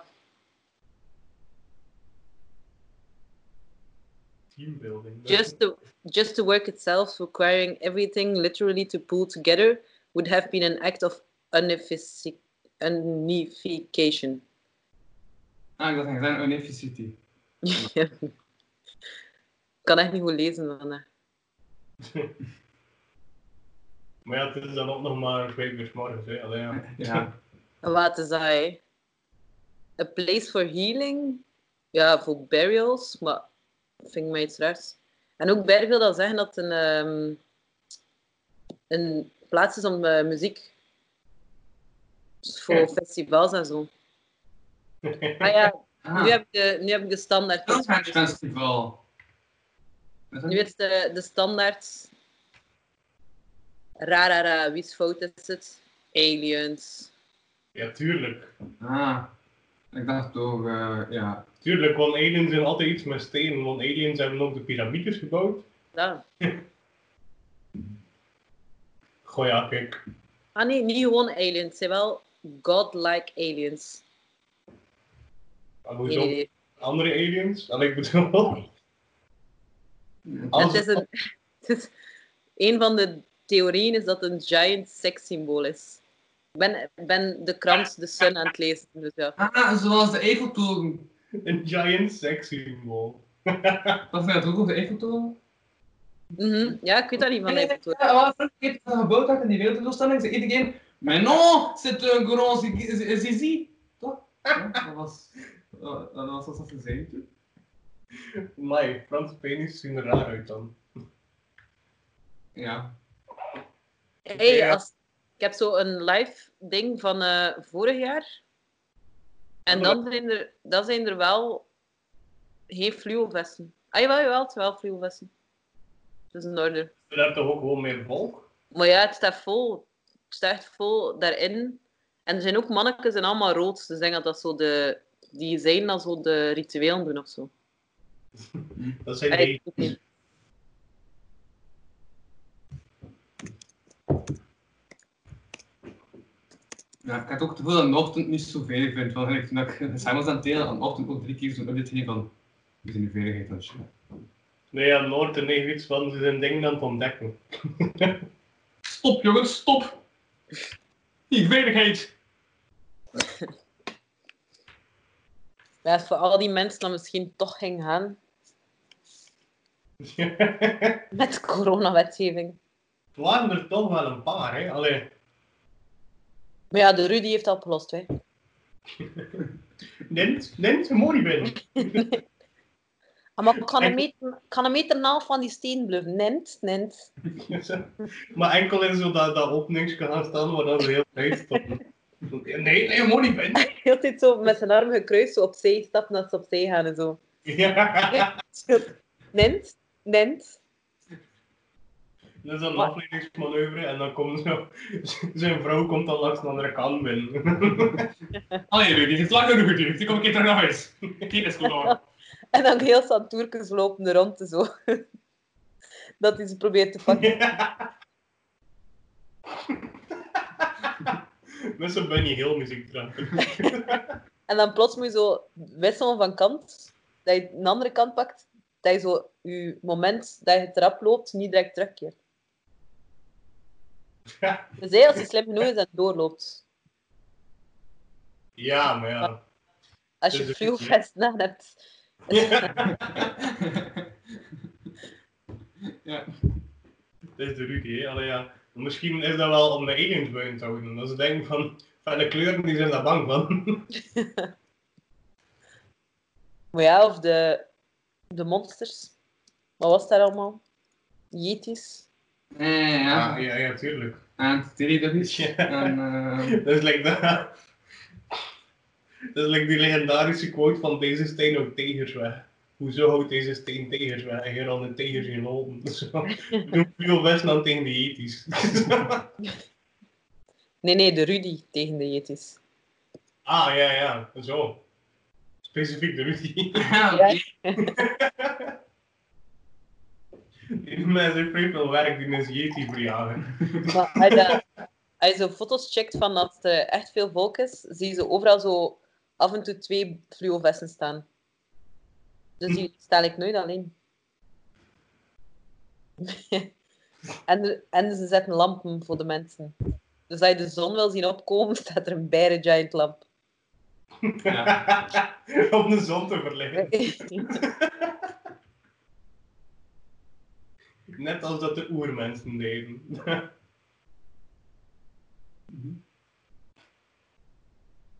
teambuilding. Just the just the work itself, requiring everything literally to pull together, would have been an act of unifici- unification. Ah, ik dacht, ik zei Unificity. Ik kan echt niet goed lezen vandaag. Maar ja, het is dan ook nog maar vijf uur 's morgens. Hè. Allee, ja. Ja. En Wat is dat? hè? A place for healing. Ja, voor burials, maar vind ik mij iets raars. En ook berg wil dan zeggen dat het een, ehm, een plaats is om eh, muziek dus voor Ja. festivals en zo. Maar ja, Ah, nu heb ik de, nu heb ik de standaard. Stonehenge Festival. Is dat Nu is de, de standaard. Rarara, wie's fout is het? Aliens. ja, tuurlijk. Ah, ik dacht toch, eh, ja. Tuurlijk, want aliens zijn altijd iets met stenen. Want aliens hebben ook de piramides gebouwd. Ja. Goh ja, kijk. Ah nee, niet gewoon aliens. Het zijn wel godlike aliens. Maar Nee, hoezo? nee, nee. Andere aliens? Allee, ik bedoel... Het is een... Het is, een van de theorieën is dat het een giant sekssymbool is. Ik ben, ik ben de krant De Sun aan het lezen, dus ja. Ah, zoals de Eiffeltoren. Een giant sex symbol. Was dat ook op de Eiffeltoren? Mhm. Ja, ik weet dat niet van mij. Ja, wat vroeger heeft dat gebouwd had in die wereldtentoonstelling, zei iedereen, maar non, c'est un grand zi- zi- zizi. Toch? Ja, dat was... Dat dat was wat ze zeiden toen. Amai, Franse penis zien er raar uit dan. Ja. Hey, als, ik heb zo een live ding van eh, vorig jaar. En dan zijn, er, dan zijn er wel geen fluovesten. Ah jawel, jawel, het zijn wel fluovesten. Dat is in orde. Er daar toch ook gewoon meer volk? Maar ja, het staat vol. Het staat echt vol daarin. En er zijn ook mannetjes en allemaal rood. Dus ik denk dat dat zo de... Die zijn dan zo de rituelen doen of zo. Dat zijn Allee, die... ik weet niet. Ja, ik heb ook het gevoel dat een ochtend niet zo veilig vindt. Want ik, toen ik samen aan het delen, aan de ochtend ook drie keer zo'n update gegeven van... We zijn de veiligheid van shit. Nee, aan Noorten heeft iets van, ze zijn dingen aan het ontdekken. Stop jongens, stop! Die veiligheid! Ja, als voor al die mensen dan misschien toch ging gaan met de coronawetgeving. Het waren er toch wel een paar, hè? Allee, Maar ja, de Rudy heeft dat opgelost, hè. Nint, Nint, je moet niet binnen. Ah, Maar ik kan een En- meter, ik kan een meter en een half van die steen blijven. Nint, nint. maar enkel in zo dat, dat openingsje gaan staan, waar dan ze heel tijd stonden. Nee, nee, je moet niet binnen. Heel de tijd zo met zijn armen gekruist, zo opzij stappen dat ze opzij gaan en zo. Ja. Nint, nint. Dat is een afleidingsmanoeuvre en dan komt zo... Zijn vrouw komt dan langs de andere kant binnen. Allee Rudy, het heeft lang genoeg geduurd. Ik kom een keer terug naar huis. Geen is goed hoor. En dan heel Santoerkens lopen er rond en zo. Dat hij ze probeert te pakken. Met zo'n Bunny Hill muziek dragen. En dan plots moet je zo wisselen van kant. Dat je een andere kant pakt. Dat je zo je moment dat je trap loopt, niet direct terugkeert. Ja. Dus hij, als hij slim genoeg is en doorloopt. Ja, maar ja. Als je Dus- fluwevesten aan hebt. ja. Dat is de Rudy, hè. Allee, ja. Misschien is dat wel om de aliens buiten te houden. Dat ze denken van, van de kleuren, die zijn daar bang van. Maar ja, of de, de monsters. Wat was daar allemaal? Yetis. Eh, Ja, ja. Ah, ja, ja, tuurlijk. En teledubbies. Ja. En... eh, Dat is like dat... Dat is like die legendarische quote van deze steen ook tegers weg. Hoezo houdt deze steen tegers weg? En hier al de tegers in lopen. Zo. Doe veel best dan tegen de Yetis. Nee, nee, de Rudy tegen de Yetis. ah, ja, ja. Zo. Specifiek de Rudy. ja, Ja. Die mensen heeft vrij veel werk die mensen Yeti verjagen. Maar als je, dat- als je zo foto's checkt van dat er echt veel volk is, zie je ze overal zo af en toe twee fluovesten staan. Dus die sta ik nooit alleen. en, er- en ze zetten lampen voor de mensen. Dus als je de zon wil zien opkomen, staat er een beide giant lamp. Ja. Om de zon te verleggen. Net als dat de oermensen deden.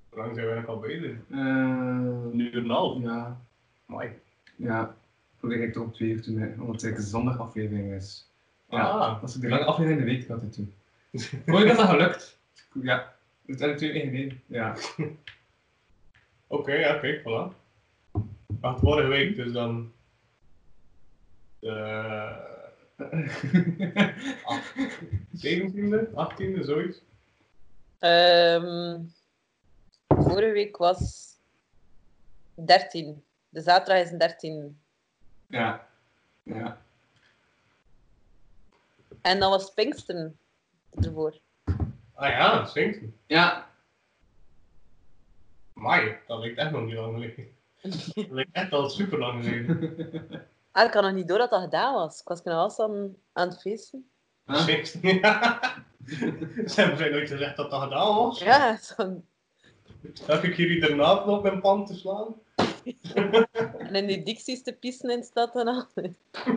Hoe lang zijn we eigenlijk al bezig? Eh, Een uur en een half. ja. Mooi. Ja. Probeer ik toch op twee uur te doen, omdat het een zondag aflevering is. Ja. Ah. Dat is de lange aflevering in de week dat ik doe. Hoe is dat gelukt? Ja. Dat is natuurlijk één idee. Ja. Oké, ja, kijk, voilà. Wacht, vorige week, dus dan... De... Ah. 17e, 18e, zoiets. Ehm, vorige week was 13. De zaterdag is een 13. ja. Ja. En dan was Pinksteren ervoor. Ah ja, Sington. Ja. Mai, dat lijkt echt nog niet lang geleden. Dat lijkt echt al super lang geleden. Ah, ik had nog niet door dat dat gedaan was. Ik was knalhard aan, aan het feesten. Huh? Sington, ja. Ze hebben mij nooit gezegd dat dat gedaan was. Ja, zo. Heb ik jullie daarna op mijn pan te slaan? en in die dicties te pissen in de stad en al.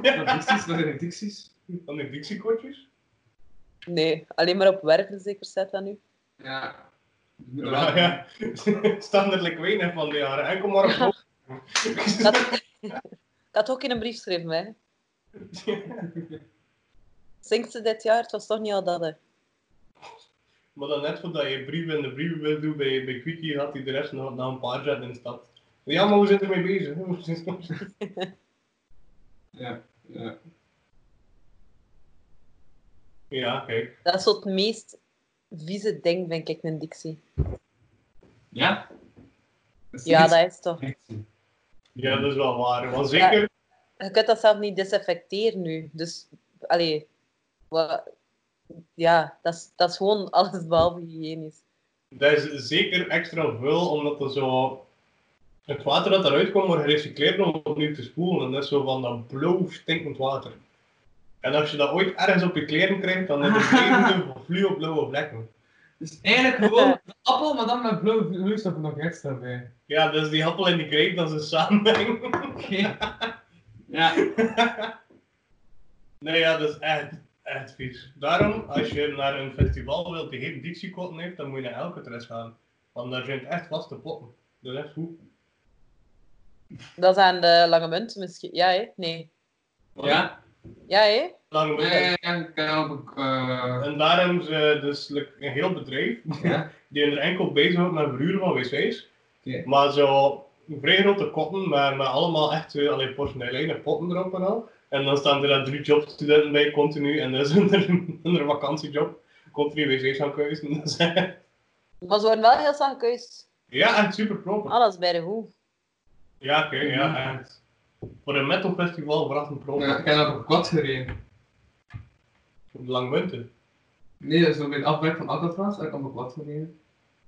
Dicties, wat zijn dicties? Van die dixiekortjes? Nee, alleen maar op werven zeker staat dat nu. Ja. Ja, ja. Staan er like weinig van die jaren. Enkel maar op blok. Dat... ik had ook in een brief geschreven, hè. Zingt ze dit jaar? Het was toch niet al dat, hè. Maar dan net voordat je brieven in de brieven wil doen bij, bij Quickie, had hij de rest nog na een paar jaar in de stad. Ja, maar we zijn ermee bezig. Ja. Ja. ja, kijk. Dat is zo het meest vieze ding vind ik een dictie. Ja? is Ja, niet- dat is toch. Ja, dat is wel waar. Want zeker, Je kunt dat zelf niet desinfecteren nu. Dus, allee. Wat, ja, dat is, dat is gewoon alles behalve hygiënisch. dat is zeker extra vuil, omdat er zo... Het water dat eruit komt wordt gerecycleerd om opnieuw te spoelen. En dat is zo van dat blauw stinkend water. En als je dat ooit ergens op je kleren krijgt, dan heb je levende fluo-blauwe vlekken. Dus eigenlijk gewoon de appel, maar dan met blauw vloeistof nog extra bij. Ja, dus die appel en die grape, dat is een samenhang. Oké. Ja. Nee, ja, dat is echt, echt vies. Daarom, als je naar een festival wilt die geen Dixie-kotten heeft, dan moet je naar Alcatraz gaan. Want daar zijn echt vaste potten. Dat is echt goed. Dat is aan de lange munt misschien. Ja, hè? Nee. Ja? Ja, hè? Daarom, Nee, ja, ik kan ook... eh, En daarom is eh, dus like, een heel bedrijf Ja? die er enkel bezig houdt met verhuren van wc's. Oké. Maar zo vrij grote kotten, maar met allemaal echt eh, allee, porseleinen potten erop en al. En dan staan er dan drie jobstudenten bij continu en dat is een, een vakantiejob. Continu wc's aan kuisen. Dat is echt- Maar ze worden wel heel snel gekuist. Ja, echt super proper. Alles bij de hoe. Ja, oké, ja, echt. Voor een metal festival verrassend pro. ja, ik heb op een kwad gereden. Op de Langmunten. Nee, dat is zo bij de afwerk van Alcatraz, heb ik op een kwad gereden.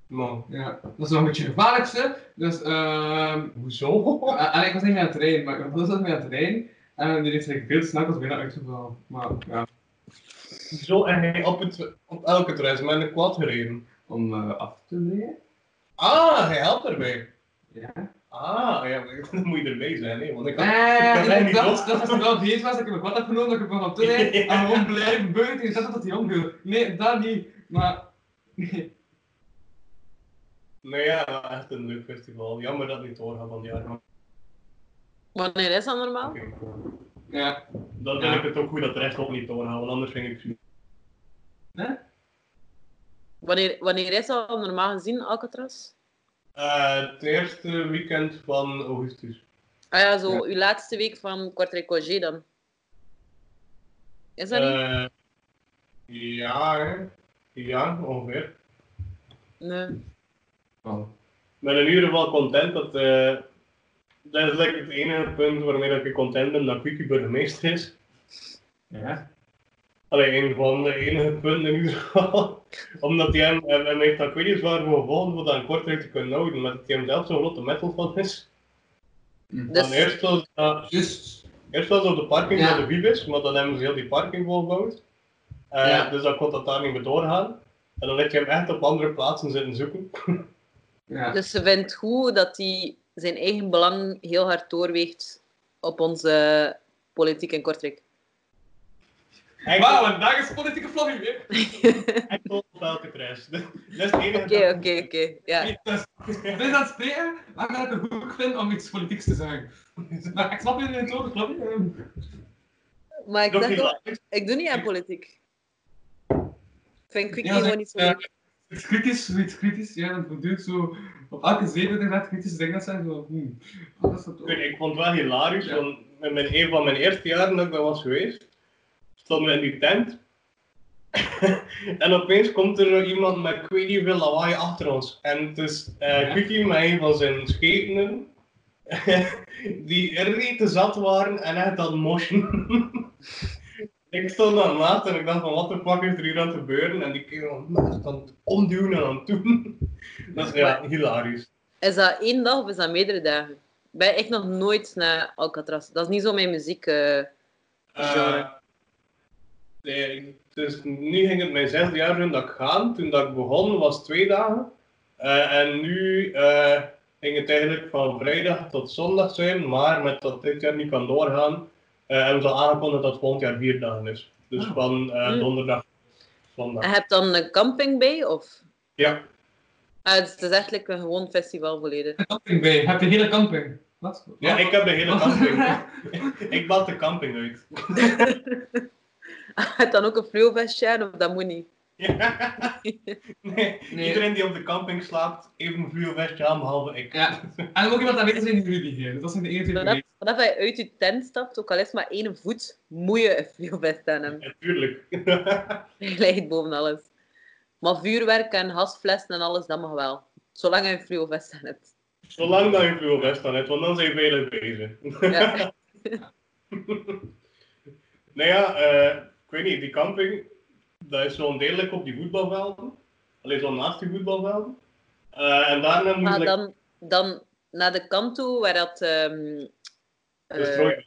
Man, Ja, dat is wel een beetje het gevaarlijkste. Dus, ehm... hoezo? en- en ik was niet meer aan het rijden, maar ik was dus mee aan het rijden. En die is eigenlijk veel te snel, ik was bijna uitgevallen. Maar, ja, Zo en hij op, het, op elke terras met een quad gereden. om eh, af te rijden. Ah, hij helpt erbij. Ja. Ah, ja, maar dan moet je erbij zijn, hè? Want ik had... kan mij Nee, niet ik dacht los. dat als ik wel bezig was, dat ik mijn kwad heb genomen, dat ik ervan op te rijden. En gewoon blijven beuken tegen dat dat hij omviel. Nee, dat niet. Maar, nee. Nou ja, echt een leuk festival. Jammer dat het niet doorgaat van die jaar. maar Wanneer is dat normaal? Oké. Ja. Dan Ja. vind ik het ook goed dat de rest ook niet doorgaat, want anders ging ik... Wanneer, wanneer is dat normaal gezien, Alcatraz? Eh, het eerste weekend van augustus. Ah ja, zo uw laatste week van Quartier Cogé dan. Is dat niet? Eh, ja, hè. ja, ongeveer. Nee. ben in ieder geval content dat. eh, dat is like het enige punt waarmee dat ik content ben dat Quickie burgemeester is. Ja. Alleen een van de enige punten in ieder geval. Omdat hij hem, hem, hem heeft dat ik weet niet waar voor gevolgd om dat een kortrijk te kunnen houden, maar dat hij hem zelf zo'n grote metal van is. Dan Dus, eerst was, dat- Juist. eerst was op de parking Ja. van de Wiebes, maar dan hebben ze heel die parking volgebouwd. Eh, Ja. Dus dan kon dat daar niet meer doorgaan. En dan heb je hem echt op andere plaatsen zitten zoeken. Ja. dus ze vindt goed dat hij zijn eigen belang heel hard doorweegt op onze politiek in Kortrijk. Wauw, en daar is politieke vlogging weer. Enkel op elke terras. Dat is het enige. Oké, oké, oké. Ja. Ik ben aan het spreken, maar ik het een goed vind om iets politieks te zeggen. Maar ik snap jullie niet hoor, ik snap je? Maar ik, Nog zeg niet wel, laat. ik doe niet aan politiek. Ik vind Quickie Ja, gewoon niet zo eh, leuk. Iets kritisch, zoiets kritisch. Ja, dat bedoelt zo... Op elke zeven dat ik kritische dingen zijn, zo... Hmm, wat is dat Ik ook? weet- Ik vond het wel hilarisch, Ja. want in mijn, een van mijn eerste jaren dat ik daar was geweest, stonden we in die tent. en opeens komt er zo iemand met ik weet niet hoeveel lawaai achter ons. En het is eh Quickie met een van zijn schepenen, die rete zat waren en echt dat motion. ik stond aan naast en ik dacht van wat de fuck is er hier aan het gebeuren? En die kerel was aan het omduwen en aan het doen. dat is ja, hilarisch. Is dat één dag of is dat meerdere dagen? Ik ben echt nog nooit naar Alcatraz. Dat is niet zo mijn muziek. eh. Genre. Eh, nee, dus nu ging het mijn zesde jaar doen dat ik gaan. Toen dat ik begon was twee dagen. Eh, en nu eh, ging het eigenlijk van vrijdag tot zondag zijn, maar met dat dit jaar niet kan doorgaan, eh, hebben ze al aangekondigd dat het volgend jaar vier dagen is. Dus Ah. Eh. van eh, Hm. donderdag tot En zondag. heb je dan een camping bij? Of? Ja. Ah, het is- het is eigenlijk een gewoon festival volledig. camping bij. Heb je een hele camping? Wat? Ja, ik heb de Oh. hele camping. ik bad de camping uit. Heb je dan ook een fluovestje aan of dat moet niet? nee, Nee. Iedereen die op de camping slaapt, even een vuurwestje aan, behalve ik. Ja. En ook iemand aanwezig zijn die jullie hier. Dus dat zijn de enige twee Vanaf, mensen. vanaf je uit je tent stapt, ook al is maar één voet, moet je een fluovest aan hebben. Natuurlijk. Hij ligt boven alles. Maar vuurwerk en gasflessen en alles, dat mag wel. Zolang je een friovest aan hebt. Zolang dat je veel best aan hebt, want dan zijn we veilig bezig. Ja. Nou ja, eh, ik weet niet, die camping, dat is zo'n degelijk op die voetbalvelden. Alleen zo naast die voetbalvelden. Eh, en daarna moet Maar je... dan, dan naar de kant toe waar dat... ehm, de eh, strooi-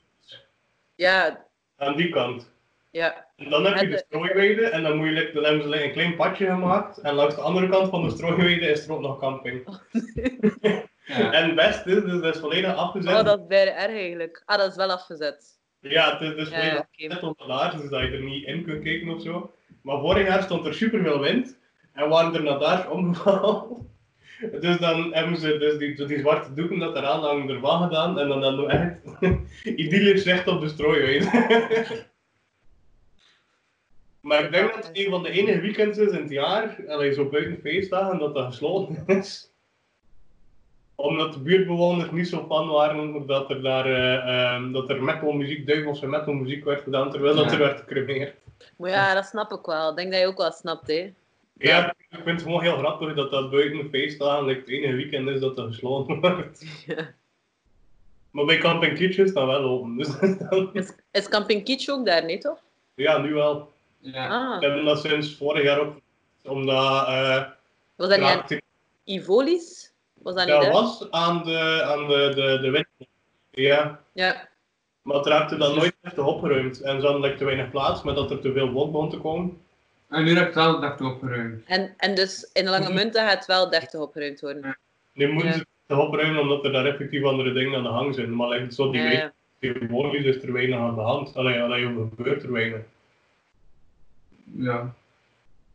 ja, aan die kant. ja. En dan heb je En de de- strooiweide en dan, moet je, like- dan hebben ze like een klein padje gemaakt. En langs de andere kant van de strooiweide is er ook nog camping. Oh. Ja. En het beste is, dus dat is volledig afgezet. Oh, dat is bijna erg eigenlijk. Ah, dat is wel afgezet. Ja, het is dus Ja, volledig oké. afgezet op de laars, dus dat je er niet in kunt kijken of zo. Maar vorig jaar stond er superveel wind en waren er nadaars omgevallen. Dus dan hebben ze dus die, die zwarte doeken dat eraan hangen ervan gedaan en dan dan doen we echt idyllisch recht op de strooi Maar ik denk dat het een van de enige weekends is in het jaar, allee, zo buiten feestdagen, dat dat gesloten is. Omdat de buurtbewoners niet zo fan waren dat er, daar, eh, ehm, dat er metalmuziek, duivelse metalmuziek werd gedaan, terwijl dat er Ja. werd gecremeerd. Maar ja, dat snap ik wel. Ik denk dat je ook wel snapt, hè. Ja, ik vind het gewoon heel grappig dat dat buiten feestdagen like, het enige weekend is dat dat gesloten wordt. Ja. Maar bij Camping Kitchen is dat wel open. Dus dan- Is, is Camping Kitsch ook daar, niet toch? ja, nu wel. Ja. We Ah, hebben dat sinds vorig jaar ook. Omdat eh was dat niet aan Kraakte- Ivolis? Was dat niet Ja, daar? was aan de, aan de, de, de wet. Ja, Ja. maar het raakte dan nooit echt opgeruimd. En zo hadden like, te weinig plaats, maar dat er te veel wolk begon te komen. En nu heb ik wel de dag opgeruimd. En, en dus in de lange munten gaat het wel 30 opgeruimd worden. Nu moeten Ja. ze het opruimen omdat er daar effectief andere dingen aan de hang zijn. Maar like, zo die Ja, weet, ja. tegenwoordig is er weinig aan de hand. Allee, allee, gebeurt er weinig. Ja.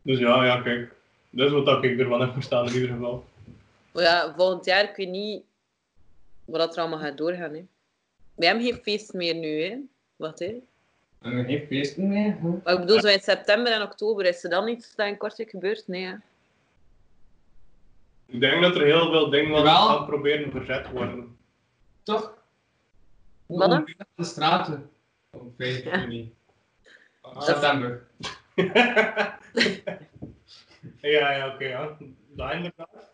Dus ja, ja, kijk. Dat is wat dat ik ervan heb verstaan in ieder geval. Maar ja, volgend jaar kun je niet wat dat er allemaal gaat doorgaan. Hè. Wij hebben geen feest meer nu. Hè. Wat hè? En geen feesten meer. hè. Maar ik bedoel, zo in september en oktober is er dan iets dat in kortrijk gebeurt? Nee. Hè. Ik denk dat er heel veel dingen wel Jawel. gaan proberen verzet worden. Toch? Hoe Mannen? hoe op de straten. Op 5 Ja. juni. Ah, September. Ja, ja, oké, ja. Dat inderdaad.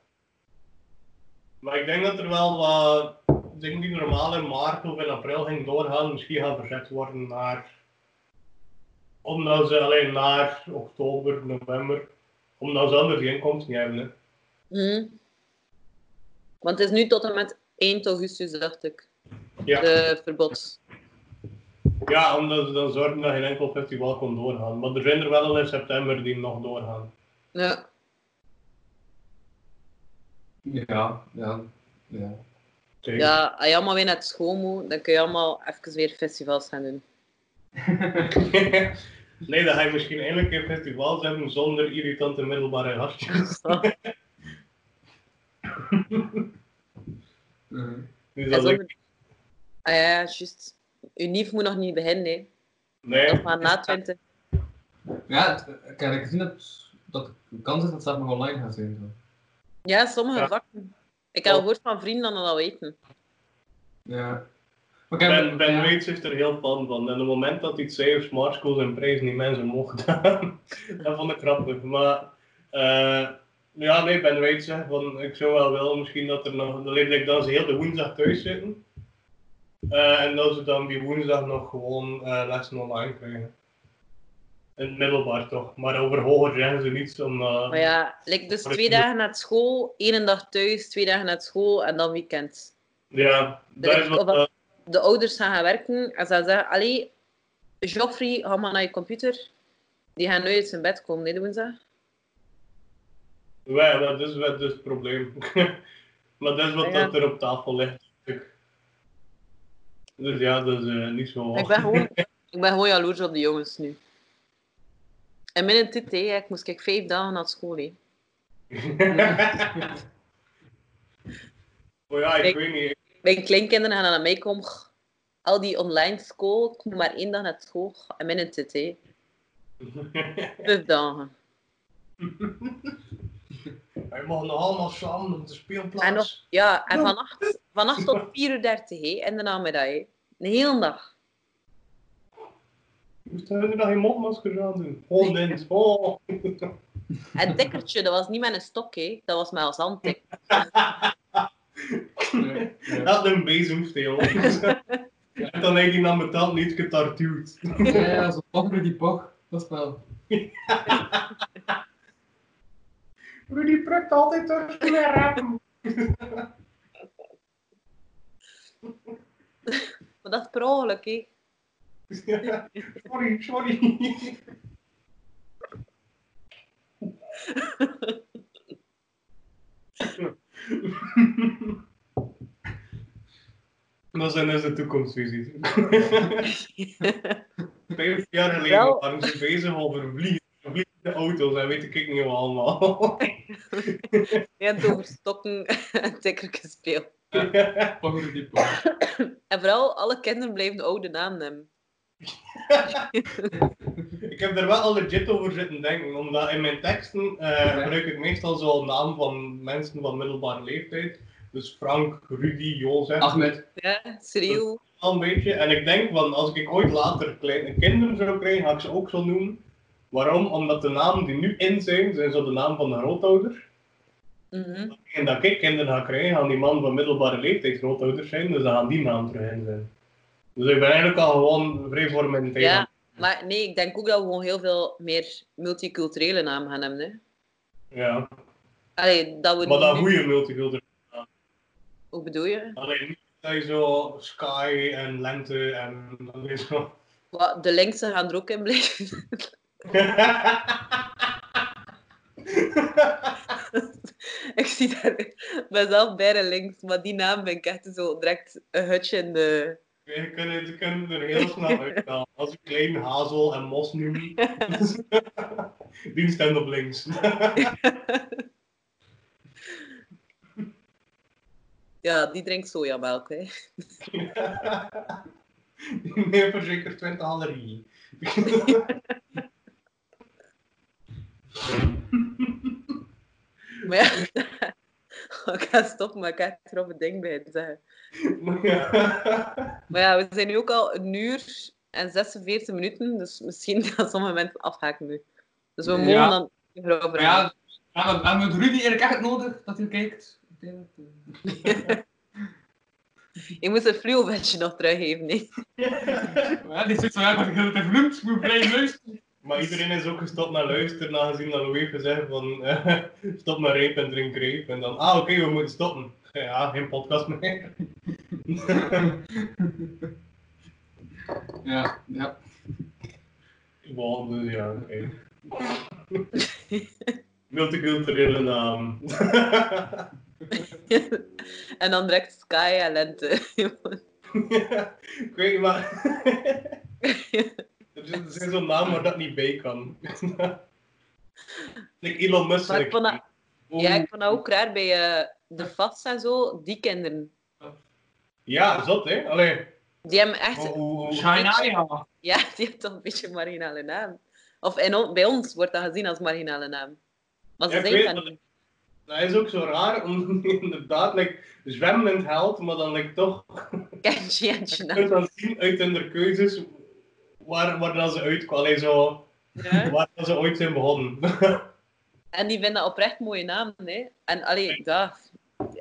Maar ik denk dat er wel wat dingen die normaal in maart of in april gingen doorgaan, misschien gaan verzet worden naar... Omdat ze alleen naar oktober, november, omdat ze anders die inkomsten niet hebben. Hè. Hm. Want het is nu tot en met 1 augustus, dacht ik. Ja. De verbod. ja, omdat ze dan zorgen dat geen enkel festival kon doorgaan. Maar er zijn er wel al in september die nog doorgaan. Ja. Ja, ja. Ja. Zeker. ja, als je allemaal weer naar het school moet, dan kun je allemaal even weer festivals gaan doen. nee, dan ga je misschien eindelijk een festival hebben zonder irritante middelbare gastjes. Eh, Dus En dat zo- ik... Ah ja, juist. Unief moet nog niet beginnen, hè. Nee, Nog maar na 20. Ja, het- ik heb gezien dat, dat de kans is dat dat nog online gaat zijn. Zo. Ja, sommige Ja. vakken. Ik heb Oh. gehoord van vrienden dat dat al weten. Ja. Maar ik heb- Ben, ben ja. Reeds is er heel fan van. En op het moment dat hij het zei, smart schools en prijzen die mensen mogen gedaan, dat vond ik grappig. Maar eh, ja, nee, Ben Reeds zegt van, ik zou wel willen misschien dat er nog, alleen like, dat ze heel de woensdag thuis zitten. Eh, en dat ze dan die woensdag nog gewoon eh, lessen online krijgen. In het middelbaar toch, maar over hoger zeggen ze niets omdat... Maar ja, like dus Maar ik twee vind- dagen naar school, één dag thuis, twee dagen naar school en dan weekend. Ja, dat is wat... Of als de ouders gaan gaan werken en ze gaan zeggen, allee, Joffrey, ga maar naar je computer. Die gaan nooit uit zijn bed komen, nee, doen ze. Ja, dat is wel dus het probleem. maar dat is wat Ja. dat er op tafel ligt. Dus ja, dat is eh, niet zo. Ik ben gewoon, ik ben gewoon jaloers op de jongens nu. En binnen dit, hè, ik moest kijk vijf dagen naar school, hè. maar ja, ik, Ik- weet niet. Mijn kleinkinderen gaan naar mij komen. G- Al die online school, ik moet maar één dag naar school. G- En mijn tit, hè. Vijf dagen. Wij mogen nog allemaal samen op de En nog, speelplaats. ja, en vannacht, vannacht tot 4 uur 30, hè, in de namiddag, hè. Een hele dag. Moest je nu nog geen mondmasker aan doen? Oh, Nens. Oh. Het dikkertje, dat was niet met een stok, hè. dat was met als handtik. Ja, Hij ja. had een bezemsteel. en dan denk ik dan betaald niet getartuwd. Ja, ja, zo poch met die poch. Dat spel. Rudy prikt altijd tussen mijn rapen. Maar dat is per ongeluk, hè. sorry, sorry. Dat zijn dus de toekomstvisies. Vijf jaar geleden Wel- waren ze bezig over vlie- vliegende auto's en weet ik niet wat allemaal. Je hebt over stokken en tikkertjes speel. Poch met die poch. En vooral, alle kinderen blijven de oude naam nemen. Ik heb er wel al legit over zitten denken, omdat in mijn teksten eh, gebruik ik meestal zo'n naam van mensen van middelbare leeftijd. Dus Frank, Rudy, Jozef, Ahmed. Ja, Cyril. al een beetje. En ik denk van als ik ooit later kleine kinderen zou krijgen, ga ik ze ook zo noemen. Waarom? Omdat de namen die nu in zijn, zijn zo de naam van de grootouders. Mhm. En dat ik kinderen ga krijgen, gaan die man van middelbare leeftijd grootouders zijn, dus dan gaan die naam terug in zijn. Dus ik ben eigenlijk al gewoon vrij voor mijn tijd. Ja, maar nee, ik denk ook dat we gewoon heel veel meer multiculturele namen gaan hebben. Hè. Ja. Allee, dat we Maar dat nu- goede multiculturele Hoe bedoel je? Alleen niet dat je zo sky en lente en alleen zo. Wat, de linksen gaan er ook in blijven. ik zie daar ik ben zelf bijna links, maar die naam ben ik echt zo direct een hutje in de... Je kunt het- je kunt er heel snel uithalen. Als ik klein hazel en mos noem. Die stemt op links. Ja, die drinkt sojamelk, hè. Die neemt voor zeker 20 allergie. Maar ja, ik ga stoppen, maar ik heb er op het ding bij te zeggen. Maar ja, we zijn nu ook al een uur en 46 minuten, dus misschien gaan sommige mensen afhaken nu. Dus we mogen Ja. dan erover Maar gaan. ja, hebben hebben we Rudy eigenlijk echt nodig dat hij kijkt? Ik denk dat, eh, Ik moest het fluo-vetje nog teruggeven, hè. Ja, die zit zo uit, maar ik heb het vloemt, moet blijven luisteren. maar iedereen is ook gestopt naar luisteren, aangezien dat Louis gezegd van eh, stop met reep en drink reep. En dan, ah oké, we moeten stoppen. Ja, geen podcast meer. Ja, ja. Wow, dus ja, oké. Multiculturele naam. en dan direct Sky en Lente. ik weet niet, maar... er is- er zijn zo'n naam waar dat niet bij kan. like Elon Musk. Maar ik vond dat- Oh, ja, ik vond dat ook raar bij eh, de vast en zo, die kinderen. Ja, zot hè? Allee. Die hebben echt, Hoe- hoe- hoe- China, ja. ja, die hebben toch een beetje een marginale naam. Of in, on- bij ons wordt dat gezien als marginale naam. Maar ze Ja, ik zijn weet dat dat- niet. Dat is ook zo raar, omdat je inderdaad like, zwemmend held, maar dan like, toch Kenji en China. kunt dan zien uit hun keuzes waar, waar dat ze uitkwamen. Allee, zo, Ja. waar dat ze ooit zijn begonnen. En die vinden dat oprecht mooie namen, hè. En allee, ja,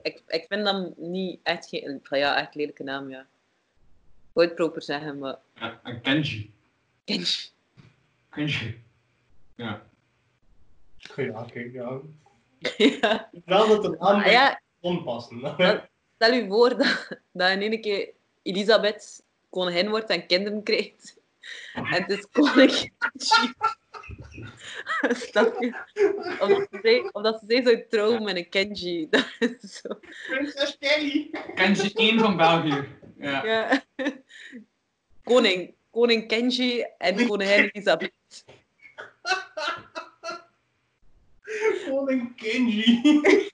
ik, ik vind dat niet echt geen... van Ja, echt lelijke naam, ja. Ik wou het proper zeggen, maar... Ja, en Kenji. Kenji. Kenji. Ja. ja, kijk, ja. Ja. Wel dat de naam Ah, ja, onpassen. Stel u voor dat, dat in één keer Elisabeth koningin wordt en kinderen krijgt. En het is koning. Snap je? Of dat ze zei- Of dat ze zei zou trouwen met een Kenji. Dat is zo. Prinses Kelly! Kenji 1 van België. Ja. Ja. Koning. Koning Kenji en koningin Elisabeth. Koning Kenji!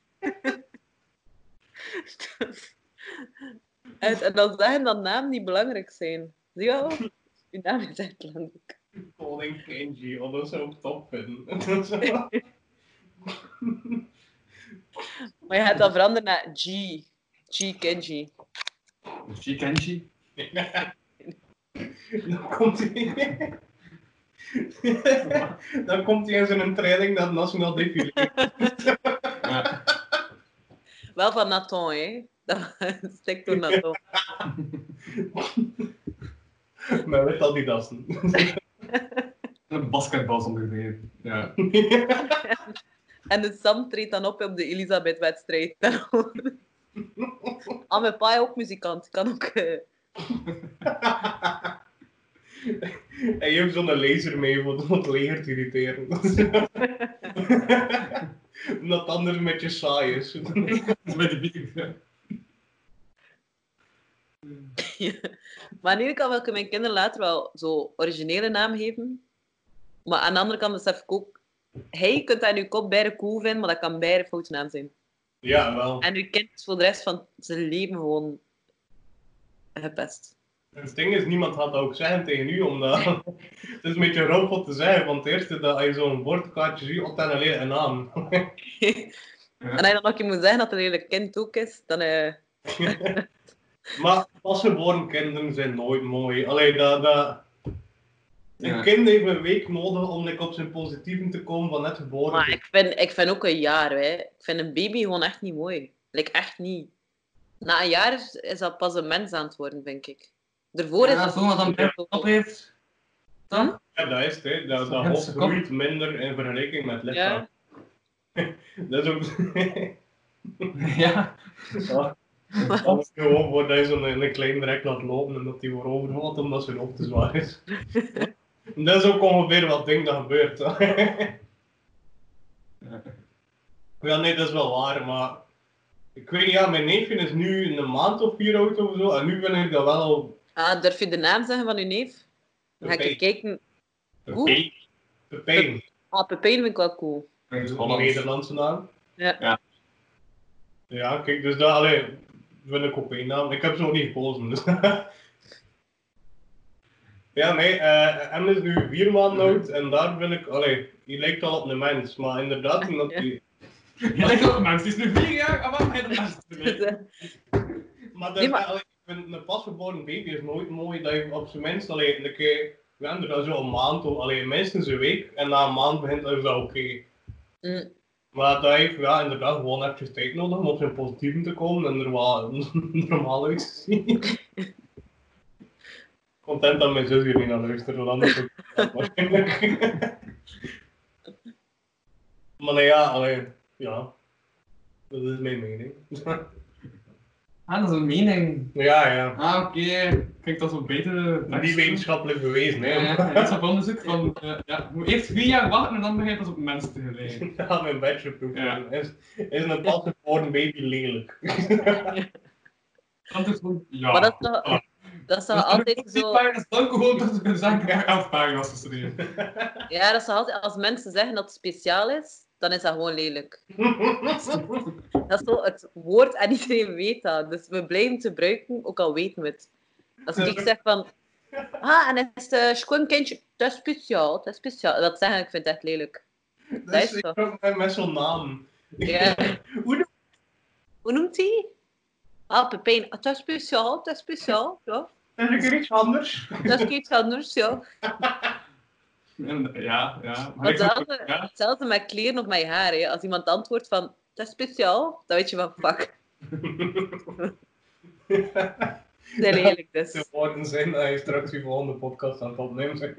En, en dan zeggen dat namen niet belangrijk zijn. Zie je wel? Uw naam is echt belangrijk. Koning Kenji, oh, dat zou ik top vinden. Zo. Maar je gaat dat veranderen naar G. G Kenji. Kenji, Kenji. Dan komt hij. Dan komt hij in zijn training naar het Nationaal Defilé. Ja. Wel van Nathan, hè. Dat steekt door Nathan. Maar weet al die dassen. Een basketbal ongeveer. Ja. En de Sam treedt dan op op de Elisabeth-wedstrijd. ah, mijn pa is ook muzikant. Kan ook... eh, en je hebt zo'n laser mee om het- om het leger te irriteren. Omdat het anders met je saai is. Met de bier. ja. Maar aan de ene kant wil ik mijn kinderen later wel zo originele naam geven. Maar aan de andere kant besef ik ook... Hij kunt dat in je kop bijna cool vinden, maar dat kan bijna een foute naam zijn. ja, wel. En uw kind is voor de rest van zijn leven gewoon gepest. Het ding is, niemand gaat dat ook zeggen tegen u, omdat het is een beetje rauw om te zeggen, want het eerste dat je zo'n woordkaartje ziet, op dan alleen een naam. En als je dan nog een moet zeggen dat het een lelijk kind ook is, dan... eh, maar pasgeboren kinderen zijn nooit mooi. Alleen dat, dat... Ja. Een kind heeft een week nodig om like, op zijn positieven te komen van net geboren. Maar te ik vind, ik vind ook een jaar, hè. Ik vind een baby gewoon echt niet mooi. Like, echt niet. Na een jaar is, is dat pas een mens aan het worden, denk ik. Daarvoor is Ja, dat... zolang dat een op heeft, dan? Ja, dat is het. hè. Dat, dat Ja, hoofd ze komt- groeit minder in vergelijking met lichaam. Dat is ook... Ja. dat is gewoon voor dat je zo'n een klein direct laat lopen en dat die wordt overvalt omdat zijn hoofd te zwaar is. dat is ook ongeveer wat ding dat gebeurt. ja, nee, dat is wel waar, maar... Ik weet niet, ja, mijn neefje is nu een maand of vier oud of zo, en nu ben ik dat wel al... Ah, durf je de naam zeggen van uw neef? Dan ga ik Pepijn. eens kijken. Oeh, Pepijn. Pepijn. ah, Pepijn vind ik wel cool. Dat is Een Holland. Nederlandse naam. Ja. Ja. Ja, kijk, dus dat allee, vind ik ook één naam. Ik heb zo niet gekozen. Dus. ja, nee, eh hem is nu vier maanden oud en daar vind ik, allee, die lijkt al op een mens, maar inderdaad, omdat die, Je lijkt ook mensen, het is nu vier jaar, Ah, maar wat heb je Dus, er eh, maar dat, Nee, maar- allee, ik vind een pasgeboren baby is nooit mooi dat je op zijn minst allee, een keer, we hebben er al zo een maand, of, allee, minstens een week en na een maand begint dat wel oké. mm, Maar dat heeft ja, inderdaad gewoon even tijd nodig om op zijn positieven te komen en er wel normaal uit te zien. Content dat mijn zus hier niet naar luistert, want anders ook waarschijnlijk. Maar nee, ja, allee, ja. Dat is mijn mening. Ah, dat is een mening. Ja, ja. Ah, oké. Kijk, dat is wel beter. Niet wetenschappelijk bewezen, Nee, hè. ja, iets op onderzoek van, eh, ja, je moet eerst vier jaar wachten en dan begint pas op mensen te geleiden. Ja, mijn bachelorproef. Ja. Is, is een pasgeboren baby lelijk? Dat is gewoon, ja. Maar dat is toch- Ah. dat is Dus toch er altijd moet tien zo... pagina's lang gewoon dat ze kunnen zeggen, ik heb elf pagina's geschreven. Ja, dat is toch altijd... Als mensen zeggen dat het speciaal is, dan is dat gewoon lelijk. Dat is zo het woord en iedereen weet dat. Dus we blijven het gebruiken, ook al weten we het. Als ik zeg van... Ah, en het is eh, schoon kindje. Dat is speciaal, dat is speciaal. Dat zeggen, ik vind het echt lelijk. Dat is is toch- zeker ook met- met zo'n naam. Ja. Hoe de- Hoe noemt hij? Ah, Pepijn. Ah, dat is speciaal, dat is speciaal. Ja. Dat is een keer iets anders. Dat is iets anders, ja. En, ja, ja. Maar ik zou- Hetzelfde, ja. hetzelfde met kleren of met je haar. Hè. Als iemand antwoordt van... Dat is speciaal, dan weet je van... Fuck, dat is lelijk dus. De woorden zijn dat je straks die volgende podcast aan het opnemen bent.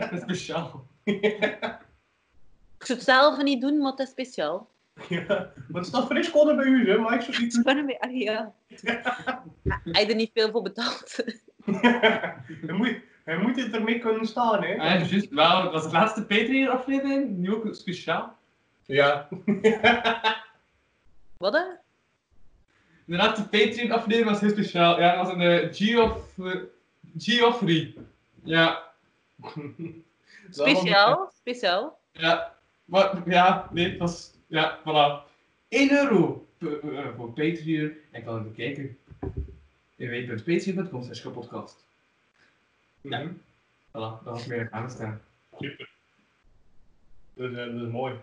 Dat is speciaal. Ik zou het zelf niet doen, maar dat is speciaal. ja. Maar het staat fris konden bij u, hè? maar ik zou niet doen. Waarom ben je... Ja. Hij er niet veel voor betaald. Hij moet, hij moet het ermee kunnen staan, hè? Ah, ja, juist. Wel, dat was de laatste Patreon-aflevering, nu ook speciaal. Ja. Wat hè? De laatste Patreon-aflevering was heel speciaal. Ja, dat was een eh, Geoff... eh, Geoffrey. Ja, Speciaal, speciaal. ja. Maar, ja, nee, het was... Ja, voilà. 1 euro per- eh, voor Patreon. En kan het bekijken. www.patreon.com slash kapotkast. Ja. Mhm. Voilà, dat was meer aan te staan. Dat, is, eh, dat is mooi.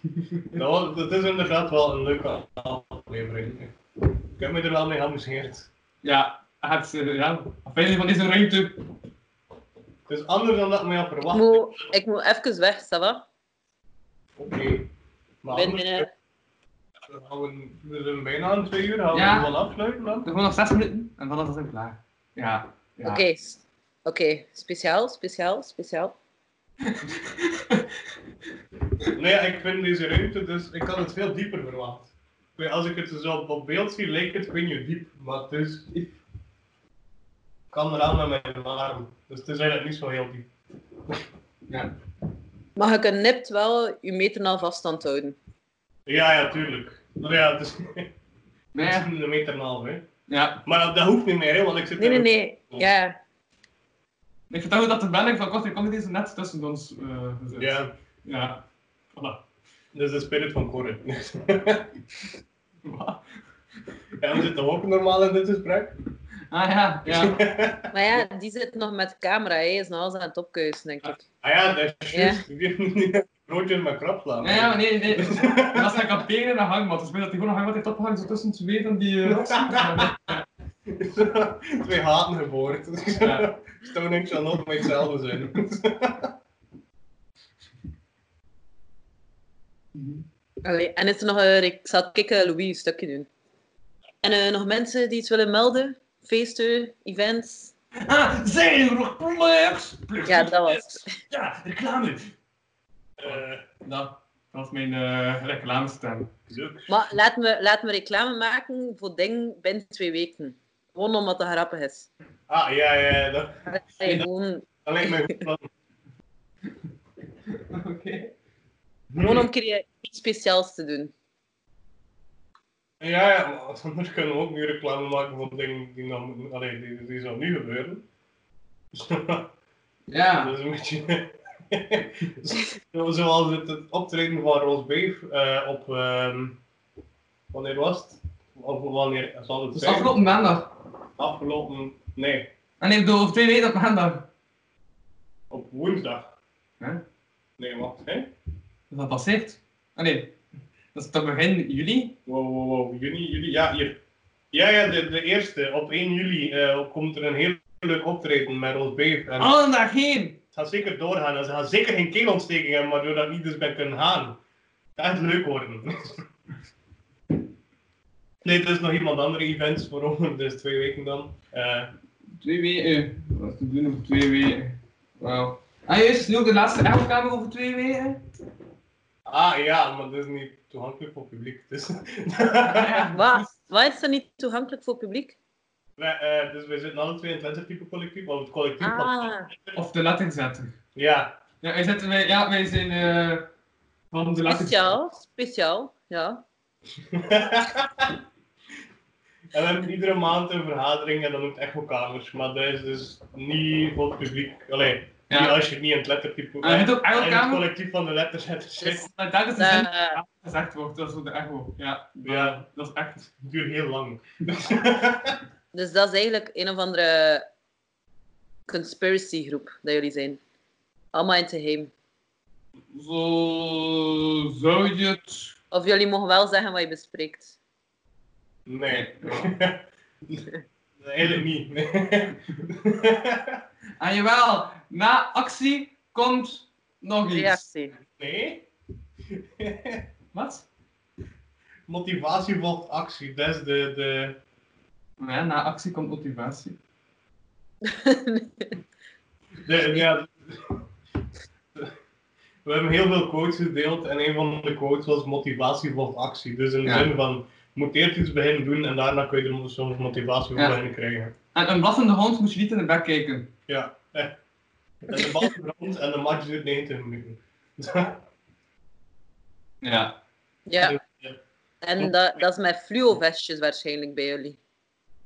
dat, was- dat is inderdaad wel een leuke aflevering. Ik heb me er wel mee geamuseerd. Ja, het, eh, ja. Afijn van deze ruimte. Dus anders dan dat ik mij had verwacht. Ik moet, ik moet even weg, ça va? Oké. Maar Binnen, binnen. anders dan gaan we, we zijn bijna aan twee uur, gaan we Ja. gewoon afsluiten dan? Gewoon nog zes minuten en dan is het ook klaar. Ja. ja. Oké, s- oké. Speciaal, speciaal, speciaal. Nee, ja, ik vind deze ruimte, dus ik had het veel dieper verwacht. Ik weet, Als ik het zo op, op beeld zie, lijkt het kun je diep, maar het is diep. Ik kan eraan met mijn arm, dus het is eigenlijk niet zo heel diep. Ja. Maar je kunt nipt wel je meter en vaststand houden. Ja, ja, tuurlijk. Maar ja, het is, Nee, het ja. is een meter en een half, hè. ja. Maar dat, dat hoeft niet meer, hè, want ik zit Nee, nee, er- nee. Ja. Ik vind het ook dat de belling van Kortrijk Comedy is net tussen ons eh gezet. Ja, Ja. Voilà. dat is de spirit van Corrie. Wat? ja, we zitten ook normaal in dit gesprek. Ah ja, ja. Maar ja, die zit nog met camera. Hij is nog altijd aan het opkuisen, denk ik. Ah ja, dat is juist. Broodjes met krapslaan. Nee, ja, nee, nee. En als hij kan tegen een hangmat, dus ik weet dat hij gewoon een hangmat heeft opgehangen zo tussen twee van die... eh, ja. Twee haten geboren. Ja. Stone Age zal nooit meer hetzelfde zijn. Allee, en is er nog een, ik zal kikken Louis een stukje doen. En eh, nog mensen die iets willen melden? Feesten, events? Ah, zijn er nog plugs? Plugs, Ja, dat was het. Ja, reclame. Eh, Nou, dat was mijn eh reclamestem. zo. Maar laat me, laat me reclame maken voor ding binnen twee weken. Gewoon omdat het grappig is. ah, ja, ja, ja, dat, Allee, gewoon, dat lijkt me goed plan. Oké. gewoon om een keer iets speciaals te doen. Ja, ja, maar anders kunnen we ook nu reclame maken van dingen die, dan, allee, die, die zou nu gebeuren. Dus- Ja. dat is Dus een beetje... Zo- Zoals het, het optreden van Roos Beef eh, op... ehm, wanneer was het? Of wanneer zal het Dus zijn? afgelopen maandag. Afgelopen... Nee, En ik bedoel, over twee weken op maandag. op woensdag. Hè? Nee, wacht, hè? Is dat passeert? Ah nee. Dat is toch begin juli? Wow, wow, wow. Juni, juli, ja, hier. Ja, ja, de, de eerste. Op 1 juli eh, komt er een heel leuk optreden met Roos Beef. En Oh, daarheen! Het gaat zeker doorgaan. En ze gaan zeker geen keelontsteking hebben, waardoor dat niet dus ben kunnen gaan. Dat gaat leuk worden. nee, er is nog iemand andere events voor over, dus twee weken dan. Eh, Twee weken. eh, Wat is te doen over twee weken? Wauw. Ah, juist, nu ook de laatste echokamer over twee weken. ah ja, maar dat is niet toegankelijk voor het publiek. Dus, Wat, wat is er niet toegankelijk voor publiek? wij, eh, dus wij zitten alle twee in het lettertype collectief, want het collectief van- Ah, Of de letterzetter. Ja, Ja, wij, zetten, wij, ja, wij zijn eh van de letterzetter. Ah, speciaal, speciaal, ja. En we hebben iedere maand een vergadering en dan ook echt wel kamers. Maar dat is dus niet voor het publiek. Allee, Ja. niet als je het niet in het lettertype... Ah, je hebt ook in het echokamer? collectief van de letterzetters zit. Dat dat is het Eh, gezegd wordt, dat is voor de echo. Ja, Ja, dat is echt. het duurt heel lang. dus dat is eigenlijk een of andere conspiracy groep dat jullie zijn. Allemaal in het geheim. Zo zou je het. Of jullie mogen wel zeggen wat je bespreekt. Nee. Eigenlijk niet. Nee. En Ah, jawel, na actie komt nog iets. Reactie. nee. Wat? Motivatie volgt actie. Dat is de... de... Ja, na actie komt motivatie. de ja. We hebben heel veel quotes gedeeld en een van de quotes was motivatie volgt actie. Dus in de Ja. zin van, je moet eerst iets beginnen doen en daarna kun je er soms motivatie voor Ja. beginnen krijgen. En een blaffende hond moet je niet in de bek kijken. Ja. eh. En de bal brandt en de match duurt 90 minuten. Ja. Ja. Ja. En dat, dat is met fluovestjes waarschijnlijk bij jullie.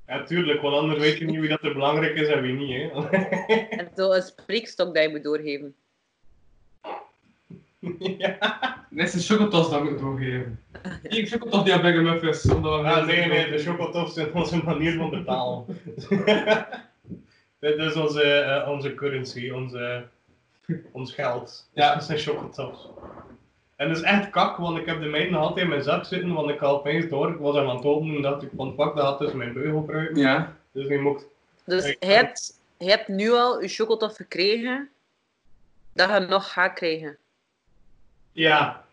Ja, tuurlijk, want anders weet je niet wie dat er belangrijk is en wie niet. Hè. En zo een spreekstok dat je moet doorgeven. ja. Dit is een chocotos dat moet ik doorgeven. Ik chocotos die aan Big Muff is. Omdat we Ah, nee, nee, de chocotofs zijn onze manier van betalen. Dit is onze, eh, onze currency, onze, ons geld. Ja. dat zijn chocotofs. En dat is echt kak, want ik heb de mijne nog altijd in mijn zak zitten, want ik had opeens door, ik was hem aan het openen en dacht ik van fuck, dat had dus mijn beugel gebruiken. Ja. Dus nu moet ik- Dus Ik- je hebt, je hebt nu al je chocolade gekregen, dat je nog gaat krijgen. Ja.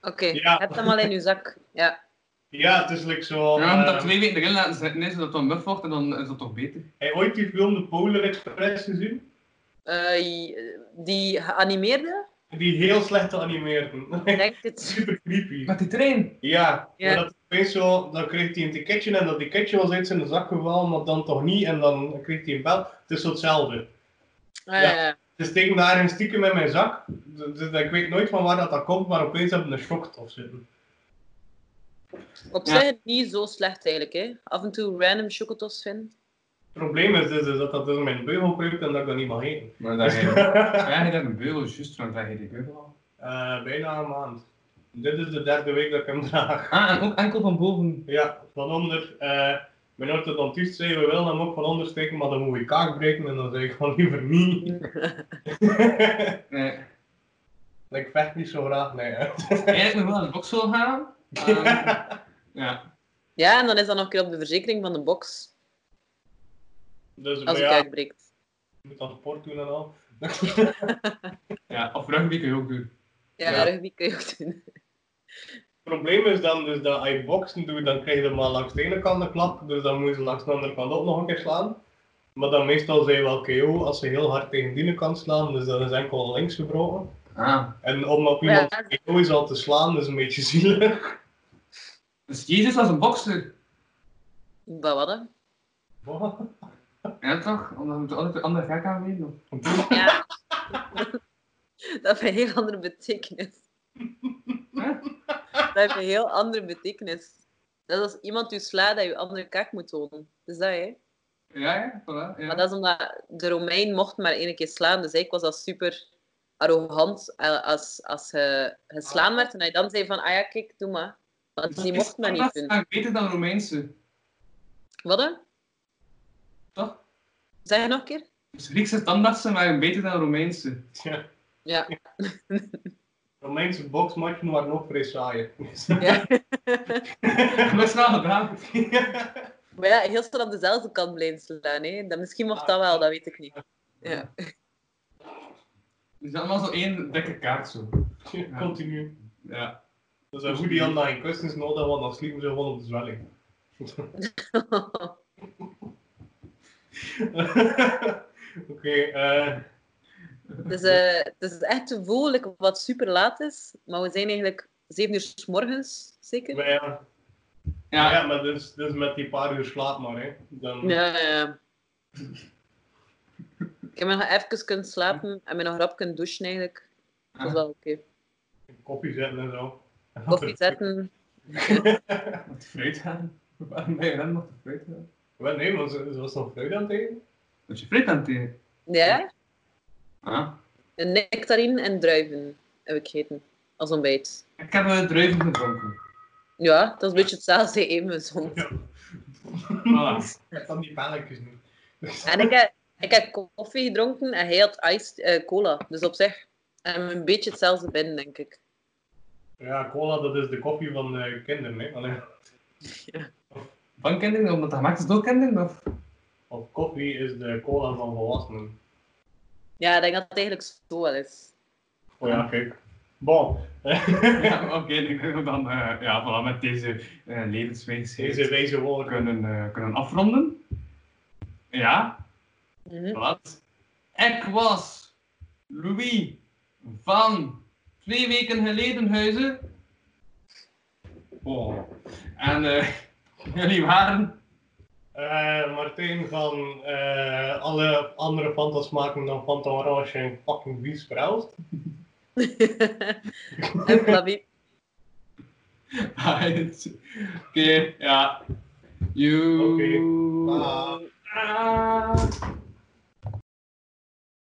Oké, Ja. heb hem al in je zak. Ja. Ja, het is like zo... Ja, maar eh, dat twee weken erin laten zitten, nee, zodat het dan muf wordt en dan is dat toch beter. Heb je ooit die film De Polar Express gezien? Eh, je- die geanimeerde? Die heel slecht geanimeerd. Ik Denk het. Super creepy. Met die trein. Ja, Ja. maar dat opeens zo, dan kreeg hij een ticketje en dat ticketje was uit zijn zak gevallen, maar dan toch niet en dan kreeg hij een bel. Het is zo hetzelfde. Ah, Ja. ja. Dus steek hem daarin stiekem in mijn zak. Dus, dus ik weet nooit van waar dat, dat komt, maar opeens heb ik een shock of zitten. Op Ja. zich niet zo slecht eigenlijk. Hè. Af en toe random chocotofs vinden. Het probleem is dus, is dat dat in mijn beugel kruipt en dat ik dat niet mag eten. Maar dat je, ja, je dat een beugel, juist, want dat je die beugel al. Eh, bijna een maand. Dit is de derde week dat ik hem draag. Ah, en ook enkel van boven. Ja, van onder. eh mijn orthodontist zei, we willen hem ook van onder steken, maar dan moet je kaak breken en dan zei ik van liever niet. Nee. ik vecht niet zo graag, nee. hè. Eigenlijk moet je wel naar de boksel gaan. Ehm, ja. Ja, en dan is dat nog een keer op de verzekering van de box. Dus maar Als ja, het uitbreekt. je moet dan sport doen en al. ja, of rugby kun je ook doen. Ja, Ja. rugby kun je ook doen. Het probleem is dan dus dat als je boksen doet, dan krijg je maar langs de ene kant een klap, dus dan moet je ze langs de andere kant ook nog een keer slaan. Maar dan meestal zijn wel KO als ze heel hard tegen die ene kant slaan, dus dan is enkel links gebroken. Ah. En om op Ja. iemand KO is al te slaan, is een beetje zielig. Dus Jezus was een bokser. Bij wat dan? Wat? Ja toch? Omdat we altijd een andere gek aan weten. Ja. dat heeft een heel andere betekenis. Huh? Dat heeft een heel andere betekenis. Dat is als iemand u slaat, dat je andere kaak moet tonen. Dus dat, hè. Ja, ja, voilà. Ja. Maar dat is omdat de Romein mocht maar één keer slaan. Dus ik was al super arrogant eh, als, als je geslaan werd. En hij dan zei van, ah ja, kijk, doe maar. Want Dus die mocht maar niet doen. Dat is beter dan Romeinse. Wat dan? Toch? Zeg je nog een keer? Dus Griekse standaardsen waren beter dan Romeinse. Ja. Ja. Romeinse boksmatchen waren nog vrij saai. ja. Dat is wel gedaan. Maar ja, heel snel op dezelfde kant blijven slaan. Hè. Dan, misschien mocht dat wel, dat weet ik niet. Ja. Dus allemaal zo één dikke kaart zo. Continu. Ja. Dus een goede Jan daar in kussens nodig, want dan sliepen ze gewoon op de zwelling. Oké, eh Dus, eh, het is echt te voelen wat super laat is. Maar we zijn eigenlijk zeven uur 's morgens, zeker? maar ja. Ja. Ja, maar dus, dus met die paar uur slaap maar, hè. Dan, Ja, ja. Ik heb nog even kunnen slapen en me nog rap kunnen douchen eigenlijk. Dat is wel oké. Koffie zetten en zo. Koffie zetten. Met de fruit gaan. Waarom ben je dan nog de fruit gaan? Wel, nee, maar ze ze was nog fruit aan het eten. Dat je fruit aan het eten. Ja, Ah. een nectarine en druiven heb ik gegeten. Als ontbijt. Ik heb eh, druiven gedronken. Ja, dat is een beetje hetzelfde even soms. Voilà. Ik heb dan die pannetjes nu. En ik heb, ik heb koffie gedronken en hij had iced eh, cola. Dus op zich hebben we een beetje hetzelfde binnen, denk ik. Ja, cola, dat is de koffie van de kinderen, hè. Allee, Van kinderen, omdat dat gemaakt is door kinderen? Of? Of koffie is de cola van volwassenen. Ja, ik denk dat het eigenlijk zo wel is. Oh ja, kijk. Bon. Ja, oké. ik denk dat we dan eh, ja, voilà, met deze eh Deze levenswijsheid wijze woorden. kunnen, eh, kunnen afronden. Ja, Mhm. Wat? Ik was Louis van twee weken geleden huizen. Oh. En eh, jullie waren. Eh, Martijn van eh, alle andere Fantas maken dan Fanta Orange en fucking vies verhuisd. en Flavie. Oké, ja. You. Oké. Ah. Ah.